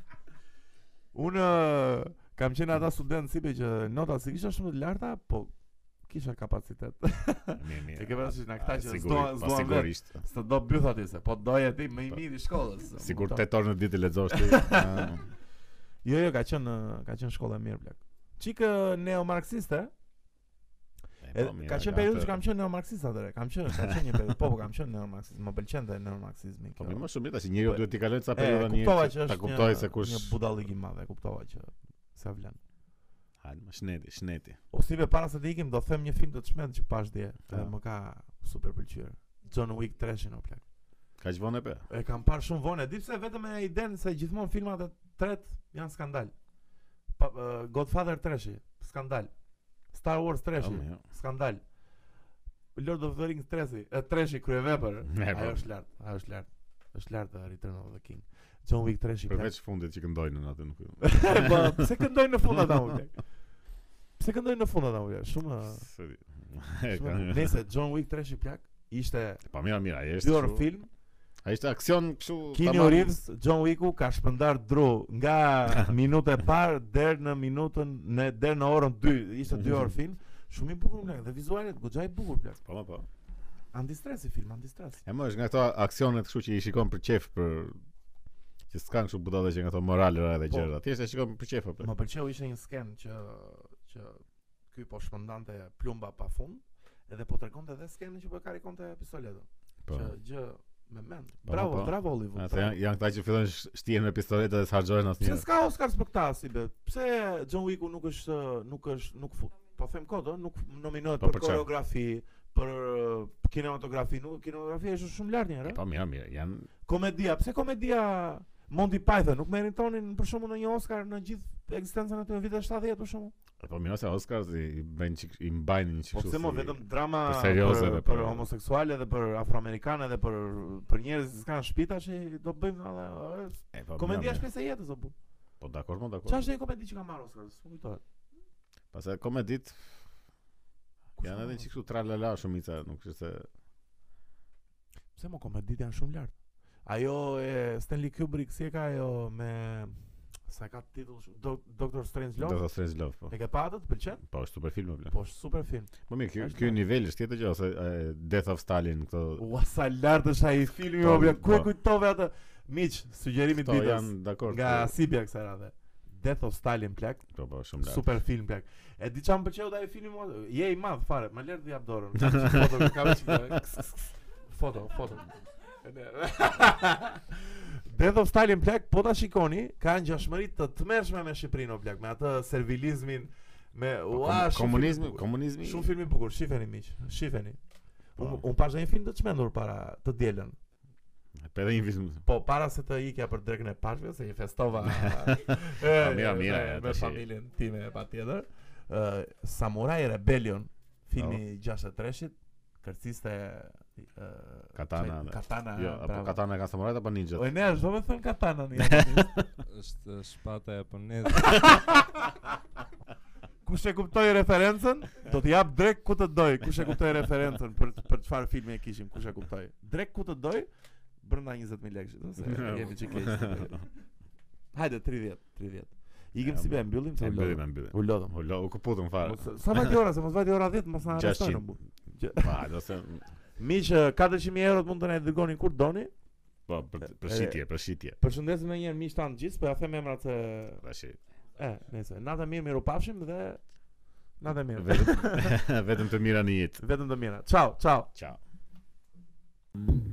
Speaker 1: Unë ë, kam qenë ata student sipe që notat si kisha shumë të larta, po kisha kapacitet.
Speaker 2: Mirë, mirë.
Speaker 1: E ke parasysh na këta
Speaker 2: A,
Speaker 1: që
Speaker 2: sigurisht, po,
Speaker 1: s'doan- s'doan vetë.
Speaker 2: Sigurisht.
Speaker 1: Së do bytha ti se, po doje ti më i miri i shkollës.
Speaker 2: Sigur
Speaker 1: Kupton?
Speaker 2: 8 orë në ditë lexosh ti. Ah,
Speaker 1: Jo, jo, ka qenë ka qenë shkolla e mirë plak. Çikë neomarksiste,
Speaker 2: e,
Speaker 1: edhe
Speaker 2: po, mirë,
Speaker 1: ka qenë
Speaker 2: atë-
Speaker 1: periudhë që kam qenë neomarksist atëre, kam qenë, kam qenë një periudhë, po po kam qenë neomarksist, më pëlqente neomarksizmi
Speaker 2: Po
Speaker 1: kjo.
Speaker 2: mirë, më shumë tash njeriu
Speaker 1: Po,
Speaker 2: duhet t'i kalojë ca
Speaker 1: E,
Speaker 2: periudha një.
Speaker 1: kuptova
Speaker 2: që
Speaker 1: që
Speaker 2: ta
Speaker 1: është
Speaker 2: kuptoj
Speaker 1: një-
Speaker 2: se kush.
Speaker 1: një budallik i madh, e kuptova që sa vlen.
Speaker 2: Hajde, më shneti, shneti.
Speaker 1: Osive para se të ikim do them një film të çmend që pash dje,
Speaker 2: Ja.
Speaker 1: dhe më ka super pëlqyer. John Wick 3-shin o plak.
Speaker 2: Ka çvonë pe.
Speaker 1: E kam parë shumë vonë, e di pse vetëm e idenë se gjithmonë filmat e tret janë skandal. Pa, ë, Godfather 3-shi, skandal. Star Wars 3-shi,
Speaker 2: Po,
Speaker 1: skandal. Lord of the Rings 3-shi, e 3-shi kryevepër.
Speaker 2: Ne, po.
Speaker 1: Ajo është lart, ajo është lart. Është lart ë, Return of the King. John Wick 3-shi. plak.
Speaker 2: Përveç fundit që këndojnë në atë nuk.
Speaker 1: Po, pse këndojnë në fund ata ulë? Pse këndojnë në fund ata ulë? Shumë
Speaker 2: Se di. E,
Speaker 1: Po. Shumë-
Speaker 2: ka-
Speaker 1: Nëse John Wick 3 i plak ishte
Speaker 2: Po mirë, mirë, ai është.
Speaker 1: dy orë
Speaker 2: kështu-
Speaker 1: film,
Speaker 2: Ai është aksion kështu.
Speaker 1: Keanu
Speaker 2: tamam.
Speaker 1: Reeves, John Wicku ka shpëndar dru nga minuta e parë deri në minutën në deri në orën 2, ishte 2 orë film, shumë i bukur plak dhe vizualet goxha i bukur plak.
Speaker 2: Po, po, po.
Speaker 1: Antistres i film, antistres.
Speaker 2: E më është nga këto aksionet kështu që i shikon për qef për që s'kan kështu budalla që nga ato moralera edhe
Speaker 1: Po.
Speaker 2: gjëra. Thjesht e shikon për qef apo.
Speaker 1: Më pëlqeu ishte një sken që që ky po shpëndante plumba pafund edhe po tregonte edhe skenën që po e karikonte pistoletën.
Speaker 2: Po.
Speaker 1: Që gjë me mend.
Speaker 2: Po,
Speaker 1: Bravo,
Speaker 2: po.
Speaker 1: bravo Hollywood.
Speaker 2: Ata
Speaker 1: bravo.
Speaker 2: janë, janë këta që fillojnë sh- shtihen me pistoletat dhe s'harxojnë
Speaker 1: Pse
Speaker 2: asnjë.
Speaker 1: s'ka Oscars për këtë si be? Pse John Wicku nuk është ë, nuk është nuk fut. Po them kod, ë, nuk nominohet
Speaker 2: Po,
Speaker 1: për
Speaker 2: për çfarë?
Speaker 1: koreografi, për ë, kinematografi, nuk kinematografia është shumë lart
Speaker 2: E,
Speaker 1: njerë. ë?
Speaker 2: Po mirë, mirë, janë
Speaker 1: Komedia, pse komedia Monty Python nuk meritonin për shkakun në një Oscar në gjithë ekzistencën e tyre në vitet 70 për shkakun.
Speaker 2: e, po mirë se Oscars i i bëjnë çik i mbajnë një çik
Speaker 1: Po pse mo vetëm drama
Speaker 2: për serioze
Speaker 1: për,
Speaker 2: dhe
Speaker 1: për
Speaker 2: për-
Speaker 1: homoseksuale dhe për afroamerikanë dhe për për njerëz që kanë shtëpi tash i do bëjmë edhe ë,
Speaker 2: e, po, mirë,
Speaker 1: komedia
Speaker 2: mirë.
Speaker 1: është pjesë e jetës apo.
Speaker 2: Po dakor, po dakor.
Speaker 1: Çfarë është një komedi që ka marrë Oscar? S'u kujtohet.
Speaker 2: Pastaj komedit
Speaker 1: Kush ka
Speaker 2: janë edhe
Speaker 1: marrë?
Speaker 2: çik kështu tralala shumica, nuk është se
Speaker 1: Pse mo komedit janë shumë lart. Ajo e Stanley Kubrick si e ka ajo me sa ka titull shumë? Do, Doctor Strange
Speaker 2: Do
Speaker 1: Love.
Speaker 2: të thres love po.
Speaker 1: E ke patë të pëlqen?
Speaker 2: Po, është super film apo?
Speaker 1: Po është super film.
Speaker 2: Po mirë, ky
Speaker 1: Është
Speaker 2: ky
Speaker 1: love.
Speaker 2: nivel është tjetër gjë ose e, Death of Stalin këto
Speaker 1: Ua sa lart është ai filmi,
Speaker 2: Po,
Speaker 1: o bla, ku e
Speaker 2: po.
Speaker 1: kujtove atë? Miq, sugjerimi i
Speaker 2: këto
Speaker 1: ditës
Speaker 2: janë dakord.
Speaker 1: nga Sibia kësaj radhe. Death of Stalin plak,
Speaker 2: Po, po, shumë lart.
Speaker 1: super film plak. E di çam pëlqeu ai filmi mua, je i madh fare, më lër të jap dorën. Ka qenë Foto, ka veç foto, foto. Death of Stalin plak, po ta shikoni, ka ngjashmëri të tmerrshme me Shqipërinë o plak, me atë servilizmin me
Speaker 2: Po,
Speaker 1: ua
Speaker 2: kom- komunizmi,
Speaker 1: shumë film i bukur.
Speaker 2: komunizmi.
Speaker 1: Shumë film i bukur, shifeni miq, shifeni.
Speaker 2: Po.
Speaker 1: Unë un pash një film të çmendur para të dielën.
Speaker 2: Po edhe një film.
Speaker 1: Po para se të ikja për drekën e pashkëve se i festova.
Speaker 2: A, mira, mira,
Speaker 1: me- me
Speaker 2: tash i-
Speaker 1: familjen time patjetër. Ë Samurai Rebellion, filmi
Speaker 2: Oh.
Speaker 1: i 63-shit, kërciste ë
Speaker 2: Katana,
Speaker 1: qaj-
Speaker 2: dhe-
Speaker 1: Katana.
Speaker 2: Jo, apo katana ka samurajt apo ninja?
Speaker 1: O ne, çdo më thon katana në japonisht.
Speaker 2: Po.
Speaker 3: është eh, shpata japoneze.
Speaker 1: Kush e kuptoi referencën, do t'i jap drek ku të doj. Kush e kuptoi referencën për për çfarë filmi e kishim, kush e kuptoi. Drek ku të doj brenda 20000 lekësh, do se jemi çik keq. Hajde 30, 30. Ikim
Speaker 2: Ja,
Speaker 1: si
Speaker 2: bra.
Speaker 1: be mbyllim
Speaker 2: E
Speaker 1: se u
Speaker 2: mbyllim,
Speaker 1: lodhëm.
Speaker 2: e mbyllim.
Speaker 1: U lodhëm.
Speaker 2: U lo, u kuputëm fare.
Speaker 1: Mos- Sa vajti ora, se mos vajti ora 10, mos na
Speaker 2: 600.
Speaker 1: arrestojnë bu.
Speaker 2: Pa, do se
Speaker 1: Miq, eh, 400.000 euro mund të na i dërgoni kur doni.
Speaker 2: po për për shitje, për shitje. Po,
Speaker 1: Përshëndesim edhe një herë miq tan të gjithë, po ja them emrat se
Speaker 2: Tash i-
Speaker 1: e, nëse natë mirë, miru pafshim dhe natë mirë.
Speaker 2: vetëm vetëm të mira në jetë.
Speaker 1: Vetëm të mira. Ciao, ciao.
Speaker 2: Ciao.
Speaker 4: Mm.